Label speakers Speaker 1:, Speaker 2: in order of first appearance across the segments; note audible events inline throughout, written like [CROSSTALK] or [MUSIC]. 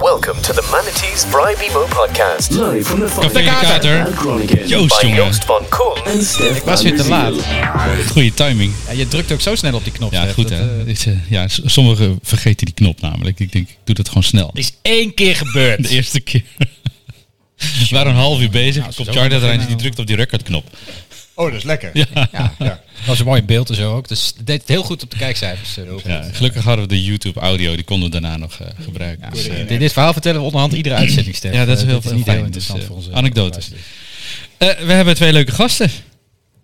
Speaker 1: Welcome to the Manatees Bribe Emo podcast
Speaker 2: Live from the
Speaker 3: Kapitein
Speaker 2: fight
Speaker 3: de Kater.
Speaker 2: at Groningen.
Speaker 3: Joost,
Speaker 1: by
Speaker 3: jongen.
Speaker 1: Joost van Kool.
Speaker 2: And Stef
Speaker 3: Was weer te laat.
Speaker 2: Anderziel.
Speaker 3: Goede timing.
Speaker 4: Ja, je drukt ook zo snel op die knop.
Speaker 3: Ja,
Speaker 4: Stef.
Speaker 3: goed
Speaker 4: Dat,
Speaker 3: hè.
Speaker 4: eh,
Speaker 3: Dit, eh, Ja, s- sommigen vergeten die knop namelijk. Ik denk, ik doe dat gewoon snel.
Speaker 4: is één keer
Speaker 3: De
Speaker 4: gebeurd.
Speaker 3: eerste
Speaker 4: [LAUGHS]
Speaker 3: keer. We waren een half uur bezig.
Speaker 4: Nou,
Speaker 3: komt
Speaker 4: zo
Speaker 3: Charlie
Speaker 4: beginnen
Speaker 3: erin, die
Speaker 4: al.
Speaker 3: drukt op die recordknop.
Speaker 5: Oh, dat is lekker.
Speaker 4: Ja, ja. [LAUGHS] Dat was een mooi beeld en zo ook. Dus het deed het heel goed op de kijkcijfers. eh, heel goed.
Speaker 3: Ja, gelukkig hadden we de YouTube audio, die konden we daarna nog eh, gebruiken. Dus, eh,
Speaker 4: Dit, dit verhaal vertellen we onderhand iedere uitzending, Stef.
Speaker 3: ja, dat is
Speaker 4: Eh,
Speaker 3: heel,
Speaker 4: dit
Speaker 3: heel
Speaker 4: niet
Speaker 3: fijn.
Speaker 4: heel interessant
Speaker 3: Dus, eh,
Speaker 4: voor onze
Speaker 3: anekdotes.
Speaker 4: luisteraars.
Speaker 3: Eh, we hebben twee leuke gasten.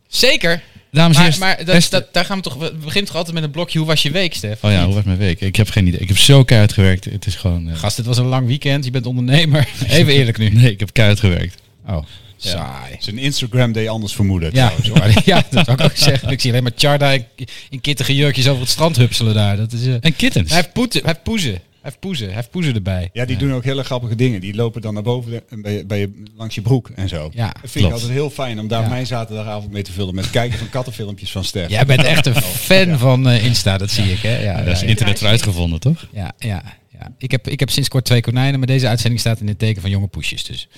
Speaker 4: Zeker.
Speaker 3: Dames en
Speaker 4: Maar,
Speaker 3: heren.
Speaker 4: maar dat,
Speaker 3: Esther-
Speaker 4: dat, daar gaan we toch... We beginnen toch altijd met een blokje. Hoe was je week, Stef?
Speaker 3: Oh ja, hoe was mijn week? Ik heb geen idee. Ik heb zo keihard gewerkt. Het is gewoon... eh,
Speaker 4: Gast, het was een lang weekend. Je bent ondernemer. [LAUGHS] Even eerlijk nu.
Speaker 3: [LAUGHS] nee, ik heb keihard gewerkt.
Speaker 4: Oh, saai.
Speaker 5: Zijn Instagram deed anders vermoeden.
Speaker 4: Ja, [LAUGHS]
Speaker 5: trouwens, hoor.
Speaker 4: sorry. ja, dat zou ik ook zeggen. Ik zie alleen maar Charda in, in kittige jurkjes over het strand hupselen daar. Dat is... eh,
Speaker 3: En kittens.
Speaker 4: Hij heeft, poeten, hij heeft poezen. Hij heeft poezen. Hij heeft poezen erbij.
Speaker 5: Ja, die doen ook hele grappige dingen. Die lopen dan naar boven de- bij, je- bij je, langs je broek en zo.
Speaker 4: Ja,
Speaker 5: dat vind
Speaker 3: klopt.
Speaker 5: ik altijd heel fijn om daar
Speaker 4: Ja.
Speaker 5: mijn zaterdagavond mee te vullen. Met kijken van kattenfilmpjes van Stef.
Speaker 4: Jij bent echt een fan van eh, Insta, dat zie ik. Hè? Ja,
Speaker 3: Ja, dat is
Speaker 4: ja,
Speaker 3: internet voor uitgevonden, toch?
Speaker 4: ja, ja, ja. Ik, heb, ik heb sinds kort twee konijnen, maar deze uitzending staat in het teken van jonge poesjes. Dus.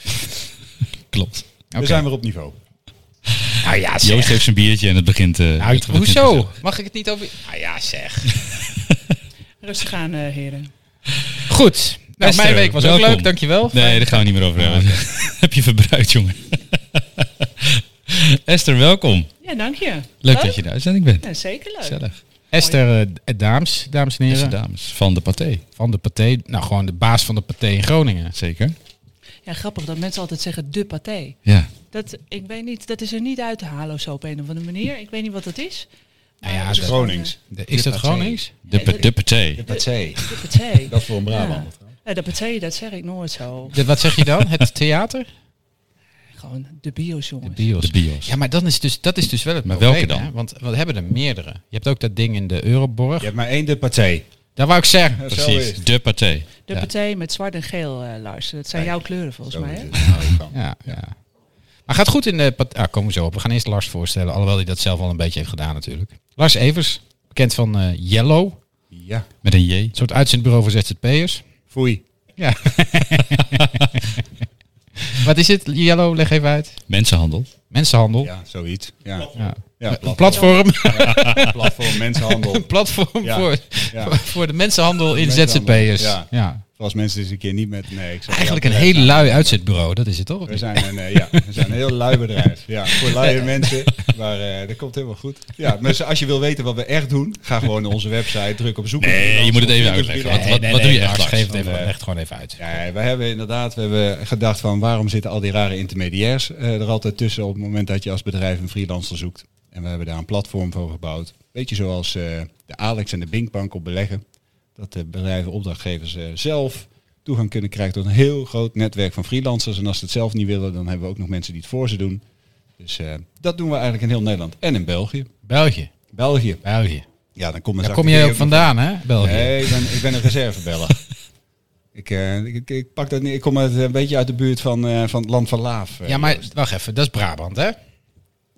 Speaker 3: Klopt.
Speaker 5: We
Speaker 4: Oké.
Speaker 5: zijn weer op niveau.
Speaker 4: Nou ja, zeg.
Speaker 3: Joost heeft zijn biertje en het begint... eh,
Speaker 4: Nou,
Speaker 3: het begint
Speaker 4: hoezo?
Speaker 3: gezellig.
Speaker 4: Mag ik het niet over... Nou ja, zeg.
Speaker 6: Rustig aan, eh, heren.
Speaker 4: Goed. Nou,
Speaker 3: Esther,
Speaker 4: mijn week was ook
Speaker 3: welkom.
Speaker 4: leuk, dankjewel.
Speaker 3: Nee, daar gaan we niet meer over hebben. [LAUGHS] heb je verbruikt, jongen. Esther, welkom.
Speaker 6: Ja, dank je.
Speaker 3: Leuk dat je in de uitzending bent.
Speaker 6: Ja, zeker leuk.
Speaker 3: Gezellig.
Speaker 4: Esther eh, Daams, dames en
Speaker 3: Beste
Speaker 4: heren.
Speaker 3: dames van de Pathé.
Speaker 4: Van de Pathé. Nou, gewoon de baas van de Pathé in Groningen.
Speaker 3: Zeker.
Speaker 6: Ja, grappig dat mensen altijd zeggen de paté.
Speaker 3: Ja.
Speaker 6: Dat, ik weet niet, dat is er niet uit te halen of zo op een of andere manier. Ik weet niet wat dat is. Maar
Speaker 4: Nou ja,
Speaker 6: het
Speaker 4: dat-
Speaker 5: Gronings.
Speaker 4: De- Is dat
Speaker 5: Pathé.
Speaker 4: Gronings?
Speaker 3: De, pa- de Pathé.
Speaker 5: Dat zei
Speaker 6: gewoon, eh, De
Speaker 5: [LAUGHS]
Speaker 6: paté.
Speaker 5: Dat is voor een Brabant.
Speaker 6: Ja. Ja, de paté, dat zeg ik nooit zo.
Speaker 4: De- Wat zeg je dan? Het theater?
Speaker 6: Gewoon de bios, jongens.
Speaker 3: De bios.
Speaker 4: Ja, maar dan is dus, dat is dus wel het
Speaker 3: Maar
Speaker 4: probleem,
Speaker 3: welke dan?
Speaker 4: hè? Want we hebben er meerdere. Je hebt ook dat ding in de Euroborg.
Speaker 5: Je hebt maar één de partij.
Speaker 4: Daar wou ik zeggen.
Speaker 5: Zo is
Speaker 3: Precies.
Speaker 5: het.
Speaker 3: De Pathé.
Speaker 6: De
Speaker 3: Ja.
Speaker 6: paté met zwart en geel, eh, Lars. Dat zijn jouw kleuren volgens
Speaker 5: Zo
Speaker 6: mij,
Speaker 5: is
Speaker 6: hè?
Speaker 5: het. Nou, ik kan.
Speaker 4: Ja, ja. Maar gaat goed in de... pat- Ah, komen we zo op. We gaan eerst Lars voorstellen. Alhoewel hij dat zelf al een beetje heeft gedaan natuurlijk. Lars Evers, bekend van eh, Yellow. Een
Speaker 5: Ja,
Speaker 3: Met een J.
Speaker 4: soort uitzendbureau voor ZZP'ers.
Speaker 5: foei.
Speaker 4: Ja. Wat is het, Yellow? Leg even uit.
Speaker 3: Mensenhandel.
Speaker 4: Mensenhandel.
Speaker 5: Ja, zoiets. Ja,
Speaker 4: Ja.
Speaker 5: ja
Speaker 4: Een
Speaker 5: platform.
Speaker 4: platform,
Speaker 5: platform, mensenhandel.
Speaker 4: een platform
Speaker 5: Ja.
Speaker 4: Voor,
Speaker 5: Ja.
Speaker 4: voor de mensenhandel in
Speaker 5: Mensenhandel,
Speaker 4: ZZP'ers.
Speaker 5: ja.
Speaker 4: ja.
Speaker 5: Zoals mensen eens een keer niet met... Nee, ik zal
Speaker 4: Eigenlijk een
Speaker 5: jou
Speaker 4: heel lui uitzetbureau, dat is het toch?
Speaker 5: We zijn een, eh, ja, we zijn een heel lui bedrijf. Ja, voor luie mensen. Maar eh, dat komt helemaal goed. Ja, mensen, als je wil weten wat we echt doen, ga gewoon naar onze website, druk op zoeken.
Speaker 3: Nee, Eh, je moet het even uitleggen. Wat, wat, wat doe je echt,
Speaker 4: Lars? Geef
Speaker 3: Lars?
Speaker 4: het even,
Speaker 5: Want, eh,
Speaker 4: leg het gewoon even uit.
Speaker 5: Ja, we hebben inderdaad we hebben gedacht van waarom zitten al die rare intermediairs eh, er altijd tussen op het moment dat je als bedrijf een freelancer zoekt. En we hebben daar een platform voor gebouwd. Beetje zoals eh, de Alex en de Binkbank op beleggen. Dat de bedrijven, opdrachtgevers eh, zelf toegang kunnen krijgen tot een heel groot netwerk van freelancers. En als ze het zelf niet willen, dan hebben we ook nog mensen die het voor ze doen. Dus eh, dat doen we eigenlijk in heel Nederland en in België.
Speaker 4: België,
Speaker 5: België.
Speaker 4: België.
Speaker 5: Ja, dan komen ze
Speaker 4: Daar kom je
Speaker 5: achter-
Speaker 4: ook vandaan, hè? België.
Speaker 5: Nee, ik ben, ik ben een reservebeller.
Speaker 4: [LAUGHS]
Speaker 5: ik, eh, ik, ik, pak dat niet. Ik kom uit, een beetje uit de buurt van, eh, van het land van Laaf. eh,
Speaker 4: ja, maar
Speaker 5: Joost.
Speaker 4: wacht even, dat is Brabant, hè?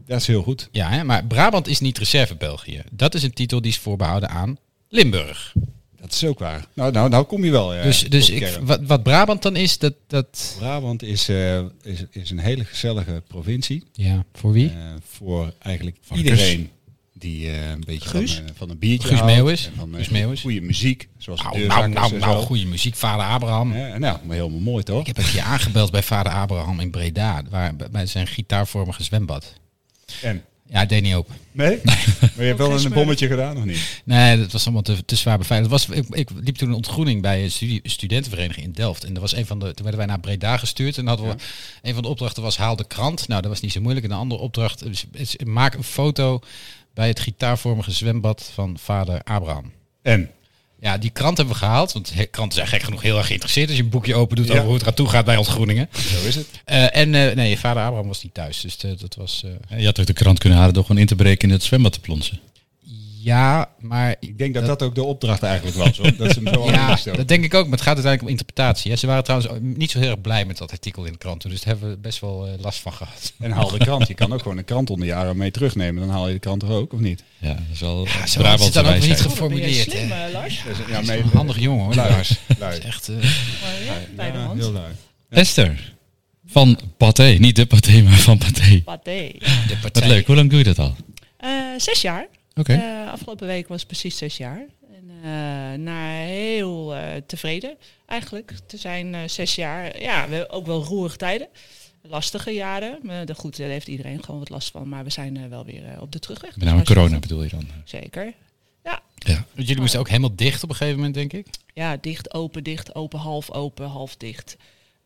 Speaker 5: Dat is heel goed.
Speaker 4: Ja, hè? maar Brabant is niet reserve België. Dat is een titel die is voorbehouden aan Limburg.
Speaker 5: Dat is ook waar. Nou, nou, nou kom je wel. eh,
Speaker 4: dus
Speaker 5: tot
Speaker 4: dus
Speaker 5: de
Speaker 4: ik,
Speaker 5: kern.
Speaker 4: wat, wat Brabant dan is, dat... dat
Speaker 5: Brabant is, eh, is, is een hele gezellige provincie.
Speaker 4: ja, voor wie?
Speaker 5: eh, voor eigenlijk
Speaker 4: Van
Speaker 5: iedereen die eh, een beetje van,
Speaker 6: Guus?
Speaker 5: eh, van een biertje
Speaker 4: Guus
Speaker 5: houdt
Speaker 4: Meeuwis?
Speaker 5: en van, eh,
Speaker 4: Guus Meeuwis?
Speaker 5: Goede muziek. Zoals de
Speaker 4: nou, nou,
Speaker 5: Deurzakkers
Speaker 4: nou,
Speaker 5: en
Speaker 4: nou,
Speaker 5: zo.
Speaker 4: goede muziek. Vader Abraham.
Speaker 5: Eh, nou, maar helemaal mooi toch?
Speaker 4: Ik heb een keer aangebeld bij vader Abraham in Breda. Waar, bij zijn gitaarvormige zwembad.
Speaker 5: En?
Speaker 4: Ja, het deed niet open.
Speaker 5: Nee? maar je hebt wel
Speaker 6: geen
Speaker 5: een
Speaker 6: smeur.
Speaker 5: bommetje gedaan of niet?
Speaker 4: Nee, dat was allemaal te, te zwaar beveiligd. Het Was, ik, ik liep toen een ontgroening bij een studie, studentenvereniging in Delft. En er was een van de, toen werden wij naar Breda gestuurd. En dan hadden we, een van de opdrachten was haal de krant. Nou, dat was niet zo moeilijk. En een andere opdracht is, is maak een foto bij het gitaarvormige zwembad van vader Abraham.
Speaker 5: En?
Speaker 4: Ja, die krant hebben we gehaald. Want he- kranten zijn gek genoeg heel erg geïnteresseerd. Als je een boekje open doet
Speaker 5: Ja.
Speaker 4: over hoe het eraan toe gaat bij ontgroeningen.
Speaker 5: Zo is het.
Speaker 4: Eh, en eh, nee, vader Abraham was niet thuis. Dus eh, dat was... eh,
Speaker 3: Je had ook de krant kunnen halen door gewoon in te breken en in het zwembad te plonsen.
Speaker 4: Ja, maar
Speaker 5: Ik denk dat dat, ook de opdracht eigenlijk was. Hoor. Dat ze hem zo
Speaker 4: [LAUGHS] Ja,
Speaker 5: aan hebben gestoken.
Speaker 4: dat denk ik ook. Maar het gaat uiteindelijk om interpretatie. Hè. Ze waren trouwens ook niet zo heel erg blij met dat artikel in de krant. toen, Dus daar hebben we best wel eh, last van gehad.
Speaker 5: En haal de krant. Je kan ook gewoon een krant onder je arm mee terugnemen. Dan haal je de krant er ook, of niet?
Speaker 3: Ja, dat is wel ja,
Speaker 4: zo had ze het dan ook weer niet
Speaker 6: Oh, dan ben jij
Speaker 4: geformuleerd,
Speaker 6: slim,
Speaker 4: hè.
Speaker 6: eh, Lars.
Speaker 5: Dus, Ja,
Speaker 4: Een
Speaker 5: [LAUGHS]
Speaker 4: handig jongen hoor, Lars.
Speaker 5: lui.
Speaker 4: Echt, eh,
Speaker 6: Maar Oh, ja, bij de
Speaker 5: Ja,
Speaker 6: hand.
Speaker 5: heel lui.
Speaker 3: Esther, van Pathé. Niet de Pathé, maar van Pathé.
Speaker 6: Pathé.
Speaker 4: de
Speaker 3: Wat
Speaker 4: partij.
Speaker 3: leuk, hoe lang doe je dat al?
Speaker 6: Eh, zes jaar.
Speaker 3: Oké.
Speaker 6: Eh, afgelopen week was precies zes jaar. En, eh nou, heel eh, tevreden eigenlijk te zijn eh, zes jaar. Ja, we, ook wel roerige tijden. Lastige jaren. Maar de, goed, daar heeft iedereen gewoon wat last van. Maar we zijn eh, wel weer eh, op de terugweg. Dus
Speaker 3: Met name
Speaker 6: hartstikke
Speaker 3: corona
Speaker 6: goed.
Speaker 3: bedoel je dan?
Speaker 6: Zeker. Ja,
Speaker 4: Want jullie moesten ook helemaal dicht op een gegeven moment, denk ik.
Speaker 6: ja, dicht, open, dicht, open, half open, half dicht.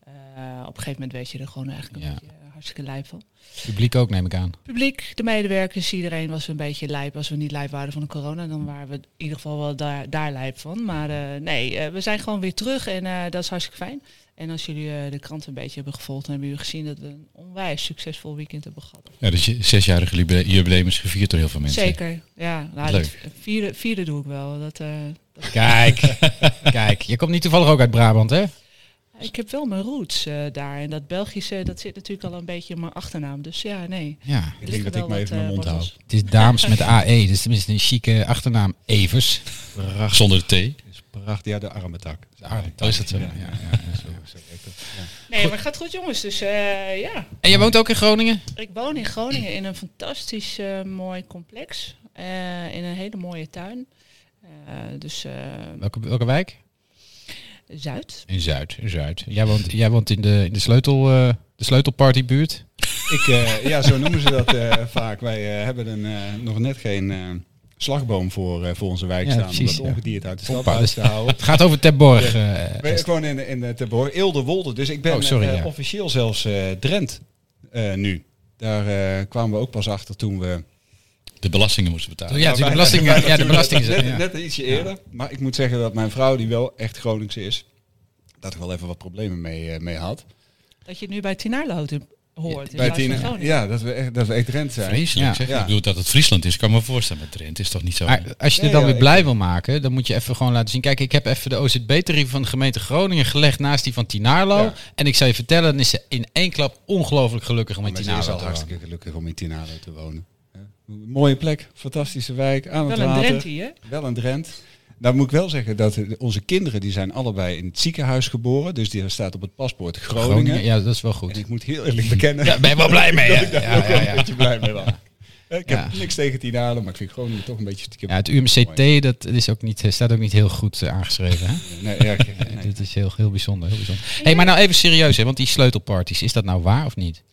Speaker 6: Eh, op een gegeven moment weet je er gewoon eigenlijk een
Speaker 4: Ja.
Speaker 6: beetje eh, hartstikke lijp van.
Speaker 4: Publiek ook, neem ik aan.
Speaker 6: publiek, de medewerkers, iedereen was een beetje lijp. Als we niet lijp waren van de corona, dan waren we in ieder geval wel daar, daar lijp van. Maar eh, nee, eh, we zijn gewoon weer terug en eh, dat is hartstikke fijn. En als jullie eh, de krant een beetje hebben gevolgd, dan hebben jullie gezien dat we een onwijs succesvol weekend hebben gehad.
Speaker 3: Ja, dus je zesjarige jubile- jubileum is gevierd door heel veel mensen.
Speaker 6: Zeker, ja. Nou,
Speaker 3: Leuk.
Speaker 6: dat vierde, vierde doe ik wel. Dat, eh, dat-
Speaker 4: Kijk, [LAUGHS] kijk. Je komt niet toevallig ook uit Brabant, hè?
Speaker 6: ik heb wel mijn roots eh, daar. En dat Belgische, dat zit natuurlijk al een beetje in mijn achternaam. Dus ja, nee.
Speaker 4: Ja.
Speaker 5: Ik denk dat ik maar even
Speaker 6: eh,
Speaker 5: mijn mond hou.
Speaker 4: Het is Daams met AE, dus tenminste een chique achternaam. Evers.
Speaker 3: Zonder de T.
Speaker 5: Prachtig. Ja, de arme tak.
Speaker 4: Dat is het zo. Ja, ja.
Speaker 6: Nee, maar het gaat goed jongens. Dus eh, ja,
Speaker 4: En jij woont ook in Groningen?
Speaker 6: Ik woon in Groningen in een fantastisch eh, mooi complex. eh, in een hele mooie tuin. Eh, dus eh,
Speaker 4: Welke, welke wijk?
Speaker 6: Zuid.
Speaker 4: In Zuid, in Zuid. Jij woont, jij woont in de, in de, sleutel, eh, de sleutelpartybuurt.
Speaker 5: Ik, eh, ja, zo noemen ze dat
Speaker 4: [LAUGHS]
Speaker 5: eh, vaak. Wij eh, hebben een, eh, nog net geen eh, slagboom voor, eh, voor onze wijk
Speaker 4: Ja,
Speaker 5: staan.
Speaker 4: precies,
Speaker 5: om
Speaker 4: ja.
Speaker 5: dat ongedierte uit de stad
Speaker 4: Hoppa.
Speaker 5: uit te houden.
Speaker 4: Het gaat over Terborg. eh,
Speaker 5: We- gewoon in, in de Terborg, Eelderwolde. Dus ik ben
Speaker 4: Oh, sorry,
Speaker 5: eh,
Speaker 4: ja.
Speaker 5: officieel zelfs eh, Drent eh, nu. Daar eh, kwamen we ook pas achter toen we...
Speaker 3: De belastingen moesten betalen.
Speaker 4: ja, de
Speaker 5: wij-
Speaker 4: belasting,
Speaker 5: wij
Speaker 4: ja, de
Speaker 5: natuurlijk
Speaker 4: belasting is
Speaker 5: net,
Speaker 4: er, ja.
Speaker 5: net ietsje eerder. Maar ik moet zeggen dat mijn vrouw, die wel echt Groningse is, dat ik wel even wat problemen mee, eh, mee had.
Speaker 6: Dat je het nu bij Tinaarlohout hoort. in
Speaker 5: Bij
Speaker 6: plaats van
Speaker 5: Tina,
Speaker 6: Groningen.
Speaker 5: ja, dat we, echt, dat we echt Drent zijn.
Speaker 3: Vreselijk
Speaker 4: Ja.
Speaker 3: zeg.
Speaker 5: Ja.
Speaker 3: Ik bedoel dat het Friesland is, kan me voorstellen. Maar Drenthe is toch niet zo...
Speaker 4: Maar als je
Speaker 5: Nee,
Speaker 4: er dan
Speaker 5: ja,
Speaker 4: weer
Speaker 5: ik-
Speaker 4: blij wil maken, dan moet je even gewoon laten zien. Kijk, ik heb even de OZB-tarief van de gemeente Groningen gelegd naast die van Tinaarlo.
Speaker 5: Ja.
Speaker 4: En ik zou je vertellen, dan is ze in één klap ongelooflijk gelukkig om in
Speaker 5: Maar ze is
Speaker 4: Tinaarlo
Speaker 5: al
Speaker 4: te wonen.
Speaker 5: hartstikke gelukkig om in Tinalo te wonen. Hè? Mooie plek, fantastische wijk, aan het
Speaker 6: Wel een
Speaker 5: water.
Speaker 6: Drentie, hè?
Speaker 5: Wel een Drent. Nou moet ik wel zeggen dat eh, onze kinderen die zijn allebei in het ziekenhuis geboren. Dus die staat op het paspoort Groningen.
Speaker 4: Groningen, ja, dat is wel goed.
Speaker 5: En ik moet heel eerlijk bekennen
Speaker 4: Ja, ben je wel blij mee, hè?
Speaker 5: dat [LAUGHS] ik daar
Speaker 4: Ja,
Speaker 5: ook
Speaker 4: ja,
Speaker 5: wel
Speaker 4: ja.
Speaker 5: een beetje blij mee was. Ik heb
Speaker 4: Ja.
Speaker 5: niks tegen Tinalo, maar ik vind Groningen toch een beetje stiekem.
Speaker 4: Ja, het UMCT dat is ook niet, staat ook niet heel goed eh, aangeschreven. Hè?
Speaker 5: Nee, ja, ik- nee.
Speaker 4: [LAUGHS] Dit is heel, heel bijzonder. Heel bijzonder. Hey, maar nou even serieus, hè, want die sleutelparties, is dat nou waar of niet?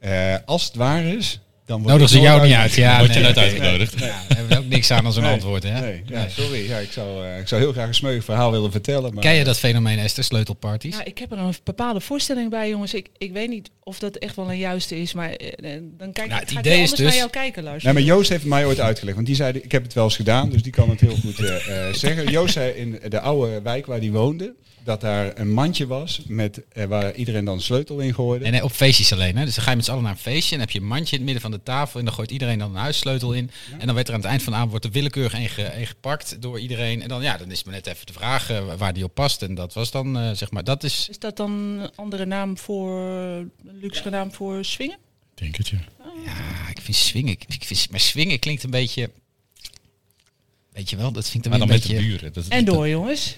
Speaker 5: Eh, als het waar is, dan wordt
Speaker 4: Nodigen ze Nou, jou niet uit. Ja,
Speaker 3: Word je
Speaker 4: nee.
Speaker 3: net uitgenodigd.
Speaker 4: Ja, [LAUGHS] daar hebben we ook niks aan als een antwoord. Hè?
Speaker 5: Nee, ja, sorry. Ja, ik, zou, eh, ik zou heel graag een smeuïg verhaal willen vertellen. Maar
Speaker 4: Ken je dat fenomeen, Esther, sleutelparties?
Speaker 6: Ja, ik heb er een bepaalde voorstelling bij, jongens. Ik, ik weet niet of dat echt wel een juiste is, maar eh, eh, dan kijk
Speaker 4: Nou, het
Speaker 6: ik, ga ik
Speaker 4: idee
Speaker 6: wel
Speaker 4: is
Speaker 6: anders
Speaker 4: dus-
Speaker 6: naar jou kijken, Lars.
Speaker 5: Nee, maar Joost heeft het mij ooit uitgelegd. Want die zei, ik heb het wel eens gedaan, dus die kan het heel goed eh, eh, zeggen. Joost zei in de oude wijk waar die woonde, dat daar een mandje was met, eh, waar iedereen dan een sleutel in gooide.
Speaker 4: En nee, op feestjes alleen. Hè? Dus dan ga je met z'n allen naar een feestje. En dan heb je een mandje in het midden van de tafel. En dan gooit iedereen dan een huissleutel in. En dan werd er aan het eind van de avond wordt er willekeurig een, ge- een gepakt door iedereen. En dan, ja, dan is het maar net even de vraag eh, waar die op past. En dat was dan, eh, zeg maar, dat is...
Speaker 6: Is dat dan een andere naam voor, een luxe naam voor swingen?
Speaker 3: Denk het, ja.
Speaker 4: Ja, ik vind swingen... Ik ik vind, maar swingen klinkt een beetje... Weet je wel, dat vind ik
Speaker 3: Maar
Speaker 4: dan
Speaker 3: dan
Speaker 4: weer een
Speaker 3: met de
Speaker 4: beetje...
Speaker 3: buren. Dat,
Speaker 6: En door, jongens.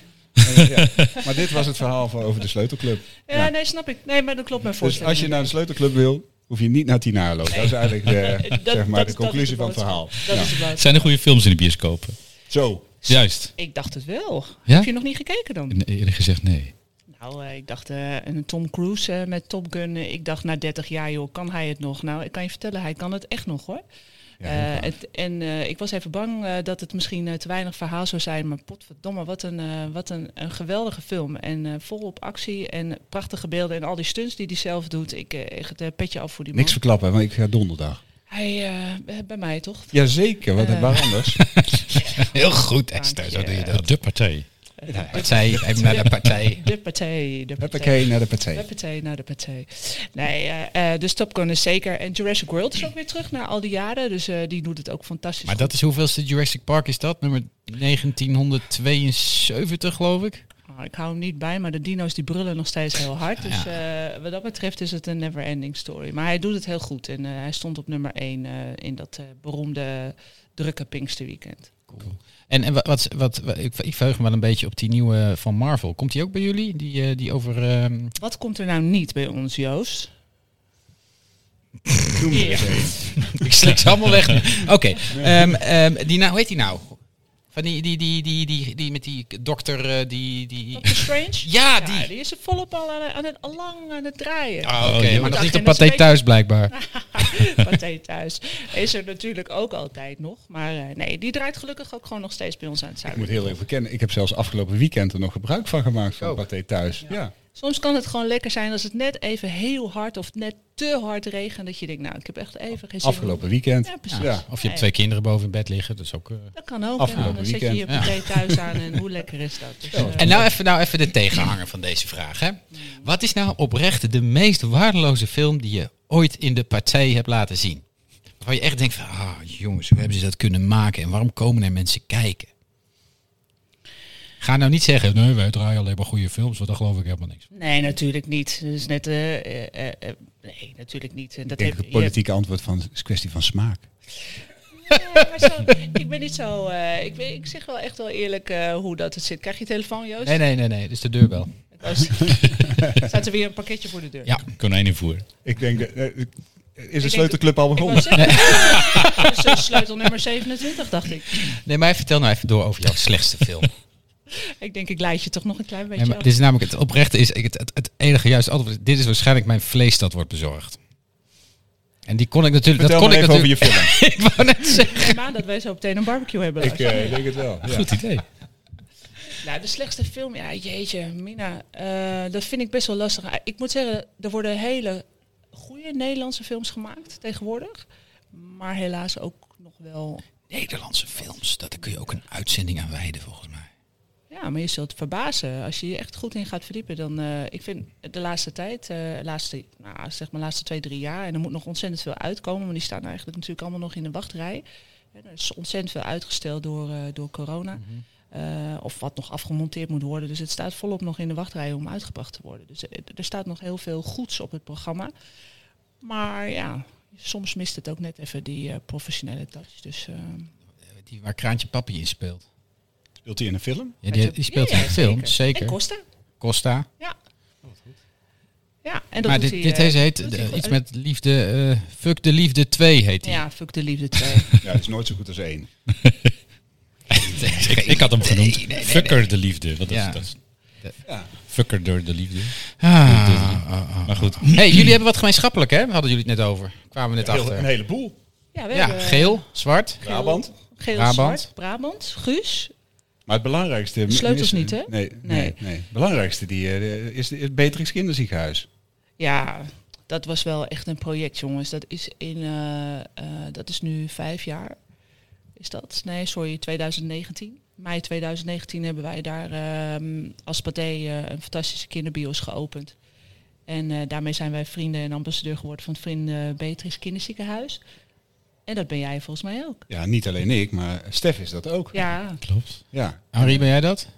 Speaker 5: Ja. Maar dit was het verhaal van, over de
Speaker 6: [LAUGHS]
Speaker 5: sleutelclub.
Speaker 6: Ja, nee, snap ik. Nee, maar dat klopt mijn
Speaker 5: Dus
Speaker 6: voorstelling.
Speaker 5: als je naar de sleutelclub wil, hoef je niet naar Tinalo. Dat is eigenlijk de,
Speaker 6: [LAUGHS] Eh, Dat-
Speaker 5: zeg maar,
Speaker 6: dat-
Speaker 5: de
Speaker 6: dat is
Speaker 5: conclusie van het verhaal.
Speaker 6: boodschap. Dat is de boodschap.
Speaker 3: Zijn er goede films in de bioscopen?
Speaker 5: Zo.
Speaker 3: Juist.
Speaker 6: Ik dacht het wel.
Speaker 3: Ja?
Speaker 6: Heb je nog niet gekeken dan?
Speaker 3: Nee, eerlijk gezegd, nee.
Speaker 6: Nou, eh, ik dacht eh, een Tom Cruise eh, met Top Gun. Eh, ik dacht na 30 jaar, joh, kan hij het nog? Nou, ik kan je vertellen, hij kan het echt nog hoor. Eh, het- en eh, ik was even bang eh, dat het misschien eh, te weinig verhaal zou zijn. Maar potverdomme, wat een, eh, wat een, een geweldige film. En eh vol op actie en prachtige beelden. En al die stunts die hij zelf doet. Ik eh, echt het petje af voor die man.
Speaker 5: Niks verklappen, want ik ga donderdag.
Speaker 6: Hij, eh, bij mij toch?
Speaker 5: Jazeker, want
Speaker 6: Eh. [LAUGHS]
Speaker 5: waar anders?
Speaker 4: [LAUGHS] Heel goed,
Speaker 6: Dank
Speaker 4: Esther.
Speaker 6: je.
Speaker 4: Zo doe je dat.
Speaker 3: Eh, De partij.
Speaker 4: Partij, even naar de partij.
Speaker 6: De partij, de partij.
Speaker 5: Huppakee naar eh, de partij.
Speaker 6: Huppatee, naar de partij. Nee, eh, eh, dus Top Gun is zeker. En Jurassic World is ook weer terug na al die jaren. Dus eh, die doet het ook fantastisch
Speaker 4: Maar
Speaker 6: goed.
Speaker 4: dat is hoeveelste Jurassic Park is dat? Nummer 1972 geloof ik.
Speaker 6: Nou, ik hou hem niet bij, maar de dino's die brullen nog steeds heel hard. Dus eh, wat dat betreft is het een never-ending story. Maar hij doet het heel goed. En eh, hij stond op nummer 1 in dat eh, beroemde drukke Pinksterweekend.
Speaker 4: En, en wat, wat, wat, wat- ik, ik verheug me wel een beetje op die nieuwe van Marvel. Komt die ook bij jullie? Die, eh, die over... ehm, [LAUGHS]
Speaker 6: Wat komt er nou niet bij ons, Joost?
Speaker 5: Noem er
Speaker 6: Ja.
Speaker 5: eens één.
Speaker 4: ik slik ze allemaal weg.
Speaker 3: [LAUGHS]
Speaker 4: nu. Oké. ehm, ehm, die nou, hoe heet die nou? Van die, die, die, die, die, die met die dokter, eh, die... die...
Speaker 6: Doctor Strange?
Speaker 4: Ja, die.
Speaker 6: die is er volop al aan, aan het, al lang aan het draaien.
Speaker 4: Ah, oké,
Speaker 3: joh.
Speaker 4: maar dat is niet
Speaker 6: Geen
Speaker 4: op paté
Speaker 6: respect.
Speaker 4: thuis blijkbaar.
Speaker 6: [LAUGHS] Partij thuis. Is er natuurlijk ook altijd nog. Maar eh, nee, die draait gelukkig ook gewoon nog steeds bij ons aan het
Speaker 5: Ik
Speaker 6: zuiden.
Speaker 5: moet heel even bekennen, ik heb zelfs afgelopen weekend er nog gebruik van gemaakt
Speaker 6: Oh.
Speaker 5: van Pathé thuis. Ja.
Speaker 6: Soms kan het gewoon lekker zijn als het net even heel hard of net te hard regent. Dat je denkt, nou, ik heb echt even geen zin. om-
Speaker 5: Afgelopen weekend.
Speaker 6: Ja, precies.
Speaker 5: Ja.
Speaker 4: Of je hebt twee kinderen boven in bed liggen, dat is ook... eh.
Speaker 6: Dat kan ook.
Speaker 5: Afgelopen
Speaker 6: en dan zet je je
Speaker 5: weekend,
Speaker 4: ja.
Speaker 6: partij thuis
Speaker 5: [LAUGHS]
Speaker 6: aan en hoe lekker is dat? Dus, eh,
Speaker 4: En nou even, nou even de tegenhanger van deze vraag. Hè. Wat is nou oprecht de meest waardeloze film die je ooit in de partij hebt laten zien? Waar je echt denkt van, ah jongens, hoe hebben ze dat kunnen maken en waarom komen er mensen kijken? Ga nou niet zeggen, nee, wij draaien alleen maar goede films, want daar geloof ik helemaal niks.
Speaker 6: Nee, natuurlijk niet. Dus net, eh, eh, eh, eh, nee, natuurlijk niet. En
Speaker 5: Ik
Speaker 6: dat
Speaker 5: denk
Speaker 6: heb-
Speaker 5: het
Speaker 6: je hebt-
Speaker 5: politieke antwoord van is kwestie van smaak.
Speaker 6: Nee, maar zo, ik ben niet zo. eh, ik, ben, ik zeg wel echt wel eerlijk eh, hoe dat het zit. Krijg je telefoon, Joost?
Speaker 4: Nee, nee, nee, nee, dat is de deurbel. [LAUGHS]
Speaker 6: Oh, staat er weer een pakketje voor de deur?
Speaker 4: Ja. [LAUGHS]
Speaker 3: Konijnenvoer.
Speaker 5: Ik denk, dat- eh, ik- is de
Speaker 6: denk
Speaker 5: sleutelclub al
Speaker 6: Ik
Speaker 5: begonnen?
Speaker 4: [LAUGHS]
Speaker 6: wou zeggen, dat is sleutel nummer 27, dacht ik.
Speaker 4: Nee, maar vertel nou even door over jouw slechtste film.
Speaker 6: Ik denk, ik leid je toch nog een klein beetje
Speaker 4: Nee, maar
Speaker 6: af.
Speaker 4: dit is namelijk het oprechte is ik- het, het, het enige juiste antwoord. is, Dit is waarschijnlijk mijn vlees dat wordt bezorgd. En die kon ik natuurlijk.
Speaker 5: Vertel
Speaker 4: dat kon
Speaker 5: maar
Speaker 4: ik
Speaker 5: even over je
Speaker 4: natuurlijk. [LAUGHS]
Speaker 5: film.
Speaker 4: ik wou net zeggen.
Speaker 6: Ik neem aan dat wij zo meteen een barbecue hebben.
Speaker 5: ik eh, denk het wel. Ja.
Speaker 4: Goed idee.
Speaker 6: Nou, de slechtste film, ja, jeetje, Mina. eh, dat vind ik best wel lastig. Ah, Ik moet zeggen, er worden hele goede Nederlandse films gemaakt tegenwoordig. Maar helaas ook nog wel...
Speaker 4: Nederlandse films, dat kun je ook een uitzending aan wijden volgens mij.
Speaker 6: Ja, maar je zult verbazen. Als je je echt goed in gaat verdiepen, dan... eh, ik vind de laatste tijd, eh, laatste, nou, zeg maar laatste twee, drie jaar... en er moet nog ontzettend veel uitkomen... maar die staan eigenlijk natuurlijk allemaal nog in de wachtrij. En er is ontzettend veel uitgesteld door, eh, door corona. Eh, of wat nog afgemonteerd moet worden. Dus het staat volop nog in de wachtrij om uitgebracht te worden. Dus eh, er staat nog heel veel goeds op het programma. Maar ja, soms mist het ook net even die eh, professionele touch. Dus, eh,
Speaker 4: Die waar Kraantje Papi in speelt.
Speaker 5: Speelt hij in een film?
Speaker 4: Ja, die, die speelt
Speaker 6: Ja, ja,
Speaker 4: in film,
Speaker 6: En
Speaker 4: zeker.
Speaker 6: kosten.
Speaker 4: Costa.
Speaker 6: Ja. Ja, en dat
Speaker 4: Maar
Speaker 6: doet
Speaker 4: dit, dit
Speaker 6: hij, eh,
Speaker 4: heeft- heet
Speaker 6: doet
Speaker 4: eh,
Speaker 6: hij goed.
Speaker 4: iets met liefde. eh, Fuck de liefde 2 heet die.
Speaker 6: Ja, fuck de liefde 2.
Speaker 5: Ja, dat is nooit zo goed als één.
Speaker 3: Ik, ik had hem genoemd. Fucker de liefde. Wat is
Speaker 4: Ja.
Speaker 3: dat?
Speaker 5: Ja.
Speaker 3: Fucker door de liefde.
Speaker 4: Ah,
Speaker 3: Maar goed.
Speaker 4: Hey, jullie hebben wat gemeenschappelijk, hè? Hadden jullie het net over? Kwamen we net
Speaker 5: Heel- een
Speaker 4: achter?
Speaker 5: heleboel.
Speaker 6: ja, we
Speaker 4: [LAUGHS] Ja,
Speaker 6: hebben eh,
Speaker 4: geel, zwart.
Speaker 6: geel,
Speaker 5: Brabant.
Speaker 6: Geel,
Speaker 4: Brabant.
Speaker 6: zwart, Brabant. Guus.
Speaker 5: Maar het belangrijkste...
Speaker 6: Sleutels
Speaker 5: missen-
Speaker 6: niet, hè?
Speaker 5: Nee, nee.
Speaker 6: Nee.
Speaker 5: nee, Het belangrijkste die, eh, is de- het Beatrix Kinderziekenhuis.
Speaker 6: Ja, dat was wel echt een project, jongens. Dat is, in, eh, eh, dat is nu vijf jaar. Is dat? Nee, sorry, 2019. Mei 2019 hebben wij daar ehm, als Pathé eh, een fantastische kinderbios geopend. En eh, daarmee zijn wij vrienden en ambassadeur geworden van het Vrienden eh, Beatrice Kinderziekenhuis. En dat ben jij volgens mij ook.
Speaker 5: Ja, niet alleen ik, maar Stef is dat ook.
Speaker 6: Ja,
Speaker 3: Klopt.
Speaker 5: Ja.
Speaker 4: Henri, ben jij dat?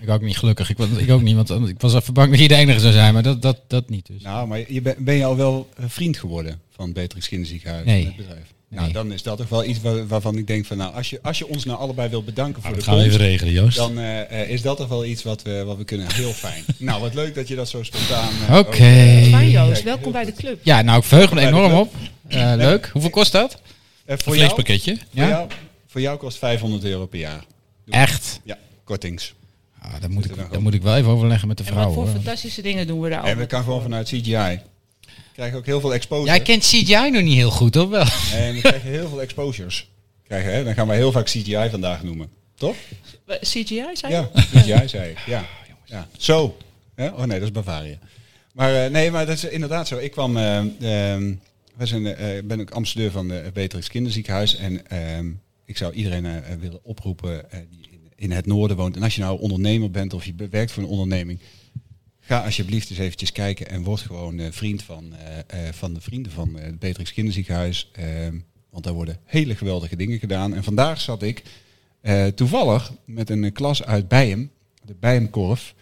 Speaker 4: Ik ook niet, gelukkig. Ik, was- ik ook niet, want anders- ik was even bang dat je de enige zou zijn, maar dat, dat, dat niet dus.
Speaker 5: Nou, maar je ben, ben je al wel eh, vriend geworden van het Beatrix Kinderziekenhuis?
Speaker 4: Nee.
Speaker 5: Het bedrijf? Nou,
Speaker 4: Nee.
Speaker 5: dan is dat toch wel iets waar- waarvan ik denk van... Nou, als je, als je ons nou allebei wilt bedanken voor
Speaker 3: Ah, dat
Speaker 5: de
Speaker 3: gaan we
Speaker 5: komst,
Speaker 3: even regelen, Joost.
Speaker 5: dan eh, eh, is dat toch wel iets wat we, wat we kunnen. Heel
Speaker 4: [LAUGHS]
Speaker 5: fijn. nou, wat leuk dat je dat zo spontaan... eh,
Speaker 4: Oké.
Speaker 5: ook,
Speaker 6: fijn Joost.
Speaker 5: Kijk,
Speaker 6: Welkom
Speaker 5: heel
Speaker 6: bij de
Speaker 5: goed.
Speaker 6: club.
Speaker 4: Ja, nou, ik verheug me
Speaker 5: Bij de
Speaker 4: enorm
Speaker 5: club.
Speaker 4: op. Eh, leuk. Hoeveel kost dat?
Speaker 5: eh,
Speaker 3: Een
Speaker 5: voor, jou, voor,
Speaker 3: vleespakketje.
Speaker 4: Ja?
Speaker 5: jou, voor jou kost 500 euro per jaar.
Speaker 4: Echt?
Speaker 5: Ja, kortings.
Speaker 4: Ah, dat, moet ik, dat moet ik wel even overleggen met de
Speaker 6: En wat
Speaker 4: vrouw.
Speaker 6: voor
Speaker 4: Hoor.
Speaker 6: fantastische dingen doen we
Speaker 4: Oh.
Speaker 6: daar
Speaker 5: En we
Speaker 6: allemaal.
Speaker 5: kan gewoon vanuit CGI. Krijg ook heel veel exposure.
Speaker 4: Jij kent CGI nog niet heel goed, of wel?
Speaker 5: En we krijgen heel veel exposures. Krijgen, hè? Dan gaan wij heel vaak CGI vandaag noemen. Toch?
Speaker 6: Eh, CGI zijn?
Speaker 5: Ja, CGI zei ik. Ja. ja. Zo. Hè? Oh nee, dat is Bavaria. Maar eh, nee, maar dat is inderdaad zo. Ik kwam... ehm ehm, wij zijn, eh, ik ben ook ambassadeur van de Beatrix Kinderziekenhuis. En ehm, ik zou iedereen eh, willen eh, oproepen eh, die in, in het noorden woont. En als je nou ondernemer bent of je be- werkt voor een onderneming. Ga alsjeblieft eens eventjes kijken en word gewoon eh, vriend van, eh, eh, van de vrienden van eh, het Beatrix Kinderziekenhuis. Ehm, want daar worden hele geweldige dingen gedaan. En vandaag zat ik eh, toevallig met een eh, klas uit Bijem, de Bijemkorf,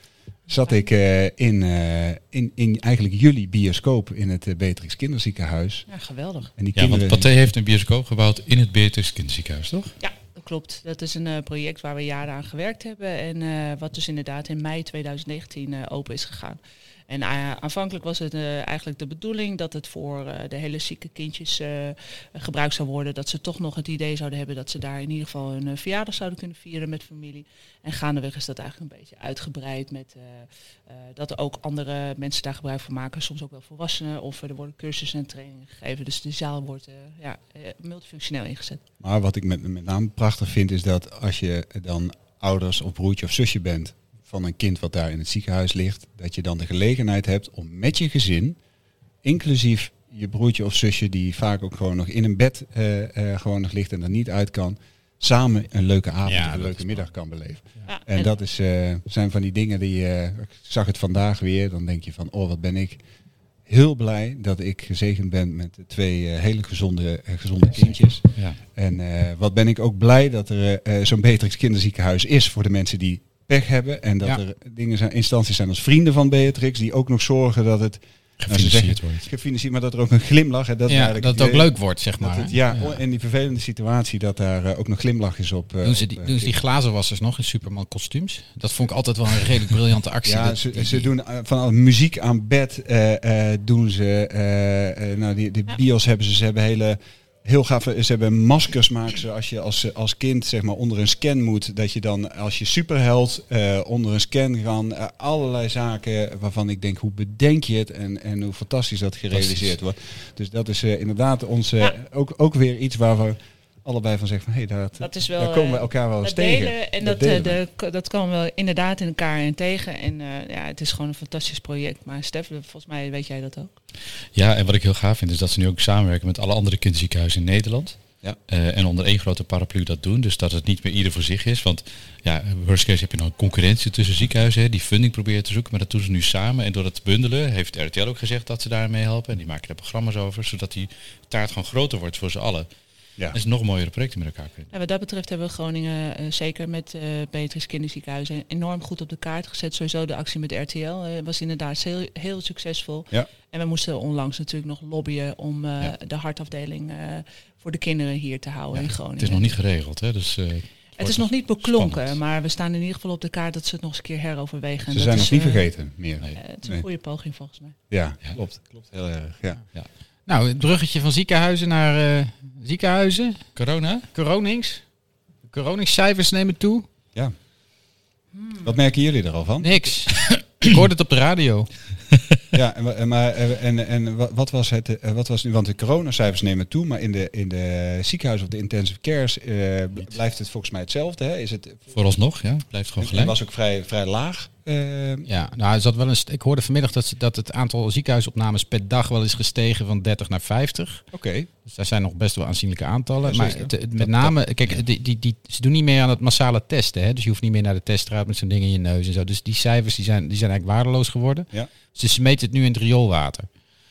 Speaker 5: zat ik eh, in, eh, in, in eigenlijk jullie bioscoop in het eh, Beatrix Kinderziekenhuis.
Speaker 6: Ja, geweldig.
Speaker 5: En die
Speaker 3: Ja, want
Speaker 5: kinderen...
Speaker 3: Pathé heeft een bioscoop gebouwd in het Beatrix Kinderziekenhuis, toch?
Speaker 6: Ja, dat klopt. Dat is een eh, project waar we jaren aan gewerkt hebben. En eh, wat dus inderdaad in mei 2019 eh, open is gegaan. En eh, aanvankelijk was het eh, eigenlijk de bedoeling dat het voor eh, de hele zieke kindjes eh, gebruikt zou worden. Dat ze toch nog het idee zouden hebben dat ze daar in ieder geval hun eh, verjaardag zouden kunnen vieren met familie. En gaandeweg is dat eigenlijk een beetje uitgebreid met eh, eh, dat er ook andere mensen daar gebruik van maken. Soms ook wel volwassenen. Of eh, er worden cursussen en trainingen gegeven. Dus de zaal wordt eh, ja, eh, multifunctioneel ingezet.
Speaker 5: Maar wat ik met, met name prachtig vind is dat als je dan ouders of broertje of zusje bent van een kind wat daar in het ziekenhuis ligt, dat je dan de gelegenheid hebt om met je gezin, inclusief je broertje of zusje die vaak ook gewoon nog in een bed eh, eh, gewoon nog ligt en er niet uit kan, samen een leuke avond
Speaker 3: Ja,
Speaker 5: of een
Speaker 3: dat
Speaker 5: leuke
Speaker 3: is
Speaker 5: middag kan beleven.
Speaker 6: Ja,
Speaker 5: En dat is, eh, zijn van die dingen die, eh, ik zag het vandaag weer, dan denk je van, oh wat ben ik heel blij dat ik gezegend ben met twee eh, hele gezonde, eh, gezonde kindjes.
Speaker 3: Ja.
Speaker 5: En eh, wat ben ik ook blij dat er eh, eh, zo'n Beatrix kinderziekenhuis is voor de mensen die pech hebben. En dat
Speaker 4: Ja.
Speaker 5: er dingen zijn, instanties zijn als vrienden van Beatrix die ook nog zorgen dat het nou, ze zeggen,
Speaker 3: Gefinancierd wordt.
Speaker 5: gefinancierd, maar dat er ook een glimlach en dat,
Speaker 4: ja,
Speaker 5: eigenlijk
Speaker 4: dat het ook
Speaker 5: idee-
Speaker 4: leuk wordt, zeg
Speaker 5: dat
Speaker 4: maar.
Speaker 5: het,
Speaker 4: hè?
Speaker 5: ja, oh, in die vervelende situatie dat daar eh, ook nog glimlach is op. eh,
Speaker 4: Doen ze,
Speaker 5: op,
Speaker 4: die,
Speaker 5: eh,
Speaker 4: doen ze die glazenwassers nog in Superman kostuums? Dat vond ik altijd wel een redelijk briljante actie.
Speaker 5: Ja,
Speaker 4: Dat-
Speaker 5: ze,
Speaker 4: die-
Speaker 5: ze doen eh, van alle muziek aan bed eh, eh, doen ze. eh, eh, nou, die, die bios hebben ze. Ze hebben hele heel gaaf. eh, Ze hebben maskers maken ze als je als, als kind zeg maar onder een scan moet. Dat je dan als je superheld eh, onder een scan kan. Eh, allerlei zaken waarvan ik denk hoe bedenk je het en, en hoe fantastisch dat gerealiseerd wordt. Dus dat is eh, inderdaad ons eh, ook, ook weer iets waar we allebei van zeggen van hé, dat,
Speaker 6: Dat is wel,
Speaker 5: daar komen we
Speaker 6: eh,
Speaker 5: elkaar wel eens
Speaker 6: Dat
Speaker 5: tegen.
Speaker 6: delen en dat,
Speaker 5: delen
Speaker 6: eh,
Speaker 5: we.
Speaker 6: de, k- dat kan wel inderdaad in elkaar en tegen. En eh, ja, het is gewoon een fantastisch project. Maar Stef, volgens mij weet jij dat ook.
Speaker 3: Ja, en wat ik heel gaaf vind is dat ze nu ook samenwerken met alle andere kinderziekenhuizen in Nederland.
Speaker 5: Ja.
Speaker 3: Eh, en onder één grote paraplu dat doen. Dus dat het niet meer ieder voor zich is. Want ja, worst case heb je nou concurrentie tussen ziekenhuizen hè, die funding proberen te zoeken. Maar dat doen ze nu samen. En door het bundelen heeft RTL ook gezegd dat ze daarmee helpen. En die maken er programma's over. Zodat die taart gewoon groter wordt voor z'n allen.
Speaker 5: Ja.
Speaker 3: En ze nog mooiere projecten met elkaar
Speaker 4: Oh,
Speaker 3: kunnen.
Speaker 6: En wat dat betreft hebben we Groningen eh, zeker met eh Beatrix Kinderziekenhuis eh, enorm goed op de kaart gezet. Sowieso de actie met RTL eh, was inderdaad heel, heel succesvol.
Speaker 5: Ja.
Speaker 6: En we moesten onlangs natuurlijk nog lobbyen om eh,
Speaker 3: Ja.
Speaker 6: de hartafdeling eh, voor de kinderen hier te houden in Groningen.
Speaker 3: Het is nog niet geregeld. Hè, dus, eh,
Speaker 6: Het
Speaker 3: wordt
Speaker 6: is nog niet beklonken,
Speaker 3: spannend.
Speaker 6: maar we staan in ieder geval op de kaart dat ze het nog eens een keer heroverwegen. En
Speaker 5: Ze
Speaker 6: dat
Speaker 5: zijn
Speaker 6: is,
Speaker 5: nog niet
Speaker 6: eh,
Speaker 5: vergeten meer.
Speaker 3: Nee.
Speaker 6: eh, het is een
Speaker 5: Nee.
Speaker 6: goede poging volgens mij.
Speaker 5: Ja,
Speaker 3: Ja.
Speaker 5: klopt. Klopt heel erg. Ja.
Speaker 4: Nou, het bruggetje van ziekenhuizen naar eh, ziekenhuizen.
Speaker 3: Corona?
Speaker 4: Coronings. Coroningscijfers nemen toe.
Speaker 5: ja. Wat merken jullie er al van?
Speaker 4: Niks. [COUGHS] ik hoorde het op de radio.
Speaker 5: Ja, en, wa- en maar, eh, en, en wa- wat was het? eh, Wat was nu? Want de coronacijfers nemen toe, maar in de, in de ziekenhuis of de intensive cares eh, bl- blijft het volgens mij hetzelfde. Hè? Is het
Speaker 3: Vooralsnog, ja. Blijft gewoon
Speaker 5: en- en
Speaker 3: gelijk.
Speaker 5: was ook vrij, vrij laag. eh,
Speaker 4: Ja, nou, er zat wel een st- ik hoorde vanmiddag dat, ze- dat het aantal ziekenhuisopnames per dag wel is gestegen van 30 naar 50.
Speaker 5: Oké.
Speaker 4: Dus daar zijn nog best wel aanzienlijke aantallen.
Speaker 5: Ja,
Speaker 4: maar
Speaker 5: zeker.
Speaker 4: het- het- met name, kijk, die, die, die, ze doen niet meer aan het massale testen. Hè? Dus je hoeft niet meer naar de teststraat met zo'n ding in je neus en zo. Dus die cijfers die zijn, die zijn eigenlijk waardeloos geworden.
Speaker 5: Ja.
Speaker 4: Ze smeten het nu in het rioolwater.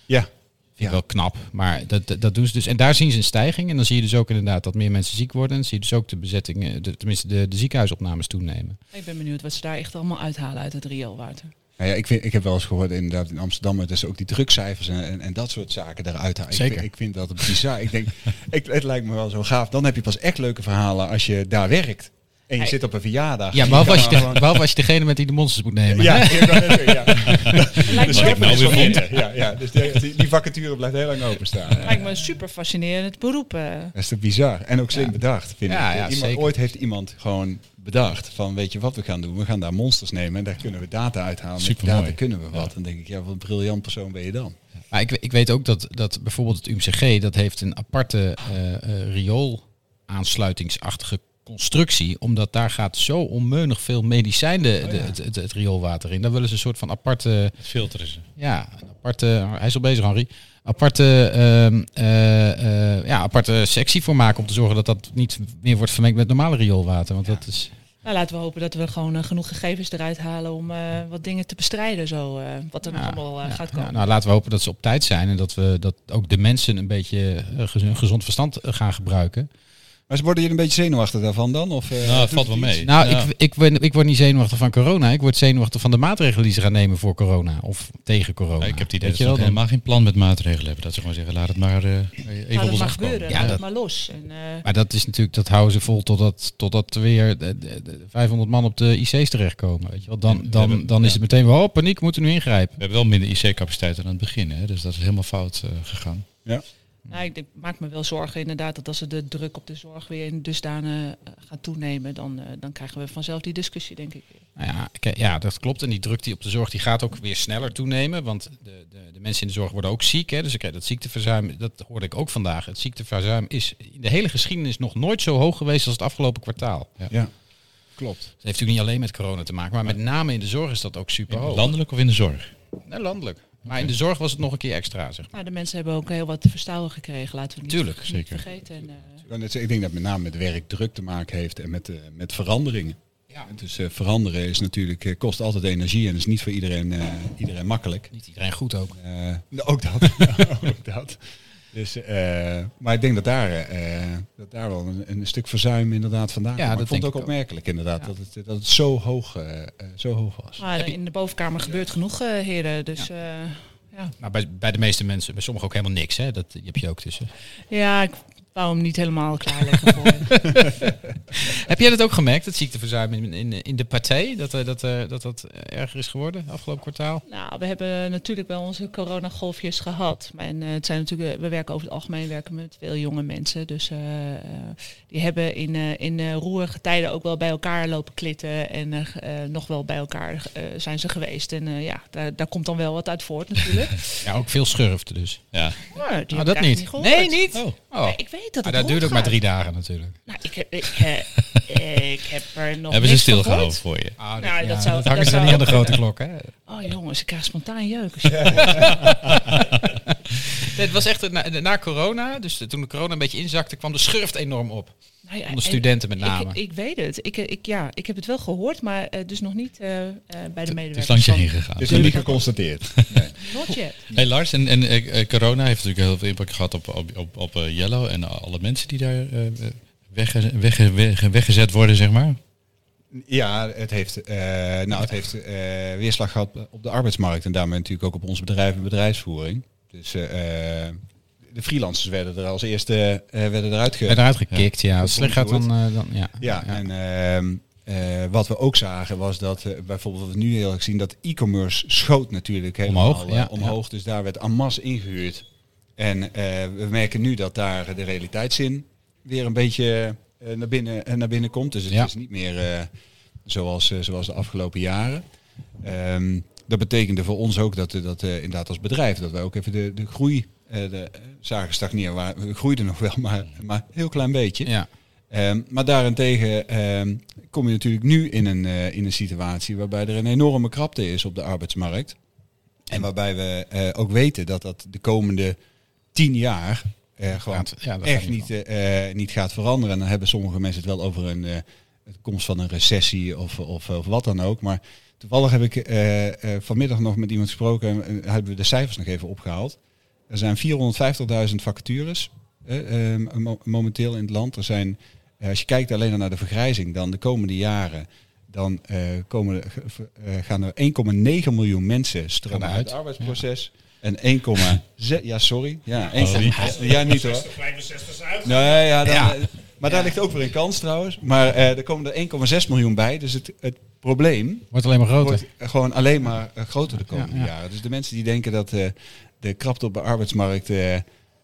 Speaker 5: Ja.
Speaker 4: Vind ik
Speaker 5: Ja.
Speaker 4: wel knap. Maar dat, dat, dat doen ze dus. En daar zien ze een stijging. En dan zie je dus ook inderdaad dat meer mensen ziek worden. En dan zie je dus ook de bezettingen, de, tenminste de, de ziekenhuisopnames toenemen.
Speaker 6: Ik ben benieuwd wat ze daar echt allemaal uithalen uit het rioolwater. [LAUGHS]
Speaker 5: Nou ja, ik, vind, ik heb wel eens gehoord inderdaad in Amsterdam, dat ze ook die drukcijfers en, en, en dat soort zaken eruit halen. Ik,
Speaker 4: Zeker.
Speaker 5: vind- ik vind dat bizar. [LAUGHS] ik denk, ik, het lijkt me wel zo gaaf. Dan heb je pas echt leuke verhalen als je daar werkt. En je
Speaker 6: Hey.
Speaker 5: zit op een verjaardag.
Speaker 4: Ja, behalve als, je
Speaker 5: kan
Speaker 4: de- behalve als je degene met die de monsters moet nemen.
Speaker 5: Ja, ik wou net zeggen, [LAUGHS] ja.
Speaker 6: Lijkt
Speaker 5: Dus
Speaker 6: me,
Speaker 3: ik nou weer vond.
Speaker 5: Ja, ja, dus die, die- die vacature blijft heel lang openstaan. Ja.
Speaker 6: lijkt me een super fascinerend beroep. eh.
Speaker 5: Dat is toch bizar. En ook slim bedacht, vind
Speaker 4: Ja,
Speaker 5: ik.
Speaker 4: ja,
Speaker 5: iemand,
Speaker 4: zeker.
Speaker 5: Ooit heeft iemand gewoon bedacht van, weet je wat we gaan doen? We gaan daar monsters nemen en daar kunnen we data uithalen. Met die
Speaker 3: Supermooi.
Speaker 5: data kunnen we wat. Dan denk ik, ja, wat een briljant persoon ben je dan.
Speaker 4: Maar ik, we- ik weet ook dat, dat bijvoorbeeld het UMCG, dat heeft een aparte eh eh, rioolaansluitingsachtige constructie. Omdat daar gaat zo onmeunig veel medicijn de, de- het, het, het rioolwater in. Daar willen ze een soort van aparte,
Speaker 3: Het filteren ze.
Speaker 4: ja, een aparte, hij is al bezig Henri, aparte, ehm, eh, eh, ja, aparte sectie voor maken om te zorgen dat dat niet meer wordt vermengd met normale rioolwater. Want dat is...
Speaker 6: Nou, laten we hopen dat we gewoon eh, genoeg gegevens eruit halen om eh, wat dingen te bestrijden, zo, eh, wat er nog
Speaker 4: Ja,
Speaker 6: allemaal eh,
Speaker 4: ja,
Speaker 6: gaat komen.
Speaker 4: ja, nou, laten we hopen dat ze op tijd zijn en dat, we, dat ook de mensen een beetje eh, gez- een gezond verstand eh, gaan gebruiken.
Speaker 5: Maar ze worden jullie een beetje zenuwachtig daarvan dan? Of,
Speaker 3: Nou,
Speaker 5: eh, doet
Speaker 3: valt wel
Speaker 5: het iets?
Speaker 3: mee.
Speaker 4: Nou,
Speaker 3: Ja.
Speaker 4: ik, ik, ben, ik word niet zenuwachtig van corona. Ik word zenuwachtig van de maatregelen die ze gaan nemen voor corona of tegen corona.
Speaker 3: Ja, ik heb het idee
Speaker 4: Weet
Speaker 3: dat ze
Speaker 4: je wel,
Speaker 3: nog
Speaker 4: dan-
Speaker 3: helemaal geen plan met maatregelen hebben. Dat ze gewoon zeggen, laat het maar eh, even
Speaker 6: Laat
Speaker 3: op
Speaker 6: het
Speaker 3: ons afkomen.
Speaker 6: maar Nou, gebeuren,
Speaker 4: Ja,
Speaker 6: laat
Speaker 4: dat-
Speaker 6: het maar los. En, eh,
Speaker 4: Maar dat is natuurlijk, dat houden ze vol totdat, totdat er weer eh, de- de 500 man op de IC's terechtkomen. Weet je wel. Dan, dan, dan is het meteen wel, oh paniek, we moeten nu ingrijpen.
Speaker 3: We hebben wel minder IC-capaciteit dan aan het begin, hè? dus dat is helemaal fout eh, gegaan.
Speaker 6: nou, ik, denk- maak me wel zorgen inderdaad dat als ze de druk op de zorg weer in dusdanen eh, gaat toenemen, dan, eh, dan krijgen we vanzelf die discussie, denk ik.
Speaker 4: Nou ja, kijk, ja, dat klopt. En die druk die op de zorg die gaat ook weer sneller toenemen. Want de, de, de mensen in de zorg worden ook ziek. Hè, dus ik krijg dat ziekteverzuim, dat hoorde ik ook vandaag. Het ziekteverzuim is in de hele geschiedenis nog nooit zo hoog geweest als het afgelopen kwartaal. Ja.
Speaker 5: Ja, klopt.
Speaker 4: Dat heeft natuurlijk niet alleen met corona te maken, maar met name in de zorg is dat ook super
Speaker 3: In-
Speaker 4: hoog.
Speaker 3: Landelijk of in de zorg?
Speaker 4: Nee, landelijk. Maar in de zorg was het nog een keer extra, zeg maar.
Speaker 6: Maar Nou, de mensen hebben ook heel wat te verstouwen gekregen, laten we het niet,
Speaker 4: Tuurlijk,
Speaker 6: niet
Speaker 3: zeker.
Speaker 6: vergeten. En, eh,
Speaker 5: Ik wou net zeggen, ik denk dat het met name met werk druk te maken heeft en met, eh, met veranderingen.
Speaker 4: Ja.
Speaker 5: Dus eh, veranderen is natuurlijk, eh, kost altijd energie en is niet voor iedereen, eh, iedereen makkelijk.
Speaker 4: Niet iedereen goed ook.
Speaker 5: Eh, nou, ook dat. [LAUGHS] ook dat. Dus, eh, maar ik denk dat daar, eh, dat daar wel een, een stuk verzuim inderdaad vandaan komt. Maar
Speaker 4: dat
Speaker 5: ik vond
Speaker 4: denk
Speaker 5: het
Speaker 4: ik
Speaker 5: ook
Speaker 4: ook.
Speaker 5: opmerkelijk inderdaad
Speaker 4: Ja.
Speaker 5: dat, het, dat het zo hoog, eh, eh, zo hoog was.
Speaker 6: maar in de bovenkamer gebeurt genoeg, eh, heren. Dus ja. ja.
Speaker 4: Maar Nou, bij, bij de meeste mensen, bij sommigen ook helemaal niks. Hè? Dat die heb je ook tussen.
Speaker 6: ja, ik wou hem niet helemaal klaarleggen voor je.
Speaker 4: heb jij dat ook gemerkt, dat ziekteverzuim in, in, in de partij? Dat eh, dat, eh, dat dat erger is geworden afgelopen kwartaal?
Speaker 6: [LAUGHS] Nou, we hebben natuurlijk wel onze coronagolfjes gehad. Maar En eh, het zijn natuurlijk, eh, we werken over het algemeen werken we met veel jonge mensen. Dus eh, eh, die hebben in, eh in eh, roerige tijden ook wel bij elkaar lopen klitten. En eh, ge- eh, nog wel bij elkaar eh, zijn ze geweest. En eh, ja, daar, daar komt dan wel wat uit voort
Speaker 4: [LAUGHS]
Speaker 6: natuurlijk.
Speaker 4: Ja, ook veel schurfte dus.
Speaker 3: Ja.
Speaker 6: Maar die heb ik
Speaker 4: Ah, dat
Speaker 6: eigenlijk
Speaker 4: niet.
Speaker 6: gehoord.
Speaker 4: nee, niet.
Speaker 3: Oh.
Speaker 6: Maar ik weet dat
Speaker 4: Maar
Speaker 6: het
Speaker 4: dat duurt ook maar
Speaker 6: rondgaat.
Speaker 4: drie dagen natuurlijk.
Speaker 6: Nou, ik, heb- ik, eh, [LAUGHS] ik heb er nog
Speaker 3: hebben ze
Speaker 6: niks van
Speaker 3: stilgehouden
Speaker 6: gehoord.
Speaker 3: voor je?
Speaker 4: Ah,
Speaker 6: Nou, dat zou-
Speaker 4: dat hangen
Speaker 6: dat
Speaker 4: ze
Speaker 6: zou-
Speaker 4: niet aan de grote klok. Hè? [LAUGHS]
Speaker 6: Oh jongens, ik krijg spontaan jeuk. als je-
Speaker 4: Nee, het was echt eh, na, na corona, dus de- toen de corona een beetje inzakte, kwam de schurft enorm op.
Speaker 6: Nou ja,
Speaker 4: Onder
Speaker 6: en-
Speaker 4: studenten met
Speaker 6: Ik-
Speaker 4: name.
Speaker 6: Ik, ik weet het. Ik, ik, ja, ik heb het wel gehoord, maar eh, dus nog niet eh, eh, bij de
Speaker 3: Het is
Speaker 6: medewerkers.
Speaker 3: langs je
Speaker 6: van-
Speaker 3: heen gegaan.
Speaker 5: Het is nog niet
Speaker 4: [LAUGHS]
Speaker 5: geconstateerd.
Speaker 6: Not yet.
Speaker 3: Hey Lars, en, en eh, eh, corona heeft natuurlijk heel veel impact gehad op, op, op, op eh, Yellow en alle mensen die daar eh, eh, wegge- wegge- wegge- weggezet worden, zeg maar.
Speaker 5: Ja, het heeft, eh, nou, het heeft eh, weerslag gehad op de arbeidsmarkt en daarmee natuurlijk ook op ons bedrijf en bedrijfsvoering. Dus eh, eh, de freelancers werden er als eerste eh, werden eruit ge-
Speaker 4: Eruit gekikt, ja. Als het slecht
Speaker 5: Slecht
Speaker 4: gaat
Speaker 5: gaat,
Speaker 4: dan... eh, dan ja.
Speaker 5: Ja, en ehm, eh, wat we ook zagen was dat eh, bijvoorbeeld wat we nu heel erg zien dat e-commerce schoot natuurlijk helemaal
Speaker 4: Omhoog,
Speaker 5: eh,
Speaker 4: ja,
Speaker 5: omhoog. Dus daar werd en masse ingehuurd. En eh, we merken nu dat daar de realiteitszin weer een beetje eh, naar, binnen, eh, naar binnen komt. Dus het
Speaker 4: Ja.
Speaker 5: is niet meer eh, zoals, eh, zoals de afgelopen jaren. Ehm, dat betekende voor ons ook dat, eh, dat eh, inderdaad als bedrijf, dat wij ook even de, de groei eh, de, zagen stagneren. Waar- We groeiden nog wel, maar, maar een heel klein beetje.
Speaker 4: ja.
Speaker 5: Ehm, maar daarentegen ehm, kom je natuurlijk nu in een, eh, in een situatie waarbij er een enorme krapte is op de arbeidsmarkt. En waarbij we eh, ook weten dat dat de komende tien jaar eh, gewoon
Speaker 4: Gaat- ja, dat gaat
Speaker 5: echt
Speaker 4: niet
Speaker 5: niet, eh, eh, niet gaat veranderen. En dan hebben sommige mensen het wel over een eh, de komst van een recessie of, of, of wat dan ook. Maar toevallig heb ik eh, eh, vanmiddag nog met iemand gesproken en eh, hebben we de cijfers nog even opgehaald. Er zijn 450.000 vacatures eh, eh, mo- momenteel in het land. Er zijn, eh, als je kijkt alleen al naar de vergrijzing, dan de komende jaren, dan eh, komen, er- ge- ver- eh, gaan er 1,9 miljoen mensen stromen
Speaker 4: Gaan
Speaker 5: uit
Speaker 4: eruit.
Speaker 5: het arbeidsproces. En [LAUGHS] 1,6, ja sorry, ja, 1,
Speaker 3: die.
Speaker 5: ja niet hoor.
Speaker 2: 60, 65 uit.
Speaker 5: Nee, ja, dan,
Speaker 4: Ja.
Speaker 5: eh, maar daar ligt ook weer een kans trouwens. Maar eh, er komen er 1,6 miljoen bij, dus het, het probleem
Speaker 4: Wordt alleen maar groter.
Speaker 5: wordt gewoon alleen maar eh, groter de komende
Speaker 4: Ja, ja.
Speaker 5: jaren. Dus de mensen die denken dat eh, de krapte op de arbeidsmarkt eh,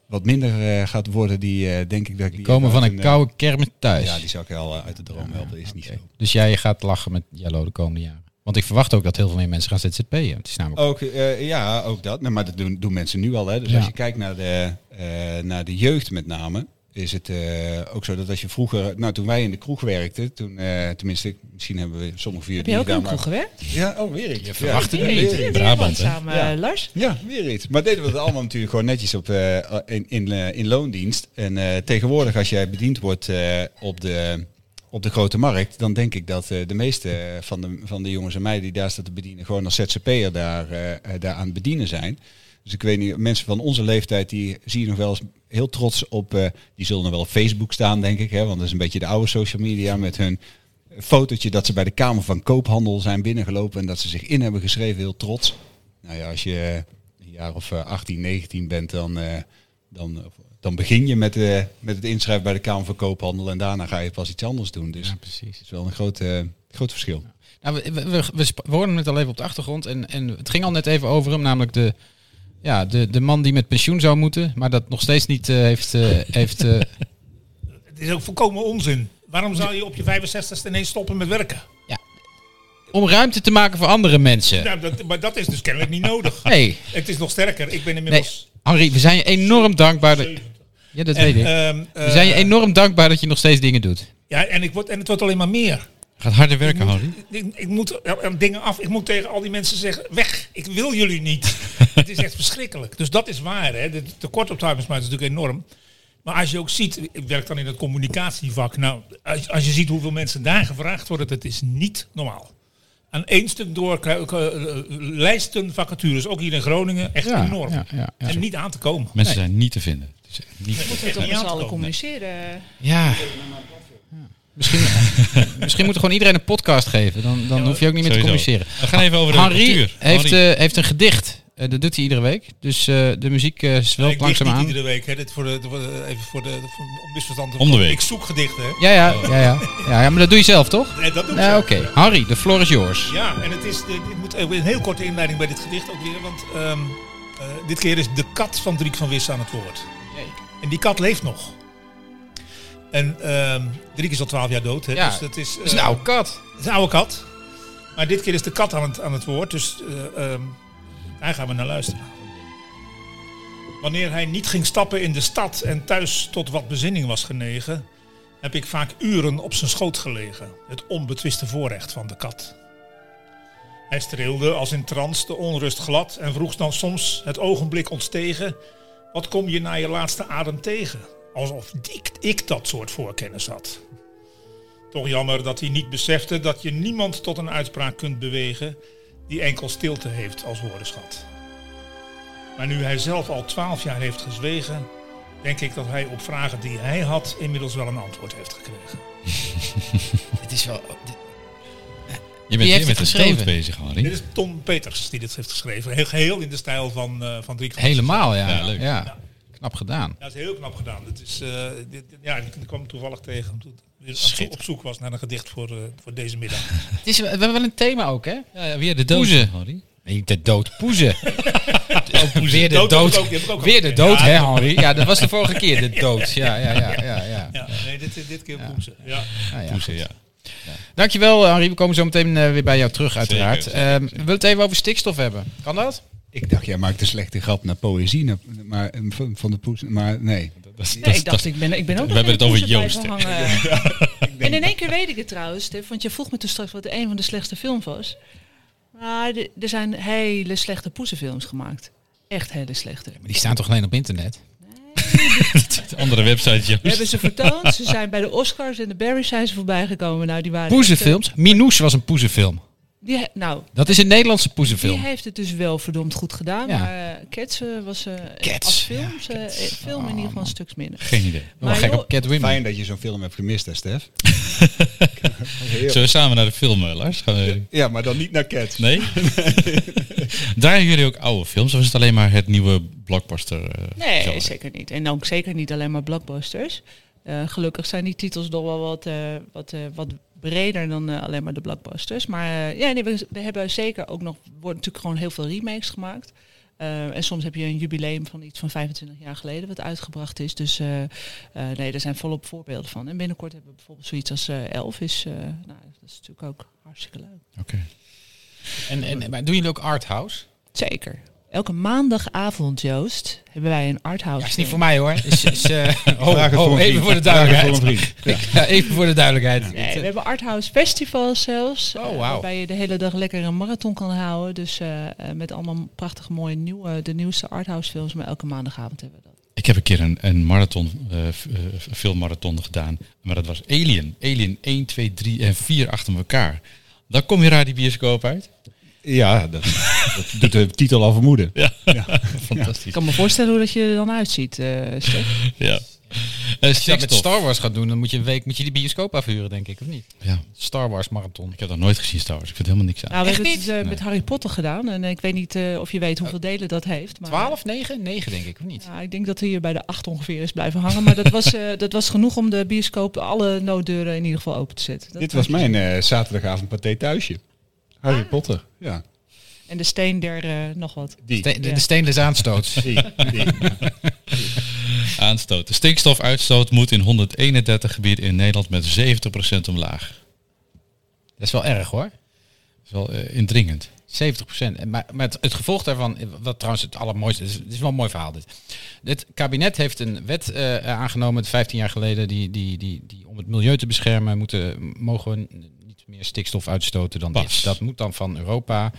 Speaker 5: wat minder eh, gaat worden, die eh, denk ik dat ik die
Speaker 4: Komen van
Speaker 5: uit eh,
Speaker 4: een koude kermis thuis.
Speaker 5: Ja, die zou ik wel eh, uit de droom helpen, is niet
Speaker 4: Oké.
Speaker 5: zo.
Speaker 4: Dus jij gaat lachen met Jello de komende jaren. Want ik verwacht ook dat heel veel meer mensen gaan ZZP'en. Het is namelijk
Speaker 5: Ook, eh, ja, ook dat. Nou, maar dat doen, doen mensen nu al. Hè. Dus
Speaker 4: Ja.
Speaker 5: als je kijkt naar de, eh, naar de jeugd met name, is het eh, ook zo dat als je vroeger... Nou, toen wij in de kroeg werkten, toen, eh, tenminste, misschien hebben we sommige van
Speaker 6: Heb
Speaker 5: jullie
Speaker 6: je ook in
Speaker 5: gedaan,
Speaker 6: een kroeg gewerkt?
Speaker 5: maar- Ja, oh, weer iets. Je
Speaker 4: verwacht het
Speaker 5: ja,
Speaker 4: niet.
Speaker 5: weer
Speaker 6: Hier,
Speaker 5: iets.
Speaker 3: Brabant, hè?
Speaker 6: samen,
Speaker 5: Ja.
Speaker 6: eh, Lars.
Speaker 5: Ja, weer iets. Maar deden we dat allemaal natuurlijk gewoon netjes op, eh, in, in, eh, in loondienst. En eh, tegenwoordig als jij bediend wordt eh, op de op de grote markt, dan denk ik dat eh, de meeste van de, van de jongens en meiden die daar staan te bedienen, gewoon als ZZP'er daar, eh, eh, daar aan het bedienen zijn. Dus ik weet niet, mensen van onze leeftijd, die zie je nog wel eens heel trots op, eh, die zullen nog wel op Facebook staan, denk ik. Hè, want dat is een beetje de oude social media met hun fotootje dat ze bij de Kamer van Koophandel zijn binnengelopen en dat ze zich in hebben geschreven, heel trots. Nou ja, als je eh, een jaar of eh, 18, 19 bent, dan, eh, dan, dan begin je met, eh, met het inschrijven bij de Kamer van Koophandel en daarna ga je pas iets anders doen. Dus
Speaker 4: Ja,
Speaker 5: het
Speaker 4: precies.
Speaker 5: is wel een groot, eh, groot verschil.
Speaker 4: Nou, we, we, we, we sp- we hoorden het al even op de achtergrond. En, en het ging al net even over hem, namelijk de, ja, de, de man die met pensioen zou moeten, maar dat nog steeds niet eh, heeft. eh, heeft eh,
Speaker 2: Het is ook volkomen onzin. Waarom zou je op je 65ste ineens stoppen met werken?
Speaker 4: om ruimte te maken voor andere mensen.
Speaker 2: Nou, dat, maar dat is dus kennelijk niet
Speaker 4: [LAUGHS]
Speaker 2: nodig.
Speaker 4: Nee,
Speaker 2: Het is nog sterker. Ik ben
Speaker 4: nee.
Speaker 2: inmiddels...
Speaker 4: Henri, we zijn je enorm dankbaar. Dat, ja, dat weet ik.
Speaker 2: ehm,
Speaker 4: We zijn je
Speaker 2: eh,
Speaker 4: enorm dankbaar dat je nog steeds dingen doet.
Speaker 2: Ja, en, ik word, en het wordt alleen maar meer.
Speaker 3: Gaat harder werken, Harry.
Speaker 2: Ik, ik moet er- er dingen af. Ik moet tegen al die mensen zeggen, weg. Ik wil jullie
Speaker 4: [LAUGHS]
Speaker 2: niet. het is echt verschrikkelijk. Dus dat is waar. Hè. De de tekort op arbeidsmarkt is natuurlijk enorm. Maar als je ook ziet, ik werk dan in het communicatievak. Nou, als, als je ziet hoeveel mensen daar gevraagd worden, dat is niet normaal. Aan één stuk door kru- eh, lijsten vacatures, ook hier in Groningen, echt
Speaker 4: Ja,
Speaker 2: enorm.
Speaker 4: ja, ja, ja.
Speaker 2: En niet aan te komen.
Speaker 3: Mensen zijn niet te vinden. Het is echt niet-
Speaker 6: Moeten we
Speaker 2: echt
Speaker 6: toch met
Speaker 2: niet aan
Speaker 6: z'n
Speaker 2: te
Speaker 6: allen
Speaker 2: komen.
Speaker 6: communiceren?
Speaker 4: Ja. Misschien, misschien moet er gewoon iedereen een podcast geven. Dan, dan hoef je ook niet meer
Speaker 3: Sowieso.
Speaker 4: te communiceren.
Speaker 3: We gaan even over de
Speaker 4: Henri
Speaker 3: cultuur.
Speaker 4: heeft,
Speaker 3: Henri.
Speaker 4: eh, heeft een gedicht. Eh, dat doet hij iedere week. Dus eh, de muziek eh, zwelt
Speaker 2: Ik dicht
Speaker 4: langzaam
Speaker 2: niet
Speaker 4: aan.
Speaker 2: iedere week. Hè. Dit voor de, voor de- even voor de, voor, om misverstand te
Speaker 3: Om de week.
Speaker 2: Ik zoek gedichten. Hè.
Speaker 4: Ja, ja, ja, ja. ja, ja, maar dat doe je zelf toch?
Speaker 2: Nee, dat doe ik
Speaker 4: Ja,
Speaker 2: zo.
Speaker 4: oké. Harry, de floor is yours.
Speaker 2: Ja, en het is, de- ik moet even een heel korte inleiding bij dit gedicht ook weer, want ehm, eh, dit keer is de kat van Driek van Wissen aan het woord. En die kat leeft nog. En ehm Driek is al twaalf jaar dood, hè?
Speaker 4: Ja.
Speaker 2: dus dat is,
Speaker 4: Dat is
Speaker 2: eh,
Speaker 4: een oude kat.
Speaker 2: het is een oude kat. Maar dit keer is de kat aan het, aan het woord, dus eh, ehm, daar gaan we naar luisteren. Wanneer hij niet ging stappen in de stad en thuis tot wat bezinning was genegen, heb ik vaak uren op zijn schoot gelegen, het onbetwiste voorrecht van de kat. Hij streelde als in trance de onrust glad en vroeg dan soms het ogenblik ontstegen: wat kom je na je laatste adem tegen? Alsof ik, ik dat soort voorkennis had. Toch jammer dat hij niet besefte dat je niemand tot een uitspraak kunt bewegen die enkel stilte heeft als woordenschat. Maar nu hij zelf al twaalf jaar heeft gezwegen, denk ik dat hij op vragen die hij had inmiddels wel een antwoord heeft gekregen.
Speaker 4: Het is wel... oh,
Speaker 3: Je
Speaker 4: heeft
Speaker 3: bent hier met
Speaker 4: het
Speaker 3: de dood
Speaker 4: geschreven?
Speaker 3: bezig,
Speaker 2: Dit
Speaker 3: Harry.
Speaker 2: is Tom Peters die dit heeft geschreven. Heel geheel in de stijl van, eh van Driek.
Speaker 4: Helemaal, ja.
Speaker 3: Ja, leuk.
Speaker 4: ja. Knap gedaan.
Speaker 2: Ja, dat is heel knap gedaan. Dat is, eh, dit- dit- ja, ik kwam hem toevallig tegen toen ik weer op zo- op zoek was naar een gedicht voor, eh, voor deze middag.
Speaker 4: Het is, we hebben wel een thema ook, hè?
Speaker 3: Ja, ja, weer de dood.
Speaker 4: Poezen.
Speaker 3: Harry.
Speaker 4: Nee, de dood poezen. Weer de
Speaker 2: Dood heb ik
Speaker 4: dood.
Speaker 2: ook, die heb ik ook al
Speaker 4: Weer de
Speaker 2: gezien.
Speaker 4: dood,
Speaker 2: Ja,
Speaker 4: hè, Henri? Ja, dat was de vorige keer, de dood. Ja, ja, ja, ja. ja.
Speaker 2: Ja, nee, dit, dit keer boem ze. Ja.
Speaker 4: Ah, ja.
Speaker 3: Poezen, ja.
Speaker 4: Dankjewel, Henri. We komen zo meteen eh, weer bij jou terug, uiteraard.
Speaker 3: zeker, zeker.
Speaker 4: Ehm, we willen het even over stikstof hebben. Kan dat?
Speaker 5: Ik dacht, jij maakt een slechte grap naar poëzie, naar- maar, eh, van van de poes, maar nee.
Speaker 3: Dat,
Speaker 6: Ja,
Speaker 3: dat-
Speaker 6: ik dacht,
Speaker 3: dat-
Speaker 6: ik ben, ik ben
Speaker 3: we
Speaker 6: ook nog
Speaker 3: hebben het
Speaker 6: in de
Speaker 3: over
Speaker 6: koers
Speaker 3: Joost, [LAUGHS]
Speaker 6: blijven hangen. En in één keer weet ik het trouwens, Stef, want je vroeg me toen straks wat een van de slechtste films was. Maar de- er zijn hele slechte poezenfilms gemaakt. Echt hele slechte.
Speaker 4: Maar die staan toch alleen op internet?
Speaker 3: andere website,
Speaker 6: We
Speaker 3: Joost.
Speaker 6: hebben ze vertoond, ze zijn bij de Oscars en de Barry's zijn ze voorbij gekomen. Nou, die waren
Speaker 4: Poezenfilms? Minouche was een poezenfilm.
Speaker 6: Die, he- nou,
Speaker 4: Dat is een Nederlandse
Speaker 6: die
Speaker 4: poezenfilm.
Speaker 6: heeft het dus wel verdomd goed gedaan.
Speaker 4: Ja.
Speaker 6: Maar eh, Cats eh, was eh,
Speaker 4: Cats,
Speaker 6: als
Speaker 4: ja,
Speaker 6: films, eh, eh, film in ieder geval een stuk minder.
Speaker 3: Geen idee.
Speaker 4: Wel
Speaker 6: Maar
Speaker 4: gek
Speaker 6: joh,
Speaker 4: op Cat Women.
Speaker 5: Fijn dat je zo'n film hebt gemist, hè, Stef?
Speaker 3: Zullen we samen naar de film, eh, Lars? Gaan we-
Speaker 5: Ja, maar dan niet naar Cats.
Speaker 3: Nee? Draaien jullie ook oude films of is het alleen maar het nieuwe blockbuster? eh,
Speaker 6: Nee,
Speaker 3: genre?
Speaker 6: zeker niet. En ook zeker niet alleen maar blockbusters. Eh, gelukkig zijn die titels nog wel wat, eh, wat, eh, wat breder dan eh, alleen maar de blockbusters. Maar eh, ja, nee, we, we hebben zeker ook nog, worden natuurlijk gewoon heel veel remakes gemaakt. Eh, en soms heb je een jubileum van iets van 25 jaar geleden wat uitgebracht is. Dus eh, eh, nee, daar zijn volop voorbeelden van. En binnenkort hebben we bijvoorbeeld zoiets als eh, Elvis. eh, nou, dat is natuurlijk ook hartstikke leuk.
Speaker 3: Oké.
Speaker 4: En, en, maar doen jullie ook arthouse?
Speaker 6: Zeker. Elke maandagavond, Joost, hebben wij een arthouse.
Speaker 4: Ja, is niet
Speaker 6: film.
Speaker 4: voor mij hoor. Is, is, eh,
Speaker 5: [LAUGHS]
Speaker 4: oh,
Speaker 5: Vraag het
Speaker 4: oh,
Speaker 5: voor een
Speaker 4: even
Speaker 5: vriend.
Speaker 4: voor de
Speaker 5: Vraag het voor
Speaker 4: duidelijkheid.
Speaker 5: een vriend.
Speaker 4: [LAUGHS] Ik- ja, even voor de duidelijkheid.
Speaker 6: Nee, we hebben arthouse festivals zelfs.
Speaker 4: eh, Oh,
Speaker 6: eh,
Speaker 4: wauw.
Speaker 6: waarbij je de hele dag lekker een marathon kan houden. Dus eh, eh, met allemaal prachtig mooie nieuwe, de nieuwste arthouse films. Maar elke maandagavond hebben we dat.
Speaker 3: Ik Ik heb een keer een, een marathon, eh, f- eh, filmmarathon gedaan. Maar dat was Alien. Alien 1, 2, 3 en 4 achter elkaar. Dan kom je raar die bioscoop uit.
Speaker 5: Ja, dat, dat doet de titel al vermoeden.
Speaker 3: Fantastisch.
Speaker 6: Ik kan me voorstellen hoe dat je er dan uitziet, eh Stef.
Speaker 3: Ja.
Speaker 4: Als je dat met Star Wars gaat doen, dan moet je een week moet je die bioscoop afhuren, denk ik, of niet?
Speaker 3: Ja.
Speaker 4: Star Wars marathon.
Speaker 3: Ik heb dat nooit gezien, Star Wars. Ik vind er helemaal niks aan.
Speaker 6: Nou, we hebben het eh, met Harry Potter gedaan. En eh, ik weet niet eh, of je weet
Speaker 4: Oh.
Speaker 6: hoeveel delen dat heeft. Maar,
Speaker 4: 12, 9? 9 denk ik, of niet?
Speaker 6: Ja, ik denk dat hij hier bij de acht ongeveer is blijven hangen. Maar dat was, eh, [LAUGHS] dat was genoeg om de bioscoop alle nooddeuren in ieder geval open te zetten. Dat-
Speaker 5: Dit was mijn eh, zaterdagavond paté thuisje. Harry Potter. Ja,
Speaker 6: En de steen der eh, nog wat.
Speaker 5: die.
Speaker 4: Ste- de,
Speaker 6: Ja.
Speaker 4: de stainless aanstoot.
Speaker 5: die, die.
Speaker 3: Aanstoot. De stikstofuitstoot moet in 131 gebieden in Nederland met 70% omlaag.
Speaker 4: Dat is wel erg hoor.
Speaker 3: Dat is wel eh, indringend.
Speaker 4: 70 procent. Maar, maar het, het gevolg daarvan, eh, wat trouwens het allermooiste is, het is wel een mooi verhaal dit. Het kabinet heeft een wet eh, aangenomen 15 jaar geleden, die, die, die, die om het milieu te beschermen moeten, mogen we n- niet meer stikstof uitstoten dan
Speaker 3: Pas.
Speaker 4: dit. Dat moet dan van Europa.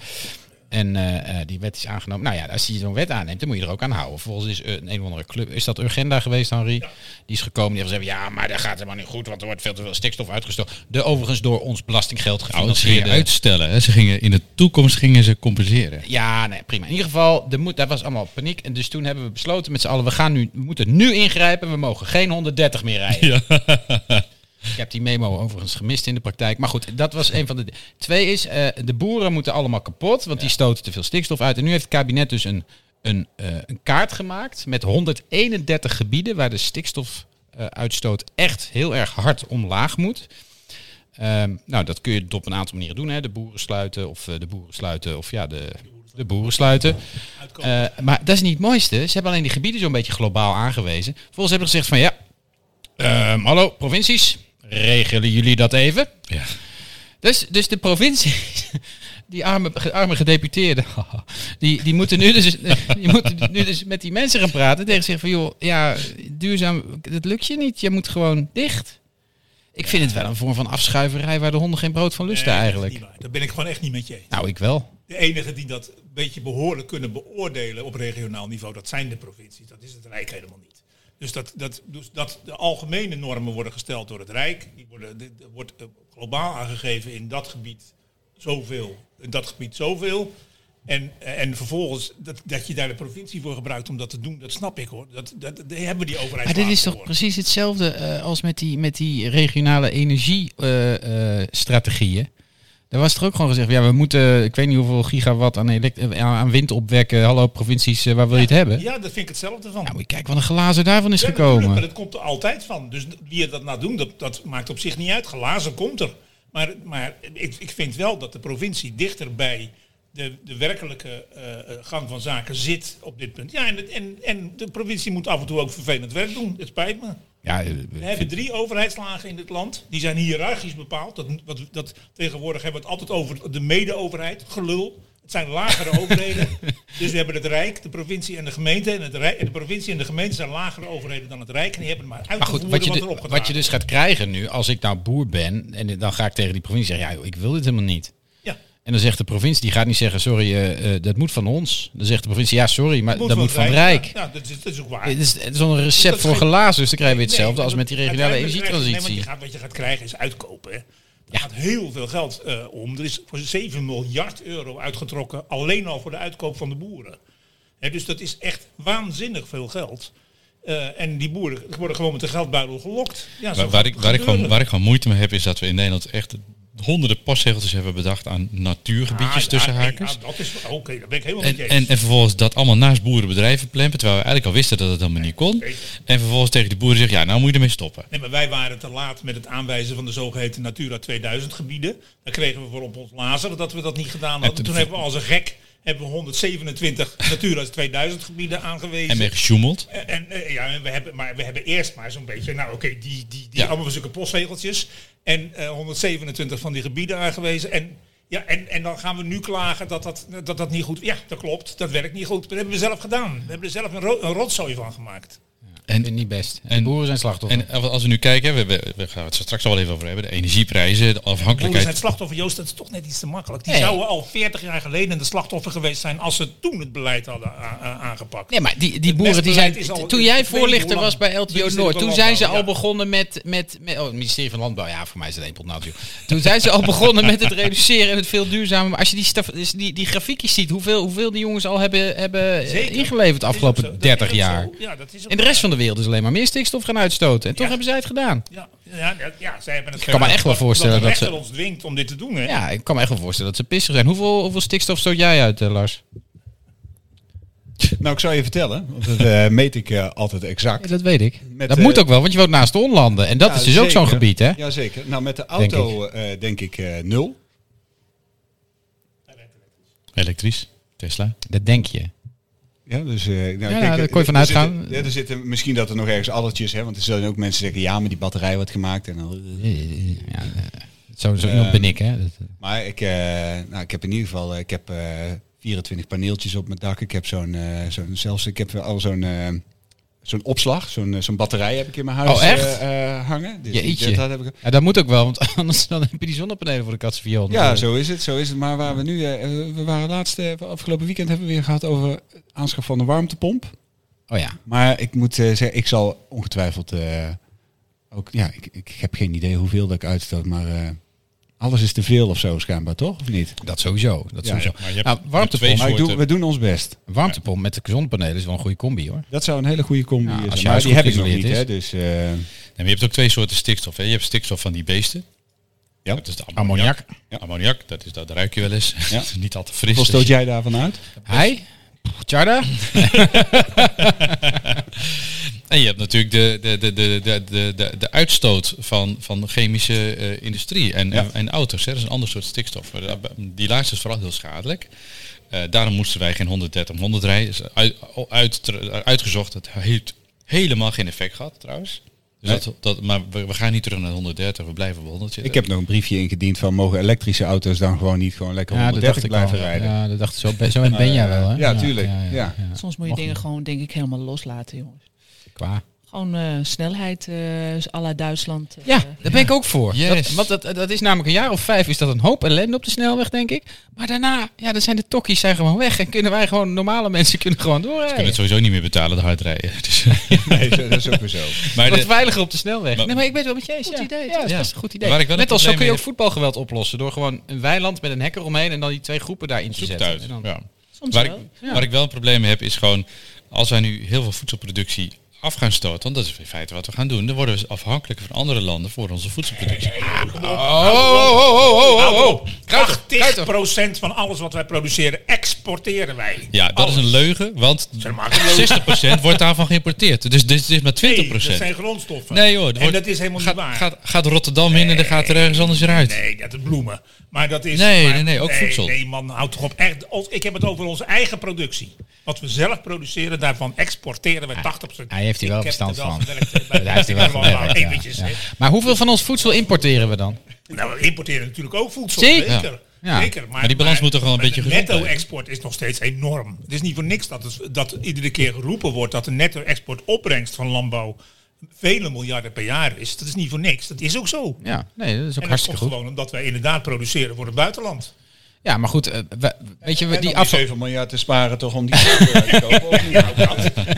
Speaker 4: En eh, eh, die wet is aangenomen. Nou ja, als je zo'n wet aanneemt, dan moet je er ook aan houden. Vervolgens is eh, een, een of andere club, is dat Urgenda geweest, Henri? Die is gekomen, die heeft gezegd, ja, maar dat gaat helemaal niet goed, want er wordt veel te veel stikstof uitgestoten. De overigens door ons belastinggeld
Speaker 3: Nou, ze gingen
Speaker 4: gefinancierde...
Speaker 3: uitstellen. Hè. Ze gingen, in de toekomst gingen ze compenseren.
Speaker 4: Ja, nee, prima. In ieder geval, er moet, daar was allemaal paniek. En dus toen hebben we besloten met z'n allen, we, gaan nu, we moeten nu ingrijpen. We mogen geen 130 meer rijden. [LAUGHS] Ik heb die memo overigens gemist in de praktijk. Maar goed, dat was een van de... di- Twee is, eh, de boeren moeten allemaal kapot, want die stoten te veel stikstof uit. En nu heeft het kabinet dus een, een, eh, een kaart gemaakt met 131 gebieden waar de stikstofuitstoot echt heel erg hard omlaag moet. Ehm, nou, dat kun je op een aantal manieren doen. Hè. De boeren sluiten of eh, de boeren sluiten of ja, de, de boeren sluiten. Eh, maar dat is niet het mooiste. Ze hebben alleen die gebieden zo'n beetje globaal aangewezen. Vervolgens hebben ze gezegd van ja, ehm, hallo provincies, regelen jullie dat even?
Speaker 3: Ja.
Speaker 4: Dus, dus de provincies, [LAUGHS] die arme, ge- arme gedeputeerden, [LAUGHS] die, die, moeten nu dus, [LAUGHS] die moeten nu dus met die mensen gaan praten. Tegen zich van, joh, ja, duurzaam, dat lukt je niet. Je moet gewoon dicht. Ik vind het wel een vorm van afschuiverij waar de honden geen brood van lusten
Speaker 2: Nee, dat is
Speaker 4: eigenlijk.
Speaker 2: niet waar. Daar ben ik gewoon echt niet met je eens.
Speaker 4: Nou, ik wel.
Speaker 2: De enige die dat een beetje behoorlijk kunnen beoordelen op regionaal niveau, dat zijn de provincies. Dat is het Rijk helemaal niet. Dus dat, dat, dus dat de algemene normen worden gesteld door het Rijk. Die worden, dit wordt eh, globaal aangegeven in dat gebied zoveel, in dat gebied zoveel. En, eh, en vervolgens dat, dat je daar de provincie voor gebruikt om dat te doen, dat snap ik hoor. Dat, dat, daar hebben die overheid
Speaker 4: Maar dit
Speaker 2: vaak
Speaker 4: is toch
Speaker 2: voor.
Speaker 4: precies hetzelfde eh, als met die, met die regionale eh, energiestrategieën. Daar was toch ook gewoon gezegd, ja, we moeten, ik weet niet hoeveel gigawatt aan, elekt- eh, aan aan wind opwekken. Hallo provincies, eh, waar wil je het hebben?
Speaker 2: Ja, daar vind ik hetzelfde van.
Speaker 4: Nou, moet je kijken wat een glazen daarvan is
Speaker 2: Ja, natuurlijk, maar
Speaker 4: gekomen.
Speaker 2: dat komt er altijd van. Dus wie er dat nou doen, dat, dat maakt op zich niet uit. Glazen komt er. Maar, maar ik, ik vind wel dat de provincie dichter bij de, de werkelijke eh, eh, gang van zaken zit op dit punt. Ja, en, het- en, en de provincie moet af en toe ook vervelend werk doen. Het spijt me.
Speaker 4: Ja, eh,
Speaker 2: We hebben drie overheidslagen in dit land. Die zijn hiërarchisch bepaald. Dat, wat, dat, tegenwoordig hebben we het altijd over de mede-overheid. Gelul. Het zijn
Speaker 4: [LAUGHS]
Speaker 2: lagere overheden. Dus we hebben het Rijk, de provincie en de gemeente. En, het Rijk, en de provincie en de gemeente zijn lagere overheden dan het Rijk. En die hebben maar
Speaker 4: maar goed,
Speaker 2: uitgevoerd
Speaker 4: wat je,
Speaker 2: wat
Speaker 4: du-
Speaker 2: er opgedragen
Speaker 4: wat je dus gaat krijgen nu, als ik nou boer ben, en dan ga ik tegen die provincie zeggen, ja, joh, ik wil dit helemaal niet.
Speaker 2: is. Ja.
Speaker 4: En dan zegt de provincie, die gaat niet zeggen, sorry, eh, eh, dat moet van ons. Dan zegt de provincie, ja, sorry, maar dat moet van het Rijk.
Speaker 2: Ja, nou, dat, is, dat is ook waar.
Speaker 4: Het is, het is wel een recept
Speaker 2: Dat
Speaker 4: voor
Speaker 2: geen-
Speaker 4: glazen, dus dan krijgen we hetzelfde
Speaker 2: Nee,
Speaker 4: als met die regionale
Speaker 2: uiteindelijk krijg je-
Speaker 4: energietransitie.
Speaker 2: Nee, want je gaat, wat je gaat krijgen is uitkopen. hè. Er gaat heel veel geld eh, om. Er is voor 7 miljard euro uitgetrokken alleen al voor de uitkoop van de boeren. Hè, dus dat is echt waanzinnig veel geld. Eh, en die boeren worden gewoon met de geldbuidel gelokt.
Speaker 3: Waar,
Speaker 2: Ja, zo gaat
Speaker 3: waar, ik,
Speaker 2: het
Speaker 3: waar, ik gewoon,
Speaker 2: gebeuren.
Speaker 3: waar ik gewoon moeite mee heb is dat we in Nederland echt honderden postzegeltjes hebben bedacht aan natuurgebiedjes
Speaker 2: Ah,
Speaker 3: tussen
Speaker 2: ja, nee,
Speaker 3: haakjes.
Speaker 2: ja, dat is oké, dat ben ik helemaal
Speaker 3: En,
Speaker 2: niet
Speaker 3: en,
Speaker 2: eens.
Speaker 3: en vervolgens dat allemaal naast boerenbedrijven plempen, terwijl we eigenlijk al wisten dat het helemaal niet kon. En vervolgens tegen de boeren zeggen, ja, nou moet je ermee stoppen.
Speaker 2: Nee, maar wij waren te laat met het aanwijzen van de zogeheten Natura 2000 gebieden. Daar kregen we voor op ons lazer dat we dat niet gedaan hadden.
Speaker 3: toen-
Speaker 2: Toen, hebben we als een gek hebben we 127 Natura 2000 gebieden aangewezen.
Speaker 3: En mee gesjoemeld.
Speaker 2: En, en, eh, ja, en we hebben, maar we hebben eerst maar zo'n beetje, nou oké, die, die, die
Speaker 3: Ja.
Speaker 2: allemaal zulke postregeltjes. En eh, 127 van die gebieden aangewezen. En, ja, en, en dan gaan we nu klagen dat dat, dat dat niet goed... Ja, dat klopt, dat werkt niet goed. Dat hebben we zelf gedaan. We hebben er zelf een, ro- een rotzooi van gemaakt.
Speaker 4: En, niet best. En,
Speaker 3: en-
Speaker 4: boeren zijn slachtoffer.
Speaker 3: En als we nu kijken, we, we, we gaan het straks al wel even over hebben, de energieprijzen, de
Speaker 2: Boeren zijn
Speaker 3: afhankelijkheid.
Speaker 2: slachtoffer, Joost, dat is toch net iets te makkelijk. Die
Speaker 4: Nee.
Speaker 2: zouden al 40 jaar geleden de slachtoffer geweest zijn als ze toen het beleid hadden a- a- aangepakt.
Speaker 4: Nee, maar die, die boeren die
Speaker 2: mestbeleid
Speaker 4: zijn.
Speaker 2: is al-
Speaker 4: toen
Speaker 2: ik- ik
Speaker 4: jij
Speaker 2: weet niet hoe
Speaker 4: voorlichter
Speaker 2: lang.
Speaker 4: was bij LTO
Speaker 2: Ministerie
Speaker 4: Noord,
Speaker 2: van
Speaker 4: toen zijn ze al
Speaker 2: Landbouw, ja.
Speaker 4: begonnen met. met, met oh, het ministerie van Landbouw, ja, voor mij is het één pot natuurlijk. Toen zijn ze al begonnen met het reduceren en het veel duurzamer. Maar als je die, staf, dus die, die grafiekjes ziet, hoeveel, hoeveel die jongens al hebben, hebben eh,
Speaker 2: Zeker.
Speaker 4: ingeleverd de
Speaker 2: Dat is ook zo.
Speaker 4: afgelopen
Speaker 2: Dat
Speaker 4: 30
Speaker 2: is ook
Speaker 4: jaar.
Speaker 2: zo. Ja, dat is ook
Speaker 4: En de rest
Speaker 2: zo.
Speaker 4: van de wereld is alleen maar meer stikstof gaan uitstoten. En toch
Speaker 2: Ja.
Speaker 4: hebben zij het gedaan.
Speaker 2: Ja, ja, ja, ja, zij hebben het
Speaker 4: kan me echt wel voorstellen
Speaker 2: dat
Speaker 4: dat
Speaker 2: de
Speaker 4: ze-
Speaker 2: rechter ons dwingt om dit te doen. Hè?
Speaker 4: Ja, ik kan me echt wel voorstellen dat ze pissig zijn. Hoeveel, hoeveel stikstof stoot jij uit, eh, Lars?
Speaker 5: Nou, ik zou je vertellen, want dat eh, [LAUGHS] meet ik eh, altijd exact.
Speaker 4: Ja, dat weet ik.
Speaker 5: Met,
Speaker 4: dat
Speaker 5: eh,
Speaker 4: moet ook wel, want je woont naast de onlanden. En dat
Speaker 5: Ja,
Speaker 4: is dus ook zo'n
Speaker 5: zeker.
Speaker 4: gebied, hè?
Speaker 5: Jazeker. Nou, met de
Speaker 4: Denk
Speaker 5: auto eh, denk ik eh, nul.
Speaker 3: Elektrisch, Tesla. Nou,
Speaker 4: Dat denk je.
Speaker 5: Ja, dus, eh, nou, ik
Speaker 4: ja,
Speaker 5: denk,
Speaker 4: daar
Speaker 5: eh,
Speaker 4: kon je van
Speaker 5: er
Speaker 4: uitgaan.
Speaker 5: zitten- Ja, er zitten misschien dat er nog ergens allertjes, hè, want er zullen ook mensen zeggen, ja, maar die batterij wordt gemaakt. En dan,
Speaker 4: Ja, eh, zo, zo iemand ben ik, hè? Dat-
Speaker 5: Maar ik, eh, nou, ik heb in ieder geval eh, ik heb, eh, 24 paneeltjes op mijn dak. Ik heb zo'n, eh, zo'n zelfs ik heb al zo'n, eh, zo'n opslag, zo'n, eh, zo'n batterij heb ik in mijn huis
Speaker 4: Oh, echt?
Speaker 5: eh, eh, hangen. Dus die-
Speaker 4: Jeetje.
Speaker 5: dat, dat heb ik.
Speaker 4: Ja, dat moet ook wel, want [LAUGHS] anders dan heb je die zonnepanelen voor de katse viool.
Speaker 5: Ja, zo is het, zo is het. Maar waar we nu, eh, we waren laatst, eh, afgelopen weekend hebben we weer gehad over het aanschaf van de warmtepomp.
Speaker 4: Oh ja.
Speaker 5: Maar ik moet eh, zeggen, ik zal ongetwijfeld eh, ook, ja, ik, ik heb geen idee hoeveel dat ik uitstoot, maar eh, alles is te veel of zo schijnbaar, toch? Of niet?
Speaker 4: Dat sowieso. Dat
Speaker 5: Ja,
Speaker 4: sowieso.
Speaker 3: ja, maar je hebt-
Speaker 4: nou,
Speaker 3: je hebt twee
Speaker 4: warmtepomp,
Speaker 5: Maar ik doe, we doen ons best.
Speaker 4: een warmtepomp met de zonnepanelen is wel een goede combi hoor.
Speaker 5: Dat zou een hele goede combi
Speaker 4: Ja, als
Speaker 5: zijn.
Speaker 4: je
Speaker 5: Maar
Speaker 4: huis
Speaker 5: die
Speaker 4: goed
Speaker 5: heb ik nog niet.
Speaker 4: geïsoleerd
Speaker 5: Hè,
Speaker 4: is.
Speaker 5: dus, eh,
Speaker 3: Nee, maar je hebt ook twee soorten stikstof. Hè. Je hebt stikstof van die beesten.
Speaker 5: Ja.
Speaker 3: Dat is de ammoniak.
Speaker 4: Ammoniak.
Speaker 3: Ja. Ammoniak, dat, is, dat ruik je wel eens.
Speaker 5: Ja.
Speaker 3: [LAUGHS] Niet al te fris.
Speaker 5: hoeveel
Speaker 3: Dus [LAUGHS]
Speaker 5: stoot
Speaker 3: je-
Speaker 5: jij daarvan uit?
Speaker 4: Hij? Tjarda?
Speaker 3: En je hebt natuurlijk de, de, de, de, de, de, de, de uitstoot van, van chemische eh, industrie en,
Speaker 5: Ja.
Speaker 3: en, en auto's. Hè. Dat is een ander soort stikstof. Maar dat- eh, Die laatste is vooral heel schadelijk. Eh, daarom moesten wij geen 130 om 100 rijden. Is uit, uit, uitgezocht. Dat heeft helemaal geen effect gehad trouwens. Dus
Speaker 5: Nee.
Speaker 3: dat, dat, maar we, we gaan niet terug naar 130, we blijven op 100 zitten.
Speaker 5: Ik heb nog een briefje ingediend van mogen elektrische auto's dan gewoon niet gewoon lekker 130 blijven rijden.
Speaker 4: Ja, dat dacht ik zo. ben- Zo ben jij wel hè?
Speaker 5: Ja, tuurlijk. Ja,
Speaker 6: Soms moet je
Speaker 4: Mag
Speaker 6: dingen
Speaker 4: niet.
Speaker 6: gewoon, denk ik, helemaal loslaten, jongens.
Speaker 4: Qua.
Speaker 6: Gewoon eh, snelheid, eh à la Duitsland. eh.
Speaker 4: Ja, daar ben ik ook voor.
Speaker 3: Yes.
Speaker 4: Dat, want dat, dat is namelijk een jaar of vijf is dat een hoop ellende op de snelweg, denk ik. Maar daarna, ja, dan zijn de tokkies zijn gewoon weg. En kunnen wij gewoon, normale mensen kunnen gewoon
Speaker 3: Ik kan
Speaker 4: doorrijden.
Speaker 3: het sowieso niet meer betalen, de hardrijden. [LAUGHS]
Speaker 2: [LAUGHS]
Speaker 3: Dus,
Speaker 5: Nee, [LAUGHS] zo- dat is ook weer zo.
Speaker 3: maar
Speaker 4: Wat
Speaker 3: de,
Speaker 4: veiliger op de snelweg.
Speaker 3: Maar-
Speaker 4: nee, maar ik ben het wel met je eens.
Speaker 6: Goed
Speaker 4: ja.
Speaker 6: idee,
Speaker 4: Ja, dat is
Speaker 3: Ja.
Speaker 4: best een goed idee.
Speaker 3: Waar ik wel een
Speaker 4: Net als zo
Speaker 3: probleem
Speaker 4: kun je
Speaker 3: mee
Speaker 4: ook voetbalgeweld oplossen. Door gewoon een weiland met een hek eromheen en dan die twee groepen daarin te
Speaker 3: zoek het
Speaker 4: zetten.
Speaker 3: uit.
Speaker 4: En dan-
Speaker 3: Ja.
Speaker 6: Soms
Speaker 3: Waar ik,
Speaker 6: wel.
Speaker 4: Ja.
Speaker 3: waar ik wel een probleem mee heb is gewoon, als wij nu heel veel voedselproductie af gaan stoten, want dat is in feite wat we gaan doen, dan worden we afhankelijk van andere landen voor onze voedselproductie.
Speaker 4: Oh, oh, oh, oh, oh, oh, oh. Kruiter, kruiter.
Speaker 2: 80% van alles wat wij produceren exporteren wij.
Speaker 3: Ja, dat is een leugen, want
Speaker 2: Ze maken leugen.
Speaker 3: 60% wordt daarvan geïmporteerd. Dus dit is maar 20%.
Speaker 2: Nee, dat zijn grondstoffen.
Speaker 3: Nee joh, het
Speaker 2: en
Speaker 3: wordt-
Speaker 2: dat is helemaal
Speaker 3: gaat,
Speaker 2: niet waar.
Speaker 3: Gaat, gaat Rotterdam in en dan gaat er ergens anders weer uit.
Speaker 2: Nee, dat is bloemen. Maar dat is.
Speaker 3: Nee,
Speaker 2: maar-
Speaker 3: nee, nee, ook voedsel.
Speaker 2: Nee, man, houd toch op. Echt, ons- ik heb het over onze eigen productie. Wat we zelf produceren, daarvan exporteren we 80%.
Speaker 4: Ah, Hij heeft hier wel
Speaker 2: Ik heb er
Speaker 4: verstand van. [LAUGHS]
Speaker 2: gewerkt, hè, bij-
Speaker 4: Hij heeft hier wel
Speaker 2: ik ben wel
Speaker 4: gewerkt, ja.
Speaker 2: eventjes,
Speaker 4: Ja.
Speaker 2: hè.
Speaker 4: Maar hoeveel van ons voedsel importeren we dan?
Speaker 2: Nou, we importeren natuurlijk ook voedsel.
Speaker 4: Zeker.
Speaker 2: Zeker.
Speaker 4: Ja.
Speaker 2: Zeker.
Speaker 3: Maar die balans moet toch wel een
Speaker 2: maar
Speaker 3: beetje
Speaker 2: De
Speaker 3: gezond blijven?
Speaker 2: netto-export is nog steeds enorm. Het is niet voor niks dat, het- dat iedere keer geroepen wordt dat de netto-export opbrengst van landbouw vele miljarden per jaar is. Dat is niet voor niks. Dat is ook zo. En
Speaker 4: Ja, nee, dat is ook
Speaker 2: dat komt
Speaker 4: hartstikke goed.
Speaker 2: gewoon omdat wij inderdaad produceren voor het buitenland.
Speaker 4: Ja, maar goed, eh, we- weet je, we-
Speaker 5: En
Speaker 4: die
Speaker 5: om
Speaker 4: afval...
Speaker 5: 7 miljard te sparen toch om die auto te kopen? of niet?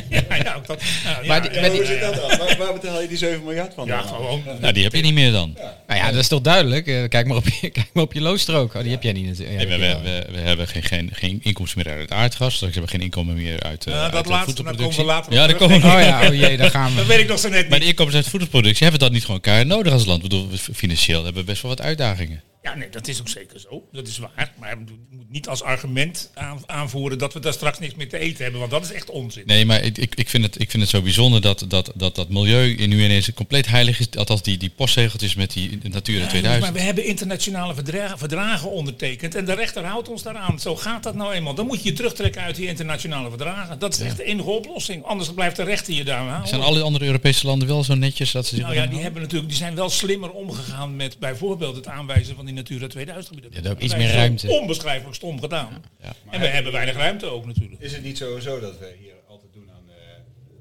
Speaker 2: Ja, ja, ook dat, nou, ja,
Speaker 4: Maar die-
Speaker 2: ja,
Speaker 4: maar die-
Speaker 5: Hoe zit dat dan? Waar, waar betaal je die 7 miljard van?
Speaker 2: ja,
Speaker 5: dan?
Speaker 2: gewoon.
Speaker 3: Nou, die heb je niet meer dan.
Speaker 4: Nou ja, dat is toch duidelijk. Eh, Kijk maar op je, [LAUGHS] kijk maar op je loonstrook. Oh, die heb jij niet natuurlijk. Ja,
Speaker 3: Nee, we,
Speaker 4: dat heb
Speaker 3: we,
Speaker 4: je wel.
Speaker 3: we, we hebben geen, geen, geen inkomsten meer uit het aardgas. Straks hebben we geen inkomen meer uit, eh
Speaker 2: Ja,
Speaker 3: uit
Speaker 2: Nou, dat
Speaker 3: de
Speaker 2: laatste, daar
Speaker 3: voedselproductie.
Speaker 2: komen we later op
Speaker 3: ja, daar
Speaker 2: terug,
Speaker 3: komen we
Speaker 2: denk
Speaker 4: Oh ja, oh jee, daar gaan [LAUGHS]
Speaker 2: Dat
Speaker 4: we.
Speaker 2: weet ik nog zo net
Speaker 3: Maar
Speaker 2: niet.
Speaker 3: de inkomens uit voedselproductie hebben we dat niet gewoon elkaar nodig als land. Ik bedoel, financieel hebben we best wel wat uitdagingen.
Speaker 2: Ja, nee, dat is ook zeker zo. Dat is waar. Maar je moet niet als argument aan- aanvoeren dat we daar straks niks meer te eten hebben. Want dat is echt onzin.
Speaker 3: Nee, maar ik, ik, ik, vind, het, ik vind het zo bijzonder dat dat, dat, dat milieu in nu ineens compleet heilig is. Althans, die, die postzegeltjes met die Natura
Speaker 2: Ja, jongens, maar
Speaker 3: 2000.
Speaker 2: we hebben internationale verdragen, verdragen ondertekend en de rechter houdt ons daaraan. Zo gaat dat nou eenmaal. Dan moet je je terugtrekken uit die internationale verdragen. Dat is echt de enige oplossing. Anders blijft de rechter je daar aan.
Speaker 3: Zijn alle andere Europese landen wel zo netjes dat ze
Speaker 4: Dus
Speaker 3: zich...
Speaker 2: Nou ja, die, hebben natuurlijk, die zijn wel slimmer omgegaan met bijvoorbeeld het aanwijzen van die Natura 2000 gebieden.
Speaker 4: Ja, dat ook
Speaker 2: Dat
Speaker 4: iets
Speaker 2: hebben
Speaker 4: meer
Speaker 2: ze
Speaker 4: ruimte.
Speaker 2: Onbeschrijfelijk stom gedaan. En we hebben weinig ruimte ook natuurlijk.
Speaker 5: Is het niet sowieso dat we hier altijd doen aan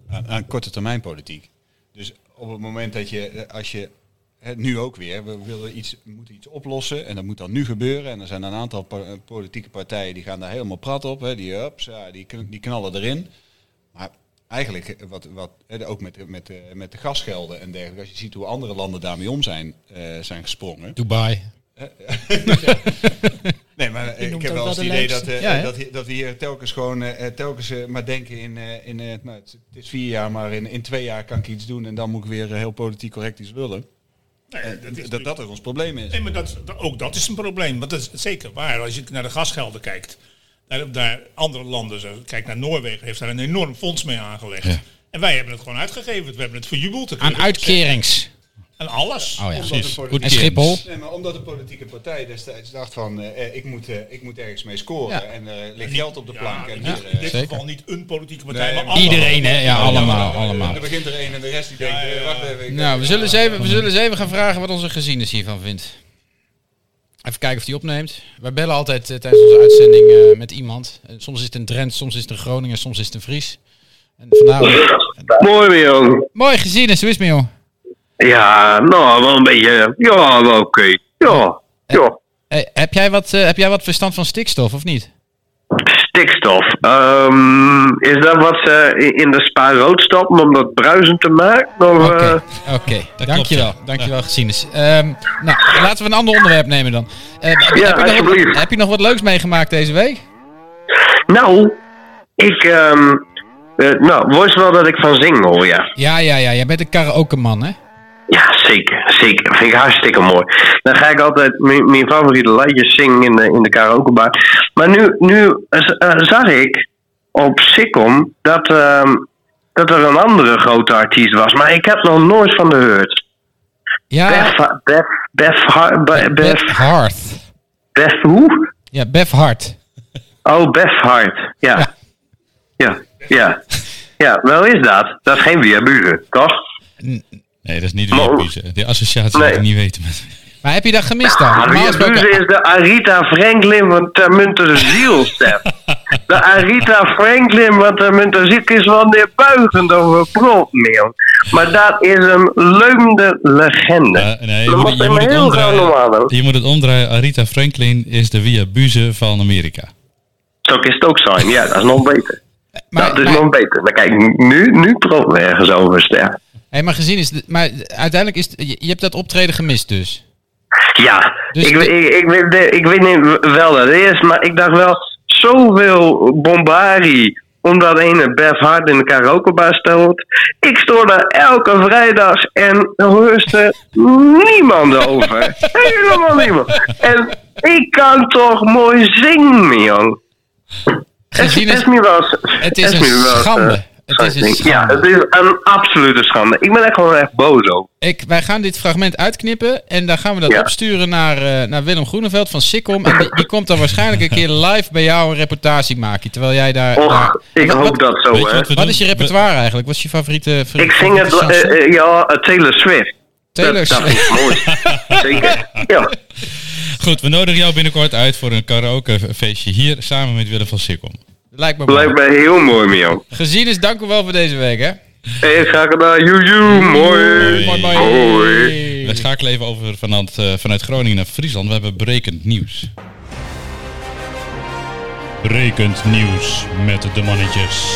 Speaker 5: eh, aan, aan korte termijn politiek. Dus op het moment dat je, eh, als je hè, nu ook weer, we willen iets, we moeten iets oplossen en dat moet dan nu gebeuren. En er zijn een aantal pa- eh, politieke partijen die gaan daar helemaal prat op, hè, die, ups, die, kn- die knallen erin. Maar eigenlijk, eh, wat, wat, hè, ook met, met, eh, met de gasgelden en dergelijke, als je ziet hoe andere landen daarmee om zijn, eh, zijn gesprongen.
Speaker 4: Dubai.
Speaker 5: [LAUGHS]
Speaker 6: [LAUGHS]
Speaker 5: Nee, maar eh, ik
Speaker 6: noemt
Speaker 5: heb
Speaker 6: ook
Speaker 5: wel
Speaker 6: wel
Speaker 5: eens
Speaker 6: de
Speaker 5: het idee dat,
Speaker 6: leukste.
Speaker 5: eh,
Speaker 4: Ja, hè?
Speaker 5: dat, hier- dat we hier telkens gewoon eh, telkens eh, maar denken in, eh, in eh, nou, het, het is vier jaar, maar in, in twee jaar kan ik iets doen en dan moet ik weer eh, heel politiek correct iets willen. Eh,
Speaker 2: Nee,
Speaker 5: dat, dat, dat ook ons probleem is.
Speaker 2: Nee, maar dat, dat- ook dat is een probleem. Want dat is zeker waar. Als je naar de gasgelden kijkt. Daar, daar andere landen, zo- kijk naar Noorwegen, heeft daar een enorm fonds mee aangelegd.
Speaker 3: Ja.
Speaker 2: En wij hebben het gewoon uitgegeven. We hebben het verjubeld. Dat kun
Speaker 4: Aan
Speaker 2: je ook zeggen.
Speaker 4: uitkerings.
Speaker 2: Aan alles.
Speaker 4: Oh ja,
Speaker 5: Omdat
Speaker 3: precies.
Speaker 5: de
Speaker 3: Goed
Speaker 5: politiek-
Speaker 4: En Schiphol.
Speaker 5: Nee, maar omdat de politieke partij destijds dacht van eh, eh, ik, moet, eh, ik moet ergens mee scoren
Speaker 4: Ja.
Speaker 5: en er eh, ligt geld op de plank.
Speaker 2: Ja,
Speaker 5: en
Speaker 2: in
Speaker 5: hier,
Speaker 2: dit-
Speaker 5: eh,
Speaker 2: in dit
Speaker 4: zeker.
Speaker 2: geval niet een politieke partij,
Speaker 5: Nee,
Speaker 2: maar
Speaker 5: maar-
Speaker 2: alle-
Speaker 4: Iedereen, hè? Ja, allemaal,
Speaker 5: eh,
Speaker 4: allemaal.
Speaker 5: Er begint er een en de rest die denkt,
Speaker 2: Ja, ja,
Speaker 5: eh, wacht
Speaker 2: ja.
Speaker 5: even. ik-
Speaker 4: Nou, we zullen, eens
Speaker 5: Ja,
Speaker 4: even, we zullen eens even gaan vragen wat onze gezienis hiervan vindt. Even kijken of die opneemt. Wij bellen altijd eh, tijdens onze uitzending eh, met iemand. Eh, soms is het een Drent, soms is het een Groningen, soms is het een Fries. En vandaar...
Speaker 7: Mooi weer, jong.
Speaker 4: Mooi gezienis, hoe is het met jou?
Speaker 7: Ja, nou, wel een beetje. Ja, wel oké. Ja, ja.
Speaker 4: Hey, heb, jij wat, eh, heb jij wat verstand van stikstof of niet?
Speaker 7: Stikstof. Ehm, is dat wat ze in de spa rood stappen om dat bruisend te maken? Of,
Speaker 4: Oké,
Speaker 7: eh,
Speaker 4: oké. dankjewel. Dankjewel, gezienis. Ehm, nou, laten we een ander onderwerp nemen dan. Eh, heb, je- heb je
Speaker 7: Ja,
Speaker 4: nog, wat-
Speaker 7: alsjeblieft.
Speaker 4: heb je nog wat leuks meegemaakt deze week?
Speaker 7: Nou, ik. ehm eh, nou, wist wel dat ik van zing hoor, ja.
Speaker 4: Ja, ja, ja. Jij bent een karaoke-man, hè?
Speaker 7: Ja, zeker. Zeker. Vind ik hartstikke mooi. Dan ga ik altijd mijn mijn favoriete liedjes zingen in de, in de karaokebar. Maar nu, nu eh, zag ik op Sikkom dat, ehm, dat er een andere grote artiest was. Maar ik heb nog nooit van gehoord.
Speaker 4: Ja,
Speaker 7: Beth, Beth, Beth, Har- Be-
Speaker 4: Beth
Speaker 7: Beth,
Speaker 4: Hart.
Speaker 7: Beth, hoe?
Speaker 4: Ja, Beth Hart.
Speaker 7: Oh, Beth Hart. Ja. Ja. Ja. Ja, wel is dat. Dat is geen weerburen, toch?
Speaker 3: Nee, dat is niet
Speaker 7: Maar-
Speaker 3: weer De associatie
Speaker 7: Nee.
Speaker 3: wil ik niet weten. met-
Speaker 4: Maar heb je dat gemist dan?
Speaker 7: Ah,
Speaker 4: Normaal
Speaker 7: Wie
Speaker 4: gesproken-
Speaker 7: Buze is de Arita Franklin van
Speaker 3: [LAUGHS]
Speaker 7: Termunter Zielstep. De Arita Franklin van Termunter Ziek is wel neerbuigend over broodmeel. Maar dat is een leumde legende.
Speaker 3: Ja, nee, je
Speaker 7: dat
Speaker 3: moet-
Speaker 7: moet
Speaker 3: je
Speaker 7: hem
Speaker 3: moet het
Speaker 7: heel gauw
Speaker 3: omdraaien.
Speaker 7: normaal doen.
Speaker 3: Je moet het omdraaien. Arita Franklin is de Via Buze van Amerika.
Speaker 7: Zo is het ook zijn. Ja, dat is nog beter.
Speaker 4: maar,
Speaker 7: dat is
Speaker 4: maar-
Speaker 7: nog beter. Maar kijk, nu, nu propt we ergens over, Ster.
Speaker 4: hey, maar gezien is... het- Maar uiteindelijk is... het- Je, je hebt dat optreden gemist dus.
Speaker 7: Ja,
Speaker 4: Dus
Speaker 7: ik,
Speaker 4: de-
Speaker 7: ik, ik, weet, de- ik weet niet wel dat het is, maar ik dacht wel zoveel bombari omdat ene Beth Hart in de karaokebar stond. Ik stond daar elke vrijdag en hoorde niemand
Speaker 4: [LAUGHS]
Speaker 7: over. Helemaal niemand. En ik kan toch mooi zingen, jong. Het
Speaker 4: Gezien
Speaker 7: is
Speaker 4: is...
Speaker 7: niet wel eens-
Speaker 4: Het is
Speaker 7: het
Speaker 4: een
Speaker 7: niet wel eens,
Speaker 4: schande.
Speaker 7: eh,
Speaker 4: Het is een
Speaker 7: Ja, het
Speaker 4: schande.
Speaker 7: is een absolute schande. Ik ben echt gewoon echt boos ook.
Speaker 4: Ik, wij gaan dit fragment uitknippen en dan gaan we dat
Speaker 7: Ja.
Speaker 4: opsturen naar, eh, naar Willem Groeneveld van Sikkom. En die, die komt dan waarschijnlijk een keer live bij jou een reportage maken. Terwijl jij daar...
Speaker 7: Och,
Speaker 4: daar-
Speaker 7: ik
Speaker 4: wat,
Speaker 7: hoop
Speaker 4: wat,
Speaker 7: dat zo,
Speaker 3: Weet je
Speaker 7: hè.
Speaker 3: wat we
Speaker 4: wat
Speaker 3: doen?
Speaker 4: is je repertoire eigenlijk? Wat is je favoriete...
Speaker 7: Ik zing
Speaker 4: favoriete
Speaker 7: het,
Speaker 4: chanson?
Speaker 7: eh, eh, ja, eh, Taylor Swift.
Speaker 4: Taylor
Speaker 7: dat, dat
Speaker 4: Swift.
Speaker 7: is
Speaker 4: [LAUGHS]
Speaker 7: mooi. Zeker. Ja.
Speaker 3: We- goed, we nodigen jou binnenkort uit voor een karaokefeestje hier samen met Willem van Sikkom.
Speaker 4: Lijkt me mooi.
Speaker 7: Lijkt mij heel mooi, Mio.
Speaker 4: Gezien is dank u wel voor deze week, hè?
Speaker 7: Hey, ga ik naar Joejoe, mooi.
Speaker 4: Mooi, mooi.
Speaker 7: Hoi.
Speaker 3: We schakelen even over vanuit, eh, vanuit Groningen naar Friesland. We hebben brekend nieuws. Brekend nieuws met de mannetjes.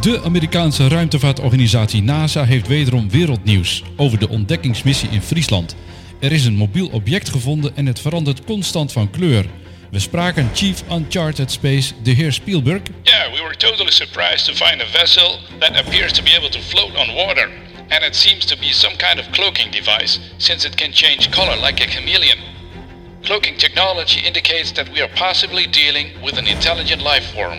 Speaker 3: De Amerikaanse ruimtevaartorganisatie NASA heeft wederom wereldnieuws over de ontdekkingsmissie in Friesland. Er is een mobiel object gevonden en het verandert constant van kleur. We spraken Chief Uncharted Space, de heer Spielberg,
Speaker 8: Yeah, we were totally surprised to find a vessel that appears to be able to float on water. And it seems to be some kind of cloaking device, since it can change color like a chameleon. Cloaking technology indicates that we are possibly dealing with an intelligent life form.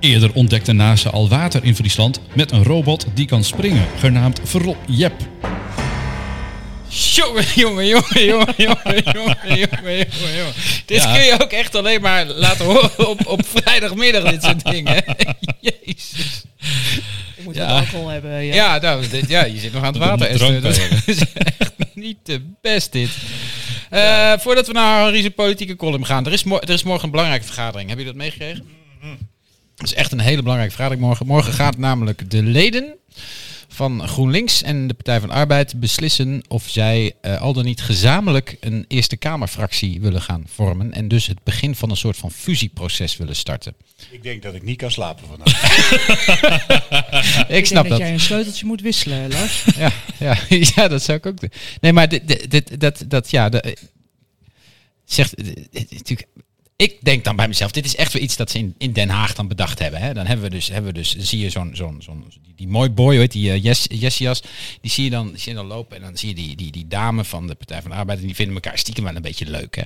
Speaker 3: Eerder ontdekte NASA al water in Friesland met een robot die kan springen, genaamd Verrot Jep.
Speaker 4: [LAUGHS] Jongen, jongen, jongen, jongen, jongen, jongen, jongen, jongen. Dit
Speaker 3: Ja.
Speaker 4: kun je ook echt alleen maar laten horen op, op vrijdagmiddag, dit soort dingen. [LAUGHS] Jezus.
Speaker 6: Ik moet
Speaker 3: Ja.
Speaker 6: wat alcohol hebben. Ja.
Speaker 4: Ja, nou, dit- ja, je zit nog aan het
Speaker 3: Dat
Speaker 4: water,
Speaker 3: moet drank
Speaker 4: Esther. Dat is [LAUGHS] echt niet de best, dit. Eh, Voordat we naar Henri's politieke column gaan, er is, mo- er is morgen een belangrijke vergadering. Heb je dat meegekregen? Dat is echt een hele belangrijke vraag. Morgen, morgen gaat namelijk de leden van GroenLinks en de Partij van de Arbeid beslissen of zij eh, al dan niet gezamenlijk een Eerste Kamerfractie willen gaan vormen. En dus het begin van een soort van fusieproces willen starten.
Speaker 5: Ik denk dat ik niet kan slapen vandaag.
Speaker 4: Ik
Speaker 6: denk
Speaker 4: snap
Speaker 6: dat
Speaker 4: dat.
Speaker 6: jij een sleuteltje moet wisselen, Lars.
Speaker 4: Ja, ja, [LAUGHS] ja, dat zou ik ook doen. Nee, maar dit, dit, dit- dat, dat, ja, dat, eh, zegt dit- dit- natuurlijk. Ik denk dan bij mezelf, dit is echt weer iets dat ze in, in Den Haag dan bedacht hebben. Hè? Dan hebben we dus, hebben we dus zie je zo'n, zo'n, zo'n die, die mooi boy, hoort, die eh, Jes- Jessias, die zie je, dan, zie je dan lopen en dan zie je die, die, die dame van de Partij van de Arbeid en die vinden elkaar stiekem wel een beetje leuk. Hè?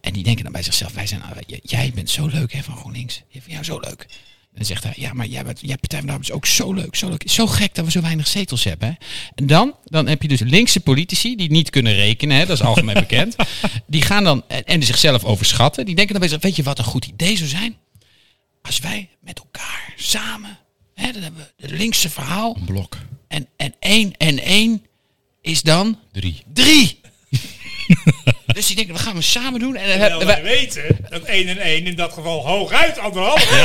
Speaker 4: En die denken dan bij zichzelf, wij zijn, nou, j- jij bent zo leuk hè, van GroenLinks, ik vind jou zo leuk. En dan zegt hij, ja, maar jij, bent, jij Partij van de Arbeid is ook zo leuk, zo leuk. Het is zo gek dat we zo weinig zetels hebben. Hè? En dan, dan heb je dus linkse politici die niet kunnen rekenen, hè, dat is
Speaker 3: [LAUGHS]
Speaker 4: algemeen bekend. Die gaan dan, en, en zichzelf overschatten, die denken dan bij zichzelf, weet je wat een goed idee zou zijn? Als wij met elkaar samen, hè, dan hebben we het linkse verhaal.
Speaker 3: Blok.
Speaker 4: En, en één en één is dan
Speaker 3: Drie.
Speaker 4: drie. [LAUGHS] dus die denken, we gaan we samen doen. En dan hebben
Speaker 2: Terwijl wij weten dat 1 en 1 in dat geval hooguit anderhalf.
Speaker 4: [LAUGHS]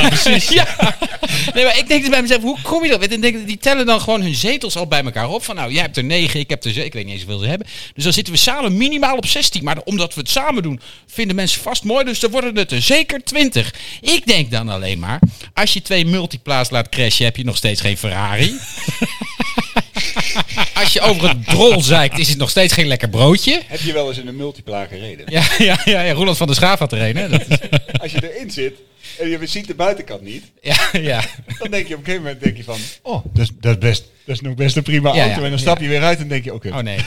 Speaker 4: Ja. Nee, maar ik denk dus bij mezelf, hoe kom je dat? En denk, ik, die tellen dan gewoon hun zetels al bij elkaar op. Van nou, jij hebt er negen, ik heb er zeven. Ik weet niet eens hoeveel ze hebben. Dus dan zitten we samen minimaal op 16. Maar omdat we het samen doen, vinden mensen vast mooi. Dus dan worden het er zeker 20. Ik denk dan alleen maar, als je twee multiplaats laat crashen, heb je nog steeds geen Ferrari. [LAUGHS] als je over het drol zeikt, is het nog steeds geen lekker broodje.
Speaker 5: Heb je wel eens in een multipla gereden? [LAUGHS]
Speaker 4: Ja, ja, ja, ja Roland van der Schaaf had er een. Hè? Dat [LAUGHS] is,
Speaker 5: Als je erin zit en je ziet de buitenkant niet,
Speaker 4: ja, ja.
Speaker 5: dan denk je op een gegeven moment denk je van, oh, dat is, dat is best, dat is nog best een prima
Speaker 4: Ja,
Speaker 5: auto.
Speaker 4: ja,
Speaker 5: en dan stap je weer uit en denk je, oké,
Speaker 4: Oh nee.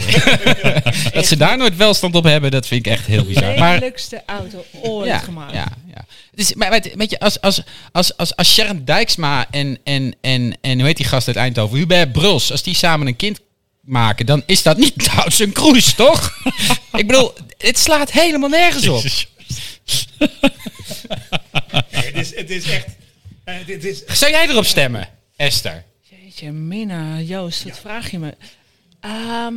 Speaker 4: [LAUGHS] dat ze daar nooit welstand op hebben, dat vind ik echt heel bizar.
Speaker 6: De
Speaker 4: Maar,
Speaker 6: lelijkste auto ooit
Speaker 4: ja,
Speaker 6: gemaakt.
Speaker 4: ja, ja. Het is, maar weet, weet je, als, als, als, als, als Sharon Dijksma en, en, en, en hoe heet die gast uit Eindhoven, Hubert Bruls, als die samen een kind maken, dan is dat niet [LAUGHS] trouwens een cruise, toch? [LAUGHS] ik bedoel, het slaat helemaal nergens op.
Speaker 2: Nee, het, is, het is echt. eh, dit is,
Speaker 4: Zou jij erop stemmen, Esther?
Speaker 6: Jeetje, Mina, Joost, wat vraag je me? Ehm,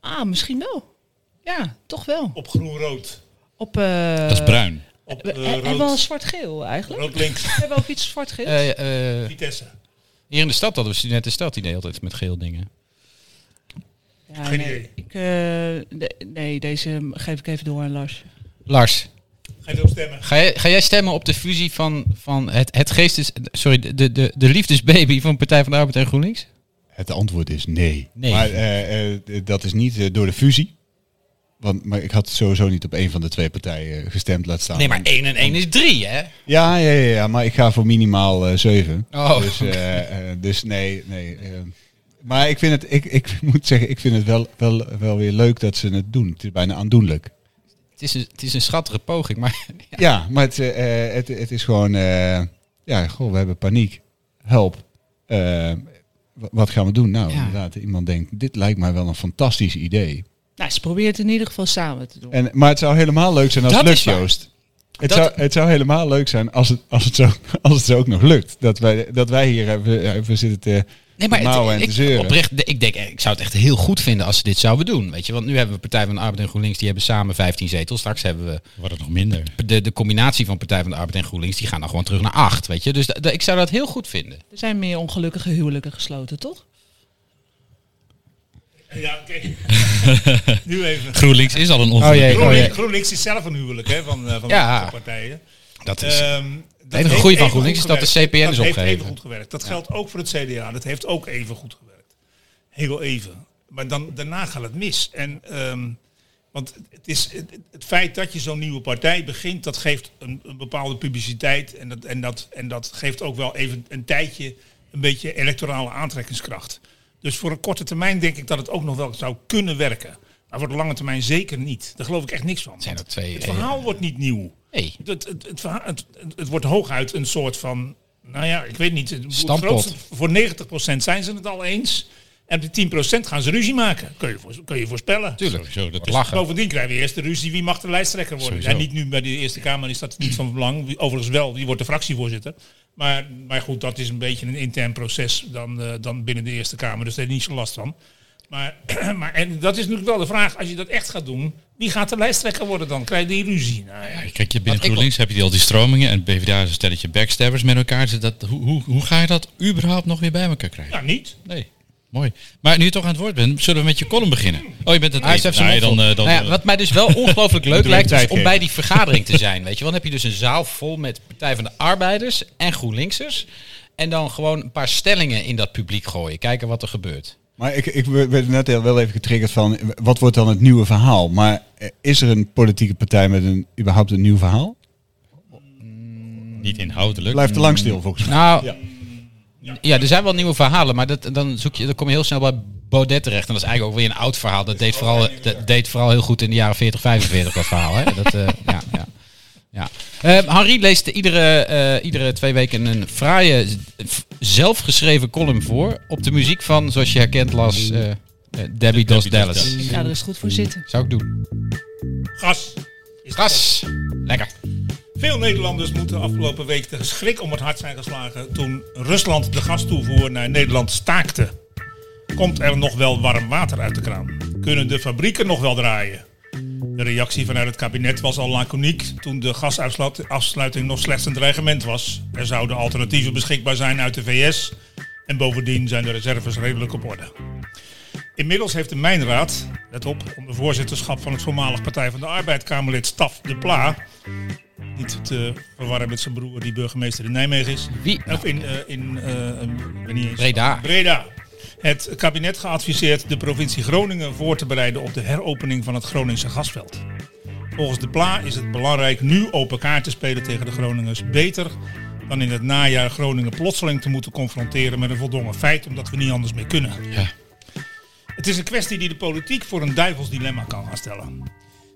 Speaker 6: ah, misschien wel. Ja, toch wel.
Speaker 2: op groen-rood.
Speaker 6: Op, eh,
Speaker 3: Dat is bruin.
Speaker 2: Op
Speaker 6: we-
Speaker 2: eh,
Speaker 6: he- hebben we al
Speaker 2: rood,
Speaker 6: zwart-geel eigenlijk?
Speaker 2: rood-links.
Speaker 6: Hebben we ook iets zwart-geel?
Speaker 4: Eh, eh,
Speaker 2: Vitesse.
Speaker 6: Ah,
Speaker 4: hier in de stad hadden we studenten in de stad die deden altijd met geel dingen.
Speaker 6: ja,
Speaker 2: geen
Speaker 6: nee,
Speaker 2: idee.
Speaker 6: Ik, eh, de- nee, deze geef ik even door aan Lars.
Speaker 4: Lars,
Speaker 2: Ga je erop stemmen?
Speaker 4: Ga jij, ga jij stemmen op de fusie van, van het, het geestes... Sorry, de, de, de liefdesbaby van Partij van de Arbeid en GroenLinks?
Speaker 5: Het antwoord is nee.
Speaker 4: Nee.
Speaker 5: Maar eh, eh, d- dat is niet eh, door de fusie. Want, maar ik had sowieso niet op één van de twee partijen eh, gestemd laat staan.
Speaker 4: Nee, maar 1 en 1 is 3, hè?
Speaker 5: Ja, ja, ja, ja, maar ik ga voor minimaal eh, zeven.
Speaker 4: Oh,
Speaker 5: dus, eh, eh, dus nee, nee. eh. maar ik vind het, ik, ik [LAUGHS] moet zeggen, ik vind het wel, wel, wel weer leuk dat ze het doen. Het is bijna aandoenlijk.
Speaker 4: Het is een, het is een schattige poging, maar... [LAUGHS]
Speaker 5: Ja, maar het, eh, eh, het, het is gewoon, eh, ja, goh, we hebben paniek. Help. Eh, wa- wat gaan we doen? Nou,
Speaker 4: Ja.
Speaker 5: inderdaad, iemand denkt, dit lijkt mij wel een fantastisch idee.
Speaker 6: Nou, ze probeert het in ieder geval samen te doen.
Speaker 5: En, maar het zou helemaal leuk zijn als
Speaker 4: Dat
Speaker 5: het
Speaker 4: is
Speaker 5: lukt,
Speaker 4: waar.
Speaker 5: Joost. Het,
Speaker 4: Dat-
Speaker 5: zou, het zou helemaal leuk zijn als het, als het, zo, [LAUGHS] als het zo ook nog lukt. Dat wij, dat wij hier even, even zitten te
Speaker 4: Nee, maar
Speaker 5: mouwen en te
Speaker 4: het, ik,
Speaker 5: zeuren.
Speaker 4: oprecht, de- ik, denk, eh, ik zou het echt heel goed vinden als ze dit zouden doen. Weet je? Want nu hebben we Partij van de Arbeid en GroenLinks, die hebben samen 15 zetels. Straks hebben we
Speaker 3: Wordt het nog minder.
Speaker 4: de, de combinatie van Partij van de Arbeid en GroenLinks, die gaan dan gewoon terug naar 8. Weet je? Dus da- da- ik zou dat heel goed vinden.
Speaker 6: Er zijn meer ongelukkige huwelijken gesloten, toch?
Speaker 2: Ja, kijk.
Speaker 4: [LAUGHS]
Speaker 2: nu even.
Speaker 3: GroenLinks is al een ongeluk.
Speaker 4: Oh, jee.
Speaker 2: GroenLinks, GroenLinks is zelf een huwelijk hè, van, eh, van
Speaker 4: Ja.
Speaker 2: de partijen.
Speaker 4: Dat is...
Speaker 2: Ehm dat
Speaker 4: enige
Speaker 2: heeft
Speaker 4: groei van
Speaker 2: even
Speaker 4: GroenLinks
Speaker 2: goed
Speaker 4: is dat de
Speaker 2: gewerkt.
Speaker 4: CPN is
Speaker 2: dat heeft
Speaker 4: opgeheven.
Speaker 2: even goed gewerkt. Dat geldt ook voor het CDA. Dat heeft ook even goed gewerkt. Heel even. Maar dan, daarna gaat het mis. En, ehm, want het, is, het, het feit dat je zo'n nieuwe partij begint, dat geeft een, een bepaalde publiciteit. En dat, en, dat, en dat geeft ook wel even een tijdje een beetje electorale aantrekkingskracht. Dus voor een korte termijn denk ik dat het ook nog wel zou kunnen werken. Maar voor de lange termijn zeker niet. Daar geloof ik echt niks van.
Speaker 4: Zijn
Speaker 2: Want
Speaker 4: er twee- eh,
Speaker 2: het verhaal wordt niet nieuw.
Speaker 4: Nee.
Speaker 2: Het, het, het, verha- het, het- het wordt hooguit een soort van, nou ja, ik weet niet. het- het
Speaker 4: Stampot.
Speaker 2: grootste- Voor 90% zijn ze het al eens. En op die 10% gaan ze ruzie maken. Kun je, voor- kun je voorspellen.
Speaker 4: Tuurlijk,
Speaker 3: Sowieso, dat
Speaker 4: Wordt
Speaker 3: is-
Speaker 4: lachen.
Speaker 2: Bovendien krijgen we eerst de ruzie wie mag de lijsttrekker worden.
Speaker 3: Sowieso.
Speaker 2: En niet nu bij de Eerste Kamer is dat niet van belang. Wie- Overigens wel, die wordt de fractievoorzitter. Maar, maar goed, dat is een beetje een intern proces dan, eh, dan binnen de Eerste Kamer. Dus daar is niet zo last van. Maar, [CLEARS THROAT] maar en dat is natuurlijk wel de vraag, als je dat echt gaat doen, wie gaat de lijsttrekker worden dan? Krijg je die ruzie? Nou ja.
Speaker 3: Ja, Kijk, je binnen
Speaker 4: ik wel-
Speaker 3: GroenLinks heb je al die stromingen en PvdA is een stelletje backstabbers met elkaar. Dus Dat, hoe, hoe, hoe ga je dat überhaupt nog weer bij elkaar krijgen?
Speaker 2: Ja, niet.
Speaker 3: Nee, mooi. Maar nu je toch aan het woord bent, zullen we met je column beginnen? Oh, je bent het
Speaker 4: Hij
Speaker 3: eens.
Speaker 4: heeft
Speaker 3: Nou ja,
Speaker 4: zijn mond
Speaker 3: dan,
Speaker 4: vol.
Speaker 3: eh, dan,
Speaker 4: Nou ja,
Speaker 3: eh,
Speaker 4: wat mij
Speaker 3: [LAUGHS]
Speaker 4: dus wel ongelooflijk leuk
Speaker 5: Doe
Speaker 4: lijkt
Speaker 5: hem
Speaker 4: is
Speaker 5: tijd
Speaker 4: om
Speaker 5: geven.
Speaker 4: bij die vergadering te [LAUGHS] zijn. Weet je, wel. dan heb je dus een zaal vol met Partij van de Arbeiders en GroenLinksers. En dan gewoon een paar stellingen in dat publiek gooien. Kijken wat er gebeurt.
Speaker 5: Maar ik, ik werd net heel- wel even getriggerd van, wat wordt dan het nieuwe verhaal? Maar eh, is er een politieke partij met een, überhaupt een nieuw verhaal?
Speaker 4: Mm,
Speaker 3: niet inhoudelijk.
Speaker 5: Blijf te lang stil volgens mij.
Speaker 4: Nou,
Speaker 5: Ja.
Speaker 4: ja. er zijn wel nieuwe verhalen, maar dat, dan, zoek je, dan kom je heel snel bij Baudet terecht. En dat is eigenlijk ook weer een oud verhaal. Dat deed vooral, dat deed vooral heel goed in de jaren 40, 45, dat verhaal. Hè? Dat, eh, ja, ja. Ja. Eh, Henri leest iedere, eh, iedere twee weken een fraaie, v- zelfgeschreven column voor. Op de muziek van, zoals je herkent, las eh, eh, Debbie Dos
Speaker 3: Dos
Speaker 4: Dallas.
Speaker 6: Ik ga er eens goed voor zitten.
Speaker 4: Zou ik doen.
Speaker 2: Gas. Is
Speaker 4: Gas! Lekker.
Speaker 2: Veel Nederlanders moeten afgelopen week de schrik om het hart zijn geslagen toen Rusland de gastoevoer naar Nederland staakte. Komt er nog wel warm water uit de kraan? Kunnen de fabrieken nog wel draaien? De reactie vanuit het kabinet was al laconiek toen de gasafsluiting nog slechts een dreigement was. Er zouden alternatieven beschikbaar zijn uit de VS en bovendien zijn de reserves redelijk op orde. Inmiddels heeft de Mijnraad, let op, onder voorzitterschap van het voormalig Partij van de Arbeid Kamerlid Staf de Pla, niet te verwarren met zijn broer die burgemeester in Nijmegen is.
Speaker 4: Wie?
Speaker 2: Of in, eh, in eh, ik weet niet eens.
Speaker 4: Breda.
Speaker 2: Breda. Het kabinet geadviseerd de provincie Groningen voor te bereiden op de heropening van het Groningse gasveld. Volgens de PLA is het belangrijk nu open kaart te spelen tegen de Groningers. Beter dan in het najaar Groningen plotseling te moeten confronteren met een voldongen feit omdat we niet anders meer kunnen.
Speaker 3: Ja.
Speaker 2: Het is een kwestie die de politiek voor een duivels dilemma kan gaan stellen.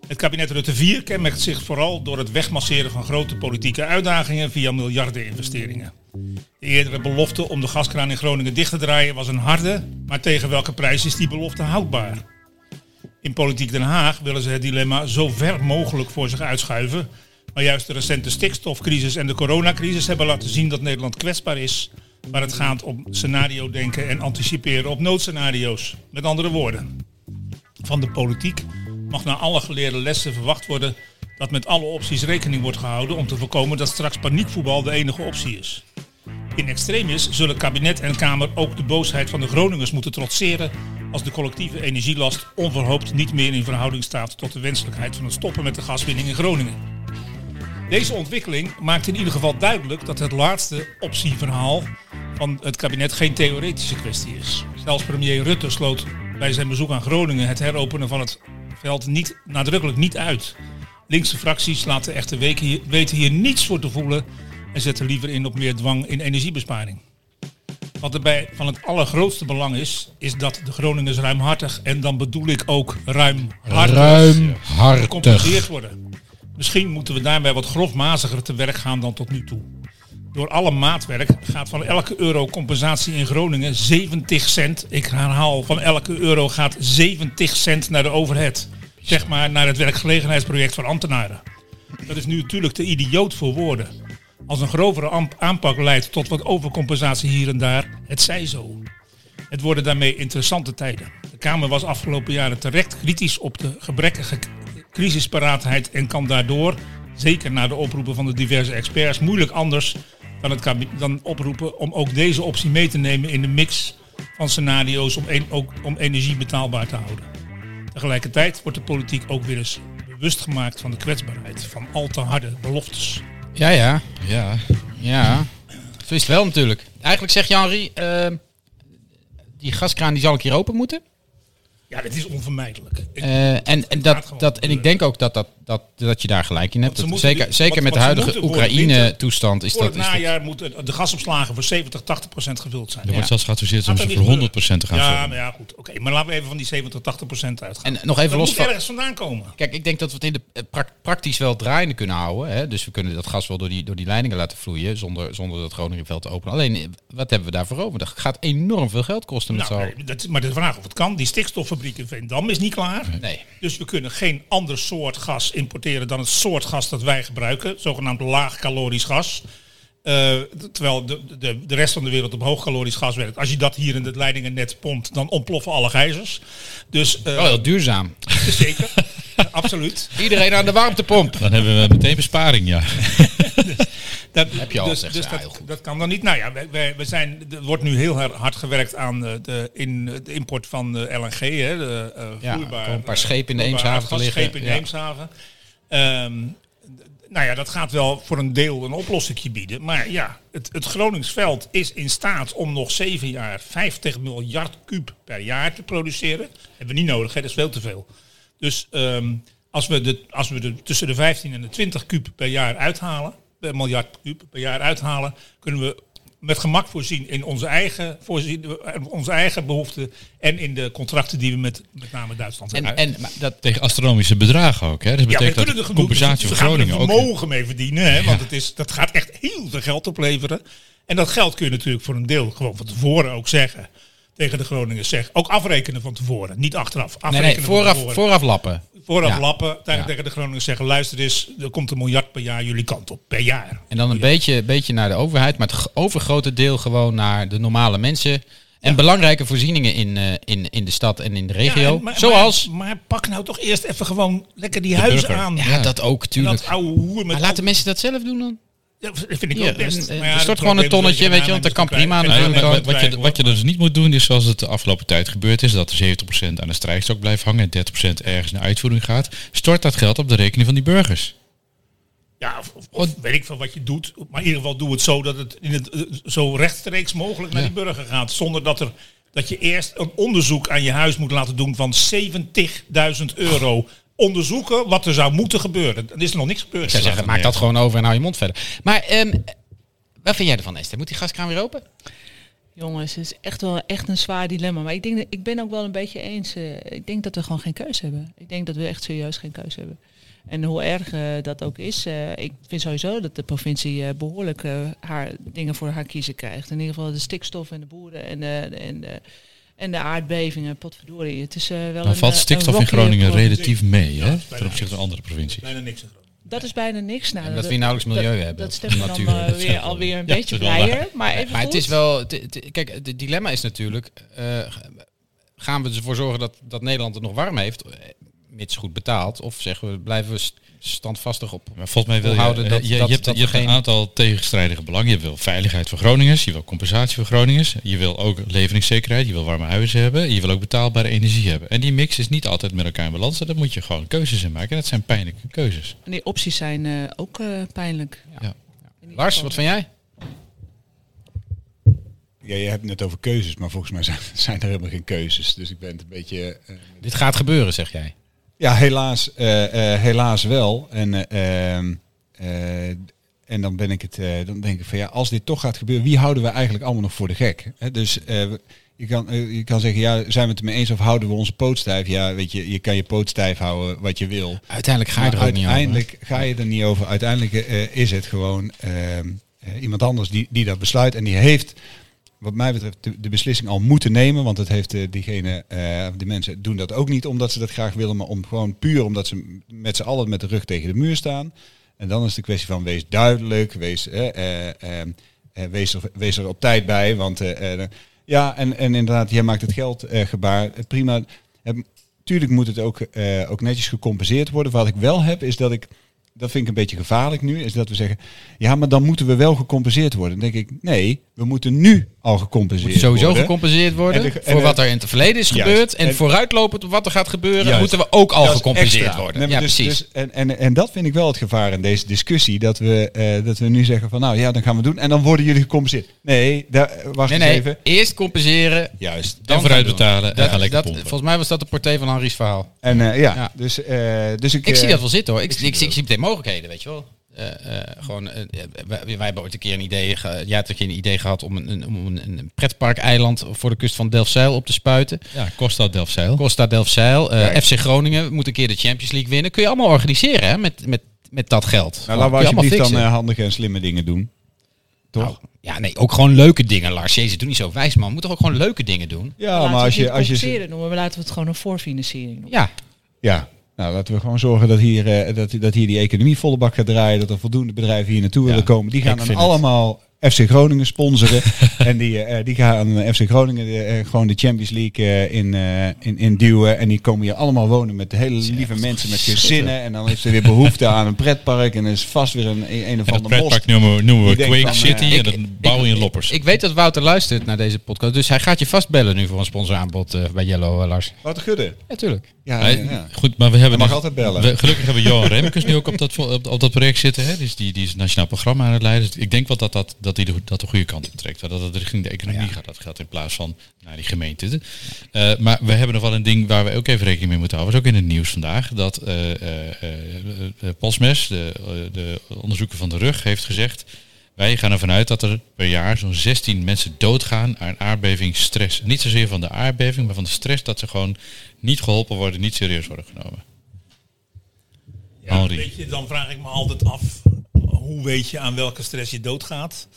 Speaker 2: Het kabinet Rutte 4 kenmerkt zich vooral door het wegmasseren van grote politieke uitdagingen via miljardeninvesteringen. De eerdere belofte om de gaskraan in Groningen dicht te draaien was een harde, maar tegen welke prijs is die belofte houdbaar? In Politiek Den Haag willen ze het dilemma zo ver mogelijk voor zich uitschuiven. Maar juist de recente stikstofcrisis en de coronacrisis hebben laten zien dat Nederland kwetsbaar is. Waar het gaat om scenario denken en anticiperen op noodscenario's. Met andere woorden, van de politiek mag na alle geleerde lessen verwacht worden dat met alle opties rekening wordt gehouden om te voorkomen dat straks paniekvoetbal de enige optie is. In extremis zullen kabinet en Kamer ook de boosheid van de Groningers moeten trotseren als de collectieve energielast onverhoopt niet meer in verhouding staat tot de wenselijkheid van het stoppen met de gaswinning in Groningen. Deze ontwikkeling maakt in ieder geval duidelijk dat het laatste optieverhaal van het kabinet geen theoretische kwestie is. Zelfs premier Rutte sloot bij zijn bezoek aan Groningen het heropenen van het veld niet, nadrukkelijk niet uit. Linkse fracties laten echter weken hier- weten hier niets voor te voelen en zetten liever in op meer dwang in energiebesparing. Wat erbij van het allergrootste belang is, is dat de Groningers ruimhartig en dan bedoel ik ook ruimhartig gecompenseerd
Speaker 4: Ruimhartig.
Speaker 2: worden. Misschien moeten we daarbij wat grofmaziger te werk gaan dan tot nu toe. Door alle maatwerk gaat van elke euro compensatie in Groningen 70 cent. Ik herhaal, van elke euro gaat 70 cent naar de overhead. Zeg maar naar het werkgelegenheidsproject van ambtenaren. Dat is nu natuurlijk te idioot voor woorden. Als een grovere amp- aanpak leidt tot wat overcompensatie hier en daar, het zij zo. Het worden daarmee interessante tijden. De Kamer was afgelopen jaren terecht kritisch op de gebrekkige k- crisisparaatheid en kan daardoor, zeker na de oproepen van de diverse experts, moeilijk anders dan, het kabi- dan oproepen om ook deze optie mee te nemen in de mix van scenario's om, en- ook, om energie betaalbaar te houden. Tegelijkertijd wordt de politiek ook weer eens bewust gemaakt van de kwetsbaarheid van al te harde beloftes.
Speaker 4: Ja, ja.
Speaker 3: Ja.
Speaker 4: Ja, zo is het wel natuurlijk. Eigenlijk zegt Janri, ehm die gaskraan die zal ik hier open moeten.
Speaker 2: Ja, dat is onvermijdelijk. Ik-
Speaker 4: Eh, en, en,
Speaker 2: gaat
Speaker 4: dat,
Speaker 2: gewoon
Speaker 4: dat, en ik denk ook dat, dat, dat, dat je daar gelijk in hebt.
Speaker 2: ze
Speaker 4: Dat-
Speaker 2: moeten
Speaker 4: zeker
Speaker 2: die-
Speaker 4: zeker
Speaker 2: want-
Speaker 4: met de
Speaker 2: want ze
Speaker 4: huidige
Speaker 2: moeten voor de winter-
Speaker 4: Oekraïne-toestand is
Speaker 2: Voor
Speaker 4: dat...
Speaker 2: het
Speaker 4: Is dat
Speaker 2: najaar moeten de gasopslagen voor 70, 80 procent gevuld zijn.
Speaker 3: Er wordt zelfs geadviseerd om
Speaker 2: Gaat
Speaker 3: ze
Speaker 2: dat
Speaker 3: voor
Speaker 2: niet
Speaker 3: 100% te gaan
Speaker 2: Ja,
Speaker 3: vullen.
Speaker 2: maar ja, goed. Oké, maar laten we even van die 70, 80 procent uitgaan.
Speaker 4: en nog even
Speaker 2: dat
Speaker 4: los
Speaker 2: moet
Speaker 4: van...
Speaker 2: ergens vandaan komen.
Speaker 4: Kijk, ik denk dat we het in de, eh, prak- praktisch wel draaiende kunnen houden. Hè? Dus we kunnen dat gas wel door die, door die leidingen laten vloeien zonder, zonder dat Groningenveld te openen. Alleen, eh, wat hebben we daarvoor over? Dat gaat enorm veel geld kosten met
Speaker 2: Nou,
Speaker 4: z'n allen.
Speaker 2: nee, dat is maar de vraag of het kan. Die stikstoffabriek in Veendam is niet klaar.
Speaker 4: Nee.
Speaker 2: Dus we kunnen geen ander soort gas importeren dan het soort gas dat wij gebruiken. Zogenaamd laagcalorisch gas. Eh, terwijl de, de, de rest van de wereld op hoogkalorisch gas werkt. Als je dat hier in het leidingennet pompt, dan ontploffen alle gijzers. Dus eh,
Speaker 4: Oh, heel duurzaam.
Speaker 2: zeker,
Speaker 4: Oh.
Speaker 2: absoluut.
Speaker 4: Iedereen aan de warmtepomp. Dus,
Speaker 3: Dan hebben we meteen besparing,
Speaker 4: [LAUGHS]
Speaker 3: ja.
Speaker 2: Dat,
Speaker 4: Heb je al,
Speaker 2: dus,
Speaker 4: zegt
Speaker 2: dus
Speaker 4: ze, "Ah,
Speaker 2: dat,
Speaker 4: ja, heel goed.
Speaker 2: dat kan dan niet. Nou ja, wij, wij, wij zijn, er wordt nu heel her- hard gewerkt aan eh, de, in, de import van eh, LNG. Hè, de, eh,
Speaker 4: Ja,
Speaker 2: vloeibaar,
Speaker 4: er komen een paar
Speaker 2: eh,
Speaker 4: schepen in de
Speaker 2: vloeibaar
Speaker 4: Eemshaven te liggen,
Speaker 2: aardgasschepen in de
Speaker 4: ja.
Speaker 2: Eemshaven. Ehm, d- nou ja, dat gaat wel voor een deel een oplossing bieden. Maar ja, het, het Groningsveld is in staat om nog zeven jaar 50 miljard kuub per jaar te produceren. Hebben we niet nodig, hè? dat is veel te veel. Dus ehm, als we, de, als we de, tussen de 15 en de 20 kuub per jaar uithalen, per miljard kuub per jaar uithalen, kunnen we met gemak voorzien in onze eigen, voorzien, eh, onze eigen behoeften en in de contracten die we met met name Duitsland
Speaker 4: En,
Speaker 2: hebben.
Speaker 4: en maar dat,
Speaker 3: Tegen astronomische bedragen ook. Hè. Dat
Speaker 2: Ja, we
Speaker 3: betekent
Speaker 2: kunnen
Speaker 3: dat
Speaker 2: er
Speaker 3: de
Speaker 2: genoeg.
Speaker 3: compensatie voor
Speaker 2: we gaan er
Speaker 3: Groningen ook...
Speaker 2: vermogen mee verdienen. Hè, want het is, dat gaat echt heel veel geld opleveren. En dat geld kun je natuurlijk voor een deel gewoon van tevoren ook zeggen. Tegen de Groningers zeggen. Ook afrekenen van tevoren. Niet achteraf.
Speaker 4: nee,
Speaker 2: Afrekenen
Speaker 4: nee, vooraf,
Speaker 2: van tevoren.
Speaker 4: vooraf lappen.
Speaker 2: Vooraf
Speaker 4: Ja.
Speaker 2: lappen, tegen,
Speaker 4: Ja.
Speaker 2: tegen de Groningen zeggen, luister eens, er komt een miljard per jaar jullie kant op. Per jaar.
Speaker 4: En dan een beetje, beetje naar de overheid, maar het g- overgrote deel gewoon naar de normale mensen. En belangrijke voorzieningen in, eh, in, in de stad en in de
Speaker 2: Ja, en-
Speaker 4: regio.
Speaker 2: maar-
Speaker 4: Zoals.
Speaker 2: Maar, maar pak nou toch eerst even gewoon lekker die huizen
Speaker 3: burger.
Speaker 2: aan.
Speaker 4: ja,
Speaker 2: En
Speaker 4: dat ook, tuurlijk.
Speaker 2: dat oude hoer met...
Speaker 4: maar laten mensen dat zelf doen dan?
Speaker 2: Ja, dat vind ik
Speaker 4: Ja,
Speaker 2: ook best.
Speaker 4: eh,
Speaker 2: Maar
Speaker 4: er
Speaker 2: dat
Speaker 4: stort gewoon een
Speaker 2: probleem is
Speaker 4: tonnetje, weet je, want dat kan
Speaker 2: aannemers
Speaker 4: prima
Speaker 2: te
Speaker 3: Nee,
Speaker 4: aan de
Speaker 2: krijgen.
Speaker 3: maar
Speaker 4: andere kant.
Speaker 2: Aannemers
Speaker 3: wat, je,
Speaker 2: te
Speaker 3: wat
Speaker 2: krijgen
Speaker 3: je dus niet moet doen is zoals het de afgelopen tijd gebeurd is. Dat de 70% aan de strijkstok blijft hangen en 30% ergens naar uitvoering gaat. Stort dat geld op de rekening van die burgers.
Speaker 2: Ja, of, of- of weet ik van wat je doet. Maar in ieder geval doe het zo dat het, in het eh, zo rechtstreeks mogelijk naar die burger gaat. Zonder dat, er, dat je eerst een onderzoek aan je huis moet laten doen van 70.000 euro. Onderzoeken wat er zou moeten gebeuren. Dan is er nog niks gebeurd.
Speaker 4: Ik zou zeggen, maak dat gewoon over en hou je mond verder. Maar ehm, wat vind jij ervan, Esther? Moet die gaskraan weer open?
Speaker 6: Jongens, het is echt wel echt een zwaar dilemma. Maar ik, denk, dat- ik ben ook wel een beetje eens. eh, ik denk dat we gewoon geen keus hebben. Ik denk dat we echt serieus geen keus hebben. En hoe erg eh, dat ook is, eh, ik vind sowieso dat de provincie eh, behoorlijk eh, haar dingen voor haar kiezen krijgt. In ieder geval de stikstof en de boeren en de, en de, en de aardbevingen, potverdorie. Het is eh, wel
Speaker 3: Dan
Speaker 6: een,
Speaker 3: Nou, valt
Speaker 6: eh,
Speaker 3: stikstof
Speaker 6: een
Speaker 3: in Groningen
Speaker 6: rockier pro-
Speaker 3: relatief mee hè,
Speaker 2: bijna
Speaker 3: ten opzichte van andere provincies.
Speaker 2: Bijna niks. in Groningen.
Speaker 6: Dat is bijna niks. Nou,
Speaker 4: En dat we nauwelijks milieu hebben.
Speaker 6: Dat stemt me dan
Speaker 4: Natuur,
Speaker 6: eh,
Speaker 4: dat
Speaker 6: weer,
Speaker 4: scheelt wel.
Speaker 6: alweer
Speaker 4: [LAUGHS]
Speaker 6: een
Speaker 3: Ja,
Speaker 6: beetje
Speaker 3: dat is wel waar.
Speaker 6: blijer. Maar, even
Speaker 4: Maar het
Speaker 6: goed.
Speaker 4: is wel. het- het- kijk, het dilemma is natuurlijk. eh, gaan we dus ervoor zorgen dat, dat Nederland het nog warm heeft? eh, Mits goed betaald. Of zeggen we, blijven we st- standvastig op.
Speaker 3: Maar volgens mij wil je,
Speaker 4: Volhouden
Speaker 3: eh,
Speaker 4: dat-
Speaker 3: je, je
Speaker 4: dat-
Speaker 3: hebt,
Speaker 4: dat
Speaker 3: je hebt
Speaker 4: geen-
Speaker 3: een aantal tegenstrijdige belangen. Je wil veiligheid voor Groningers, je wil compensatie voor Groningers, je wil ook leveringszekerheid, je wil warme huizen hebben, je wil ook betaalbare energie hebben. En die mix is niet altijd met elkaar in balans. en Daar moet je gewoon keuzes in maken. En dat zijn pijnlijke keuzes.
Speaker 6: En die opties zijn eh, ook eh, pijnlijk.
Speaker 4: Lars, wat vind jij?
Speaker 5: Ja, je hebt het net over keuzes, maar volgens mij zijn, [LAUGHS] zijn er helemaal geen keuzes. Dus ik ben het een beetje... eh,
Speaker 4: Dit gaat gebeuren, zeg jij.
Speaker 5: ja, helaas, eh, eh, helaas wel. En, eh, ehm, eh, en dan, ben ik het, eh, dan denk ik van ja, als dit toch gaat gebeuren, wie houden we eigenlijk allemaal nog voor de gek? Hè, dus eh, we- je, kan, eh, je kan zeggen, ja, zijn we het ermee eens of houden we onze poot stijf? Ja, weet je, je kan je poot stijf houden wat je wil.
Speaker 4: Uiteindelijk ga je
Speaker 5: Maar
Speaker 4: er ook niet over.
Speaker 5: uiteindelijk ga je er niet over. Uiteindelijk eh, is het gewoon ehm, eh, iemand anders die, die dat besluit. En die heeft, wat mij betreft, de, de beslissing al moeten nemen. Want het heeft eh, diegene, eh, die mensen doen dat ook niet omdat ze dat graag willen. Maar om, gewoon puur omdat ze met z'n allen met de rug tegen de muur staan. En dan is de kwestie van wees duidelijk, wees, eh, eh, ehm, eh, wees, er, wees er op tijd bij. Want eh, eh, ja, en, en inderdaad, jij maakt het geld eh, gebaar. Eh, prima. Eh, tuurlijk moet het ook, eh, ook netjes gecompenseerd worden. Wat ik wel heb, is dat ik, dat vind ik een beetje gevaarlijk nu, is dat we zeggen, ja, maar dan moeten we wel gecompenseerd worden. Dan denk ik, nee, we moeten nu al gecompenseerd
Speaker 4: Moet sowieso
Speaker 5: worden.
Speaker 4: gecompenseerd worden.
Speaker 5: En de- en
Speaker 4: voor
Speaker 5: de-
Speaker 4: wat er in het verleden is
Speaker 5: Juist.
Speaker 4: gebeurd. En,
Speaker 5: En-
Speaker 4: vooruitlopend op wat er gaat gebeuren.
Speaker 5: Juist.
Speaker 4: moeten we ook al
Speaker 5: Dat is
Speaker 4: gecompenseerd
Speaker 5: extra.
Speaker 4: worden.
Speaker 5: Nee,
Speaker 4: ja,
Speaker 5: maar dus-
Speaker 4: precies.
Speaker 5: dus- en, en, en dat vind ik wel het gevaar in deze discussie. Dat we, eh, dat we nu zeggen van nou ja, dan gaan we doen. En dan worden jullie gecompenseerd. Nee, daar, eh, wacht
Speaker 4: nee,
Speaker 5: eens
Speaker 4: nee.
Speaker 5: even.
Speaker 4: Eerst compenseren.
Speaker 5: Juist.
Speaker 4: Dan
Speaker 3: vooruitbetalen en
Speaker 4: gaan doen.
Speaker 3: ga
Speaker 4: Dat,
Speaker 3: lekker
Speaker 4: dat,
Speaker 3: pompen.
Speaker 4: volgens mij was dat de porté van Henri's verhaal.
Speaker 5: En eh, ja,
Speaker 4: Ja.
Speaker 5: Dus, eh, dus ik...
Speaker 4: Ik zie
Speaker 5: eh,
Speaker 4: dat wel zitten hoor. Ik, ik, ik, zie meteen mogelijkheden, weet je wel. Eh, eh, gewoon, eh, wij, wij hebben ooit een keer een idee, ge, ja, een keer een idee gehad om een, een, om een, een pretparkeiland voor de kust van Delfzijl op te spuiten.
Speaker 3: Ja, Costa Delfzijl.
Speaker 4: Costa Delfzijl, eh, FC Groningen moet een keer de Champions League winnen. Kun je allemaal organiseren hè, met, met, met dat geld.
Speaker 5: Nou,
Speaker 4: Gewoon,
Speaker 5: laten we
Speaker 4: kun je
Speaker 5: alsjeblieft dan
Speaker 4: allemaal
Speaker 5: eh,
Speaker 4: fixen.
Speaker 5: handige en slimme dingen doen. Toch?
Speaker 4: Nou, ja, nee, ook gewoon leuke dingen, Lars. Jezus, doe niet zo wijs, man. Moet toch ook gewoon leuke dingen doen?
Speaker 5: ja,
Speaker 6: laten
Speaker 5: maar
Speaker 6: we
Speaker 5: als
Speaker 6: het
Speaker 5: je...
Speaker 6: niet
Speaker 5: Als je
Speaker 6: compenseren noemen, maar laten we het gewoon een voorfinanciering noemen.
Speaker 4: Ja,
Speaker 5: ja, Nou, laten we gewoon zorgen dat hier, eh, dat, dat hier die economie volle bak gaat draaien. Dat er voldoende bedrijven hier naartoe willen komen. Die gaan
Speaker 3: ik
Speaker 5: dan
Speaker 3: vind het.
Speaker 5: allemaal FC Groningen sponsoren. [LAUGHS] en die, eh, die gaan FC Groningen eh, eh, gewoon de Champions League eh, in, eh, in, in duwen. En die komen hier allemaal wonen met hele lieve mensen met gezinnen. En dan heeft er weer behoefte aan een pretpark. En er is vast weer een, een of
Speaker 3: En dat
Speaker 5: ander bos.
Speaker 3: pretpark noemen we, noemen we
Speaker 5: Die denkt
Speaker 3: Quake
Speaker 5: van, eh,
Speaker 3: City en dan bouwen in Loppers.
Speaker 4: Ik weet dat Wouter luistert naar deze podcast, dus hij gaat je vastbellen nu voor een sponsoraanbod eh, bij Yellow, eh, Lars.
Speaker 5: Wat Gudde.
Speaker 4: Natuurlijk.
Speaker 5: Ja,
Speaker 3: Hij-
Speaker 5: ja, ja.
Speaker 3: Goed, maar we hebben
Speaker 5: Mag
Speaker 3: nog-
Speaker 5: altijd bellen.
Speaker 3: we- gelukkig hebben we Johan Remkes nu ook op dat, vo- op, op dat project zitten. Hè? Dus die, die is een nationaal programma aan het leiden. Dus ik denk wel dat, dat, dat die de, dat de goede kant op trekt. Dat het richting de economie gaat. Dat gaat in plaats van naar die gemeente. Eh, maar we hebben nog wel een ding waar we ook even rekening mee moeten houden. was ook in het nieuws vandaag. Dat eh eh eh, eh, Posmes, de, eh, de onderzoeker van de rug, heeft gezegd... Wij gaan ervan uit dat er per jaar zo'n 16 mensen doodgaan aan aardbevingsstress. Niet zozeer van de aardbeving, maar van de stress dat ze gewoon niet geholpen worden, niet serieus worden genomen.
Speaker 2: Ja,
Speaker 3: Henri.
Speaker 2: weet je, dan vraag ik me altijd af, hoe weet je aan welke stress je doodgaat?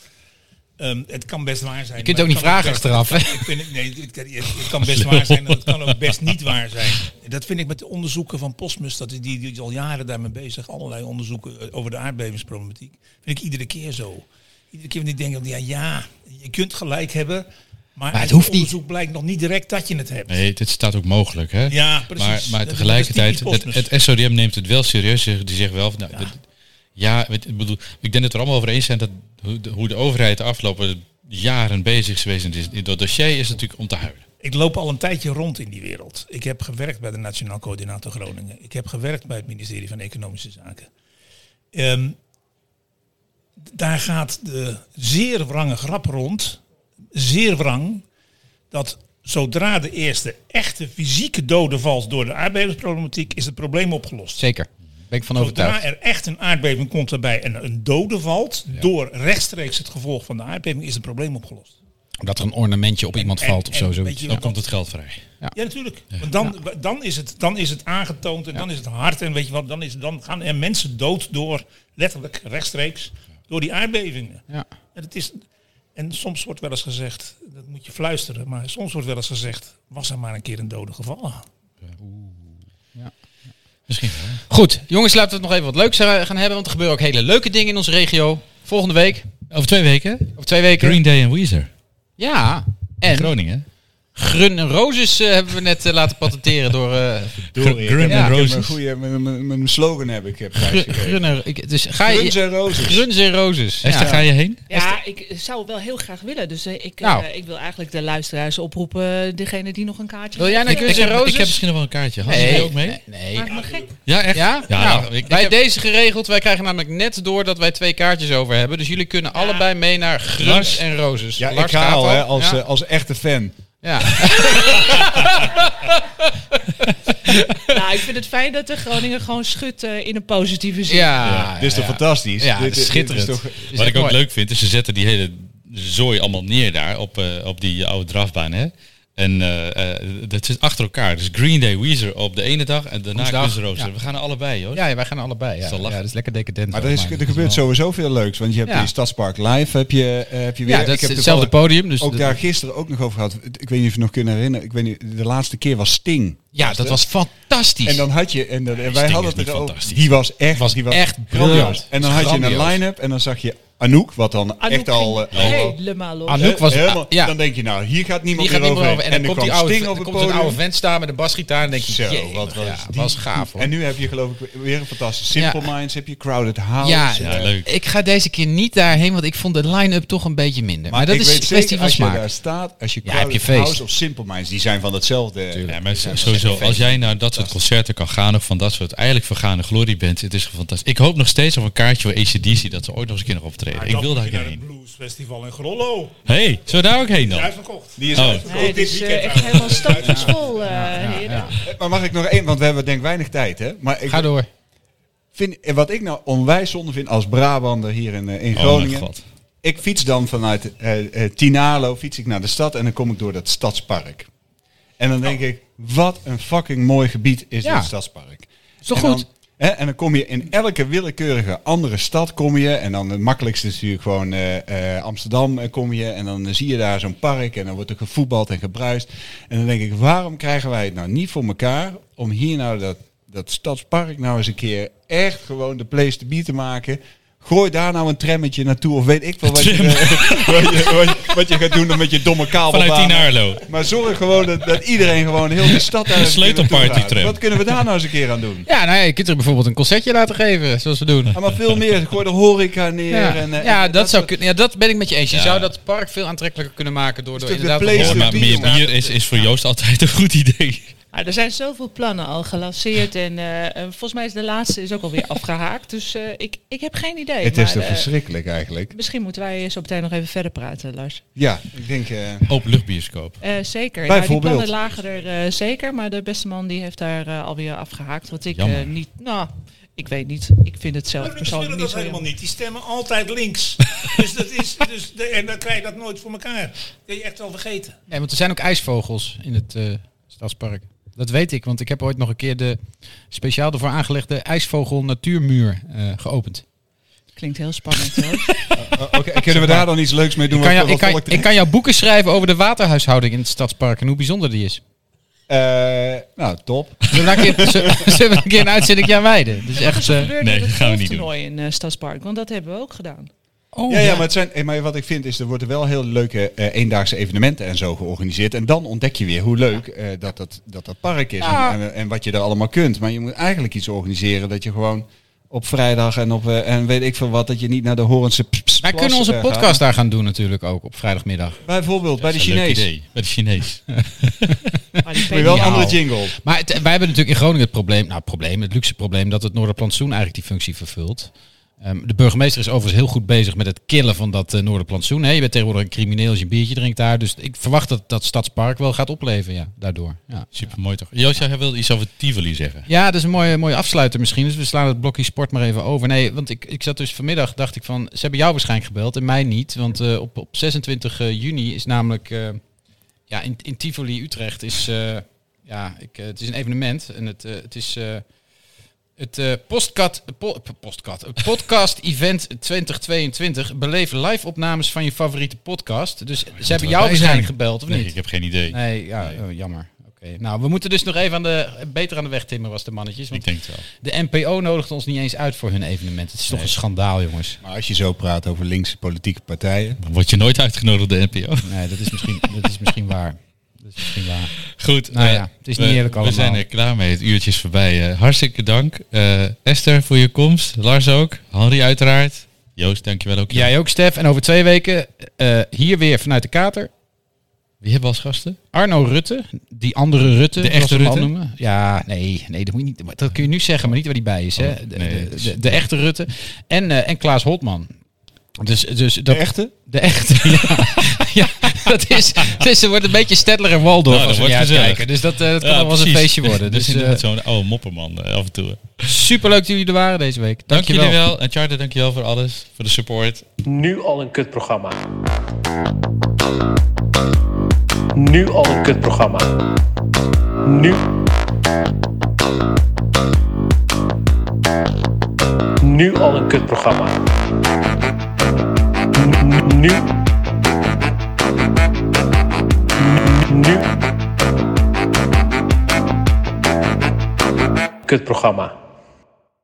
Speaker 2: Ehm, het kan best waar zijn. Je
Speaker 4: kunt ook niet vragen achteraf, hè?
Speaker 2: Ik vind, het- nee, het, kan- het kan best waar zijn en het kan ook best niet waar zijn. Dat vind ik met de onderzoeken van Postmus, dat die, die is al jaren daarmee bezig, allerlei onderzoeken eh, over de aardbevingsproblematiek. Vind ik iedere keer zo. Iedere keer wanneer ik denk, ja, ja, je kunt gelijk hebben, maar, uit
Speaker 4: het
Speaker 2: het
Speaker 4: hoeft niet.
Speaker 2: onderzoek blijkt nog niet direct dat je het hebt.
Speaker 3: Nee, dit staat ook mogelijk, hè?
Speaker 2: Ja, precies.
Speaker 3: Maar,
Speaker 2: Dat- dat
Speaker 3: maar
Speaker 2: is
Speaker 3: tegelijkertijd,
Speaker 2: typisch
Speaker 3: het,
Speaker 2: Postmus.
Speaker 3: het SODM neemt het wel serieus. Ze- Die zegt wel, van, nou, dit- ja, het- ik bedoel, ik denk dat we er allemaal over eens zijn dat hoe de, hoe de overheid de afgelopen jaren bezig is geweest in, dit, in dat dossier is natuurlijk om te huilen.
Speaker 2: Ik loop al een tijdje rond in die wereld. Ik heb gewerkt bij de Nationaal Coördinator Groningen. Ik heb gewerkt bij het ministerie van Economische Zaken. Ehm, d- daar gaat de zeer wrange grap rond. Zeer wrang. Dat zodra de eerste echte fysieke dode valt door de aardbevingsproblematiek, is het probleem opgelost.
Speaker 4: Zeker. Ben ik van
Speaker 2: Zodra
Speaker 4: overtuigd.
Speaker 2: er echt een aardbeving komt waarbij een, een dode valt, door rechtstreeks het gevolg van de aardbeving, is het probleem opgelost.
Speaker 4: Dat er een ornamentje op iemand
Speaker 2: en-
Speaker 4: valt of
Speaker 2: en
Speaker 4: zo.
Speaker 2: weet
Speaker 4: zoiets.
Speaker 2: je
Speaker 3: Dan
Speaker 2: Ja.
Speaker 3: komt het geld vrij.
Speaker 2: Ja, natuurlijk. Want dan, dan, is het, dan is het aangetoond en dan is het hard. En weet je wat, dan, is, dan gaan er mensen dood door, letterlijk, rechtstreeks, door die aardbevingen.
Speaker 4: Ja.
Speaker 2: En, het is, en soms wordt wel eens gezegd, dat moet je fluisteren, maar soms wordt wel eens gezegd, was er maar een keer een dode gevallen.
Speaker 3: Misschien wel.
Speaker 4: Goed, jongens, laten we het nog even wat leuks eh, gaan hebben. Want er gebeuren ook hele leuke dingen in onze regio. Volgende week,
Speaker 3: Over twee weken,
Speaker 4: over twee weken.
Speaker 3: Green Day en Weezer.
Speaker 4: Ja,
Speaker 3: En?
Speaker 4: en
Speaker 3: Groningen.
Speaker 4: Grun en Roses eh, hebben we net eh, laten patenteren door... eh,
Speaker 3: Gr- Grum
Speaker 4: Ja,
Speaker 3: en
Speaker 4: ik
Speaker 5: Ik heb een
Speaker 3: Roses.
Speaker 5: goede, mijn, mijn- mijn slogan heb ik. Heb
Speaker 4: Gr-
Speaker 5: prijsgegeven.
Speaker 4: Grun en... ik- Dus ga
Speaker 5: Guns
Speaker 4: je...
Speaker 5: en Roses.
Speaker 4: Gruns en Roses.
Speaker 3: Esther,
Speaker 4: ja.
Speaker 3: ga je heen?
Speaker 6: Ja, ik eh, zou het wel heel graag willen. Dus eh, ik, eh,
Speaker 4: Nou.
Speaker 6: ik wil eigenlijk de luisteraars oproepen, eh, degene die nog een kaartje
Speaker 4: Wil jij naar
Speaker 6: heeft.
Speaker 4: Guns
Speaker 3: Ik
Speaker 4: en
Speaker 3: heb,
Speaker 4: Roses?
Speaker 3: ik heb misschien nog wel een kaartje. Had je
Speaker 4: Nee.
Speaker 3: die ook mee?
Speaker 4: Nee.
Speaker 6: Maak me gek.
Speaker 3: Ja, echt?
Speaker 4: Ja?
Speaker 3: nou,
Speaker 4: nou,
Speaker 3: ik- ik
Speaker 4: bij
Speaker 3: heb-
Speaker 4: deze geregeld. Wij krijgen namelijk net door dat wij twee kaartjes over hebben. Dus jullie kunnen allebei mee naar Gruns
Speaker 3: Lars-
Speaker 4: en Roses.
Speaker 5: Ja, ik
Speaker 4: Lars
Speaker 5: ga
Speaker 4: gaat
Speaker 5: al, hè, als,
Speaker 4: Ja.
Speaker 5: eh, als echte fan.
Speaker 4: ja.
Speaker 6: [LAUGHS] Nou, ik vind het fijn dat de Groningen gewoon schudt eh, in een positieve zin.
Speaker 4: Ja,
Speaker 5: dit is toch
Speaker 4: Ah, ja.
Speaker 5: fantastisch?
Speaker 4: Ja,
Speaker 5: dit,
Speaker 4: dit is schitterend.
Speaker 5: Dit is toch,
Speaker 4: Is
Speaker 3: Wat
Speaker 4: echt
Speaker 3: ik ook
Speaker 4: mooi.
Speaker 3: leuk vind, is ze zetten die hele zooi allemaal neer daar op, eh, op die oude drafbaan. Hè? En eh, eh, dat zit achter elkaar. Dus Green Day, Weezer op de ene dag en daarna
Speaker 4: Woensdag,
Speaker 3: Guns N' Roses.
Speaker 4: ja.
Speaker 3: We gaan er allebei, hoor.
Speaker 4: Ja, ja, wij gaan allebei. Ja.
Speaker 3: Zal
Speaker 4: ja,
Speaker 3: lachen.
Speaker 4: dat is lekker decadent.
Speaker 5: maar er, is, er gebeurt sowieso veel leuks. Want je hebt
Speaker 4: Ja.
Speaker 5: die Stadspark Live heb je, eh, heb je weer.
Speaker 4: Ja, dat
Speaker 5: Ik
Speaker 4: is
Speaker 5: heb
Speaker 4: hetzelfde
Speaker 5: toevallig
Speaker 4: podium. Dus
Speaker 5: Ook
Speaker 4: dat-
Speaker 5: daar gisteren ook nog over gehad. Ik weet niet of je nog kunnen herinneren. Ik weet niet, de laatste keer was Sting.
Speaker 4: ja, dat was fantastisch.
Speaker 5: En dan had je, en, dan- en wij
Speaker 3: Sting
Speaker 5: hadden
Speaker 3: is
Speaker 5: het
Speaker 3: niet
Speaker 5: erover.
Speaker 3: fantastisch.
Speaker 5: Die was echt,
Speaker 4: was
Speaker 5: die was
Speaker 4: echt briljant.
Speaker 5: En dan had je een
Speaker 4: Grandioos.
Speaker 5: line-up en dan zag je Anouk, wat dan
Speaker 6: Anouk
Speaker 5: echt al.
Speaker 6: ging
Speaker 5: eh, al-
Speaker 6: helemaal los.
Speaker 4: Anouk
Speaker 5: eh,
Speaker 4: was- ah,
Speaker 5: helemaal-
Speaker 4: ja.
Speaker 5: Dan denk je, nou, hier gaat
Speaker 4: die
Speaker 5: niemand
Speaker 4: gaat
Speaker 5: meer
Speaker 4: niet meer
Speaker 5: overheen.
Speaker 4: over. En, dan, komt die
Speaker 5: kwam
Speaker 4: oude,
Speaker 5: Sting
Speaker 4: dan
Speaker 5: op het
Speaker 4: komt een
Speaker 5: podium.
Speaker 4: oude vent staan met een basgitaar. En denk je,
Speaker 5: Zo,
Speaker 4: jee,
Speaker 5: Oh, wat was,
Speaker 4: ja,
Speaker 5: die-
Speaker 4: was gaaf hoor.
Speaker 5: En nu heb je geloof ik weer een fantastische Simple
Speaker 4: Ja.
Speaker 5: Minds, heb je Crowded House.
Speaker 4: ja,
Speaker 5: eh,
Speaker 3: Ja, leuk.
Speaker 4: ik ga deze keer niet daarheen, want ik vond de line-up toch een beetje minder. Maar,
Speaker 5: Maar,
Speaker 4: dat
Speaker 5: ik
Speaker 4: is
Speaker 5: weet
Speaker 4: een kwestie
Speaker 5: zeker,
Speaker 4: van
Speaker 5: als je
Speaker 4: smaak.
Speaker 5: daar staat, als je
Speaker 4: Ja,
Speaker 5: Crowded
Speaker 4: heb je feest.
Speaker 5: House of Simple Minds, die zijn van hetzelfde.
Speaker 3: Ja, maar sowieso, als jij naar dat soort concerten kan gaan of van dat soort eigenlijk vergane glorie bent, het is fantastisch. Ik hoop nog steeds op een kaartje voor ACDC dat ze ooit nog eens een keer nog optreden. ik wil
Speaker 2: Dan moet
Speaker 3: daar
Speaker 2: je
Speaker 3: een keer
Speaker 2: naar het
Speaker 3: heen.
Speaker 2: bluesfestival in Grollo.
Speaker 3: Hé, hey, zullen we daar ook heen dan?
Speaker 2: Uitverkocht.
Speaker 5: Die is
Speaker 3: Oh.
Speaker 5: uit.
Speaker 6: Nee, dit is eh,
Speaker 2: weekend
Speaker 6: echt
Speaker 2: aan.
Speaker 6: helemaal stap van school, eh, heren.
Speaker 5: Maar mag ik nog één, want we hebben denk ik weinig tijd. Hè? Maar ik
Speaker 4: Ga door.
Speaker 5: vind, en wat ik nou onwijs zonde vind als Brabander hier in, eh,
Speaker 3: Oh mijn
Speaker 5: in Groningen.
Speaker 3: god.
Speaker 5: ik fiets dan vanuit eh, eh, Tinalo fiets ik naar de stad en dan kom ik door dat stadspark. En dan denk ik, wat een fucking mooi gebied is
Speaker 4: Ja.
Speaker 5: dit stadspark. Is
Speaker 4: toch goed?
Speaker 5: Hè, en dan kom je in elke willekeurige andere stad kom je. En dan het makkelijkste is natuurlijk gewoon eh, eh, Amsterdam eh, kom je. En dan eh, zie je daar zo'n park en dan wordt er gevoetbald en gebruist. En dan denk ik, waarom krijgen wij het nou niet voor elkaar om hier nou dat dat stadspark nou eens een keer echt gewoon de place to be te maken. Gooi daar nou een trammetje naartoe of weet ik veel wat, je, [LAUGHS] wat, je, wat, je- wat je gaat doen dan met je domme kabelbaan.
Speaker 3: Vanuit die Naarlo.
Speaker 5: Maar zorg gewoon dat, dat iedereen gewoon heel de stad daar eens een keer naartoe
Speaker 3: Sleutelparty
Speaker 5: gaat.
Speaker 3: tram.
Speaker 5: Wat kunnen we daar nou eens een keer aan doen?
Speaker 4: Ja, nou ja, je kunt er bijvoorbeeld een concertje laten geven, zoals we doen.
Speaker 5: Ja, maar veel meer. Gooi de horeca neer.
Speaker 4: Ja,
Speaker 5: En, eh,
Speaker 4: ja
Speaker 5: en
Speaker 4: dat, zou kunnen. Ja, dat ben ik met je eens. Je
Speaker 3: Ja.
Speaker 4: zou dat park veel aantrekkelijker kunnen maken door, door
Speaker 5: Stuk
Speaker 4: inderdaad...
Speaker 5: replace.
Speaker 3: Ja,
Speaker 5: Is
Speaker 3: maar
Speaker 5: het
Speaker 3: meer
Speaker 5: bier?
Speaker 3: bier is, is voor Joost altijd een goed idee.
Speaker 6: Ah, er zijn zoveel plannen al gelanceerd en eh, eh, volgens mij is de laatste is ook alweer afgehaakt. Dus eh, ik, ik heb geen idee.
Speaker 5: Het is
Speaker 6: maar,
Speaker 5: toch
Speaker 6: eh,
Speaker 5: verschrikkelijk eigenlijk.
Speaker 6: Misschien moeten wij zo meteen nog even verder praten, Lars.
Speaker 5: Ja, ik denk... eh,
Speaker 3: Openluchtbioscoop.
Speaker 6: Eh, zeker. Ja, die
Speaker 5: Bijvoorbeeld.
Speaker 6: plannen lagen er eh, zeker, maar de beste man die heeft daar eh, alweer afgehaakt. Wat ik eh,
Speaker 3: Jammer.
Speaker 6: niet... Nou, ik weet niet. Ik vind het zelf
Speaker 2: Maar
Speaker 6: persoonlijk
Speaker 2: mensen willen
Speaker 6: niet eh,
Speaker 2: dat
Speaker 6: zo
Speaker 2: helemaal
Speaker 6: jammer.
Speaker 2: niet. Die stemmen altijd
Speaker 3: [LAUGHS]
Speaker 2: links. dus dat is, dus de, en dan krijg je dat nooit voor elkaar. Dat kun je echt wel vergeten.
Speaker 4: Nee, want er zijn ook ijsvogels in het eh, stadspark. Dat weet ik, want ik heb ooit nog een keer de speciaal ervoor aangelegde ijsvogel natuurmuur eh, geopend.
Speaker 6: Klinkt heel spannend hoor.
Speaker 5: oh, Oké, kunnen we daar dan iets leuks mee doen?
Speaker 4: Ik kan,
Speaker 5: wat-
Speaker 4: jou, ik, kan,
Speaker 5: wat volk-
Speaker 4: ik kan jou boeken schrijven over de waterhuishouding in het stadspark en hoe bijzonder die is.
Speaker 5: Eh, nou, top.
Speaker 4: Zullen we een keer, zullen zullen we een, keer een uitzending aan wijden? Dat is echt... eh,
Speaker 6: Gebeurde
Speaker 3: nee,
Speaker 6: het
Speaker 3: dat gaan we niet
Speaker 6: golftoernooi in eh, Stadspark, want dat hebben we ook gedaan.
Speaker 4: oh,
Speaker 5: ja, ja, maar, het zijn, eh, maar wat ik vind is, er worden wel heel leuke eh, eendaagse evenementen en zo georganiseerd. En dan ontdek je weer hoe leuk eh, dat, dat, dat dat park is
Speaker 4: Ja.
Speaker 5: en, en, en wat je er allemaal kunt. Maar je moet eigenlijk iets organiseren dat je gewoon op vrijdag en op eh, en weet ik veel wat, dat je niet naar de Horense... ps- ps-
Speaker 4: Wij kunnen
Speaker 5: plassen,
Speaker 4: onze
Speaker 5: eh,
Speaker 4: podcast daar gaan doen natuurlijk ook op vrijdagmiddag.
Speaker 5: gaat. Bijvoorbeeld bij de
Speaker 3: Dat is een leuk
Speaker 5: Chinees.
Speaker 3: idee. Bij de Chinees.
Speaker 6: Maar die
Speaker 5: Moet je wel een
Speaker 4: Ja.
Speaker 5: andere jingle.
Speaker 4: Maar het- wij hebben natuurlijk in Groningen het probleem, nou het probleem, het luxe probleem, dat het Noorderplantsoen eigenlijk die functie vervult. Ehm, de burgemeester is overigens heel goed bezig met het killen van dat eh, Noorderplantsoen. hè. je bent tegenwoordig een crimineel als je een biertje drinkt daar. Dus ik verwacht dat dat Stadspark wel gaat opleveren, ja, daardoor. Ja,
Speaker 3: Super mooi toch? Joost, jij wilde iets over Tivoli zeggen.
Speaker 4: ja dat is een mooie, mooie afsluiter misschien. Dus we slaan het blokje sport maar even over. Nee, want ik, ik zat dus vanmiddag, dacht ik van, ze hebben jou waarschijnlijk gebeld en mij niet. Want eh, op, op 26 juni is namelijk, eh, ja, in, in Tivoli Utrecht is, eh, ja, ik, eh, het is een evenement. En het, eh, het is... eh, het eh postcat, po- postcat, het podcast event 2022. Beleef live opnames van je favoriete podcast. Dus ze hebben jou
Speaker 3: erbij
Speaker 4: waarschijnlijk
Speaker 3: zijn.
Speaker 4: gebeld, of
Speaker 3: nee,
Speaker 4: niet?
Speaker 3: ik heb geen idee.
Speaker 4: Nee, ja, oh, jammer. Oké. Nou, we moeten dus nog even aan de, beter aan de weg timmeren, was de mannetjes.
Speaker 3: Ik
Speaker 4: Want
Speaker 3: denk het wel.
Speaker 4: de NPO nodigde ons niet eens uit voor hun evenement. Het is toch een schandaal, jongens.
Speaker 5: Maar als je zo praat over linkse politieke partijen...
Speaker 3: Dan word je nooit uitgenodigd door de NPO.
Speaker 4: Nee, dat is misschien, dat is misschien waar. Dat is misschien waar.
Speaker 3: [LAUGHS] Goed.
Speaker 4: Nou
Speaker 3: eh,
Speaker 4: ja, het is niet
Speaker 3: we-
Speaker 4: eerlijk allemaal.
Speaker 3: We zijn er klaar mee. Het uurtje is voorbij. eh. hartstikke dank. eh, Esther voor je komst. Lars ook. Henry uiteraard. Joost, dankjewel ook.
Speaker 4: Jij ook, Stef. En over twee weken eh, hier weer vanuit de Kater.
Speaker 3: Wie hebben we als gasten?
Speaker 4: Arno Rutte, die andere Rutte.
Speaker 3: De
Speaker 4: zoals
Speaker 3: echte
Speaker 4: we hem al
Speaker 3: Rutte?
Speaker 4: noemen. Ja, nee, nee dat, moet je niet, dat kun je nu zeggen, maar niet waar die bij is. Hè. De,
Speaker 3: Oh, nee,
Speaker 4: de,
Speaker 3: het is-
Speaker 4: de, de echte Rutte. En, eh, en Klaas Holtman. Dus, dus dat,
Speaker 5: De echte?
Speaker 4: De echte, [LAUGHS] ja. ja dat is, dus ze wordt een beetje Stedler en Waldorf
Speaker 3: Nou, dat
Speaker 4: als we
Speaker 3: wordt
Speaker 4: naar
Speaker 3: gezellig.
Speaker 4: kijken. Dus dat, eh, dat kan
Speaker 3: Ja,
Speaker 4: wel eens een
Speaker 3: precies.
Speaker 4: feestje
Speaker 3: [LAUGHS]
Speaker 4: worden.
Speaker 3: Dat is
Speaker 4: Dus
Speaker 3: inderdaad zo'n oude mopperman eh, af en toe.
Speaker 4: superleuk dat jullie er waren deze week.
Speaker 3: Dank
Speaker 4: Dankjewel.
Speaker 3: jullie wel. En Charter, dankjewel voor alles. Voor de support.
Speaker 1: Nu al een kutprogramma. Nu al een kutprogramma. Nu. Nu al een kutprogramma. Nu. Nu. Nu. Kutprogramma.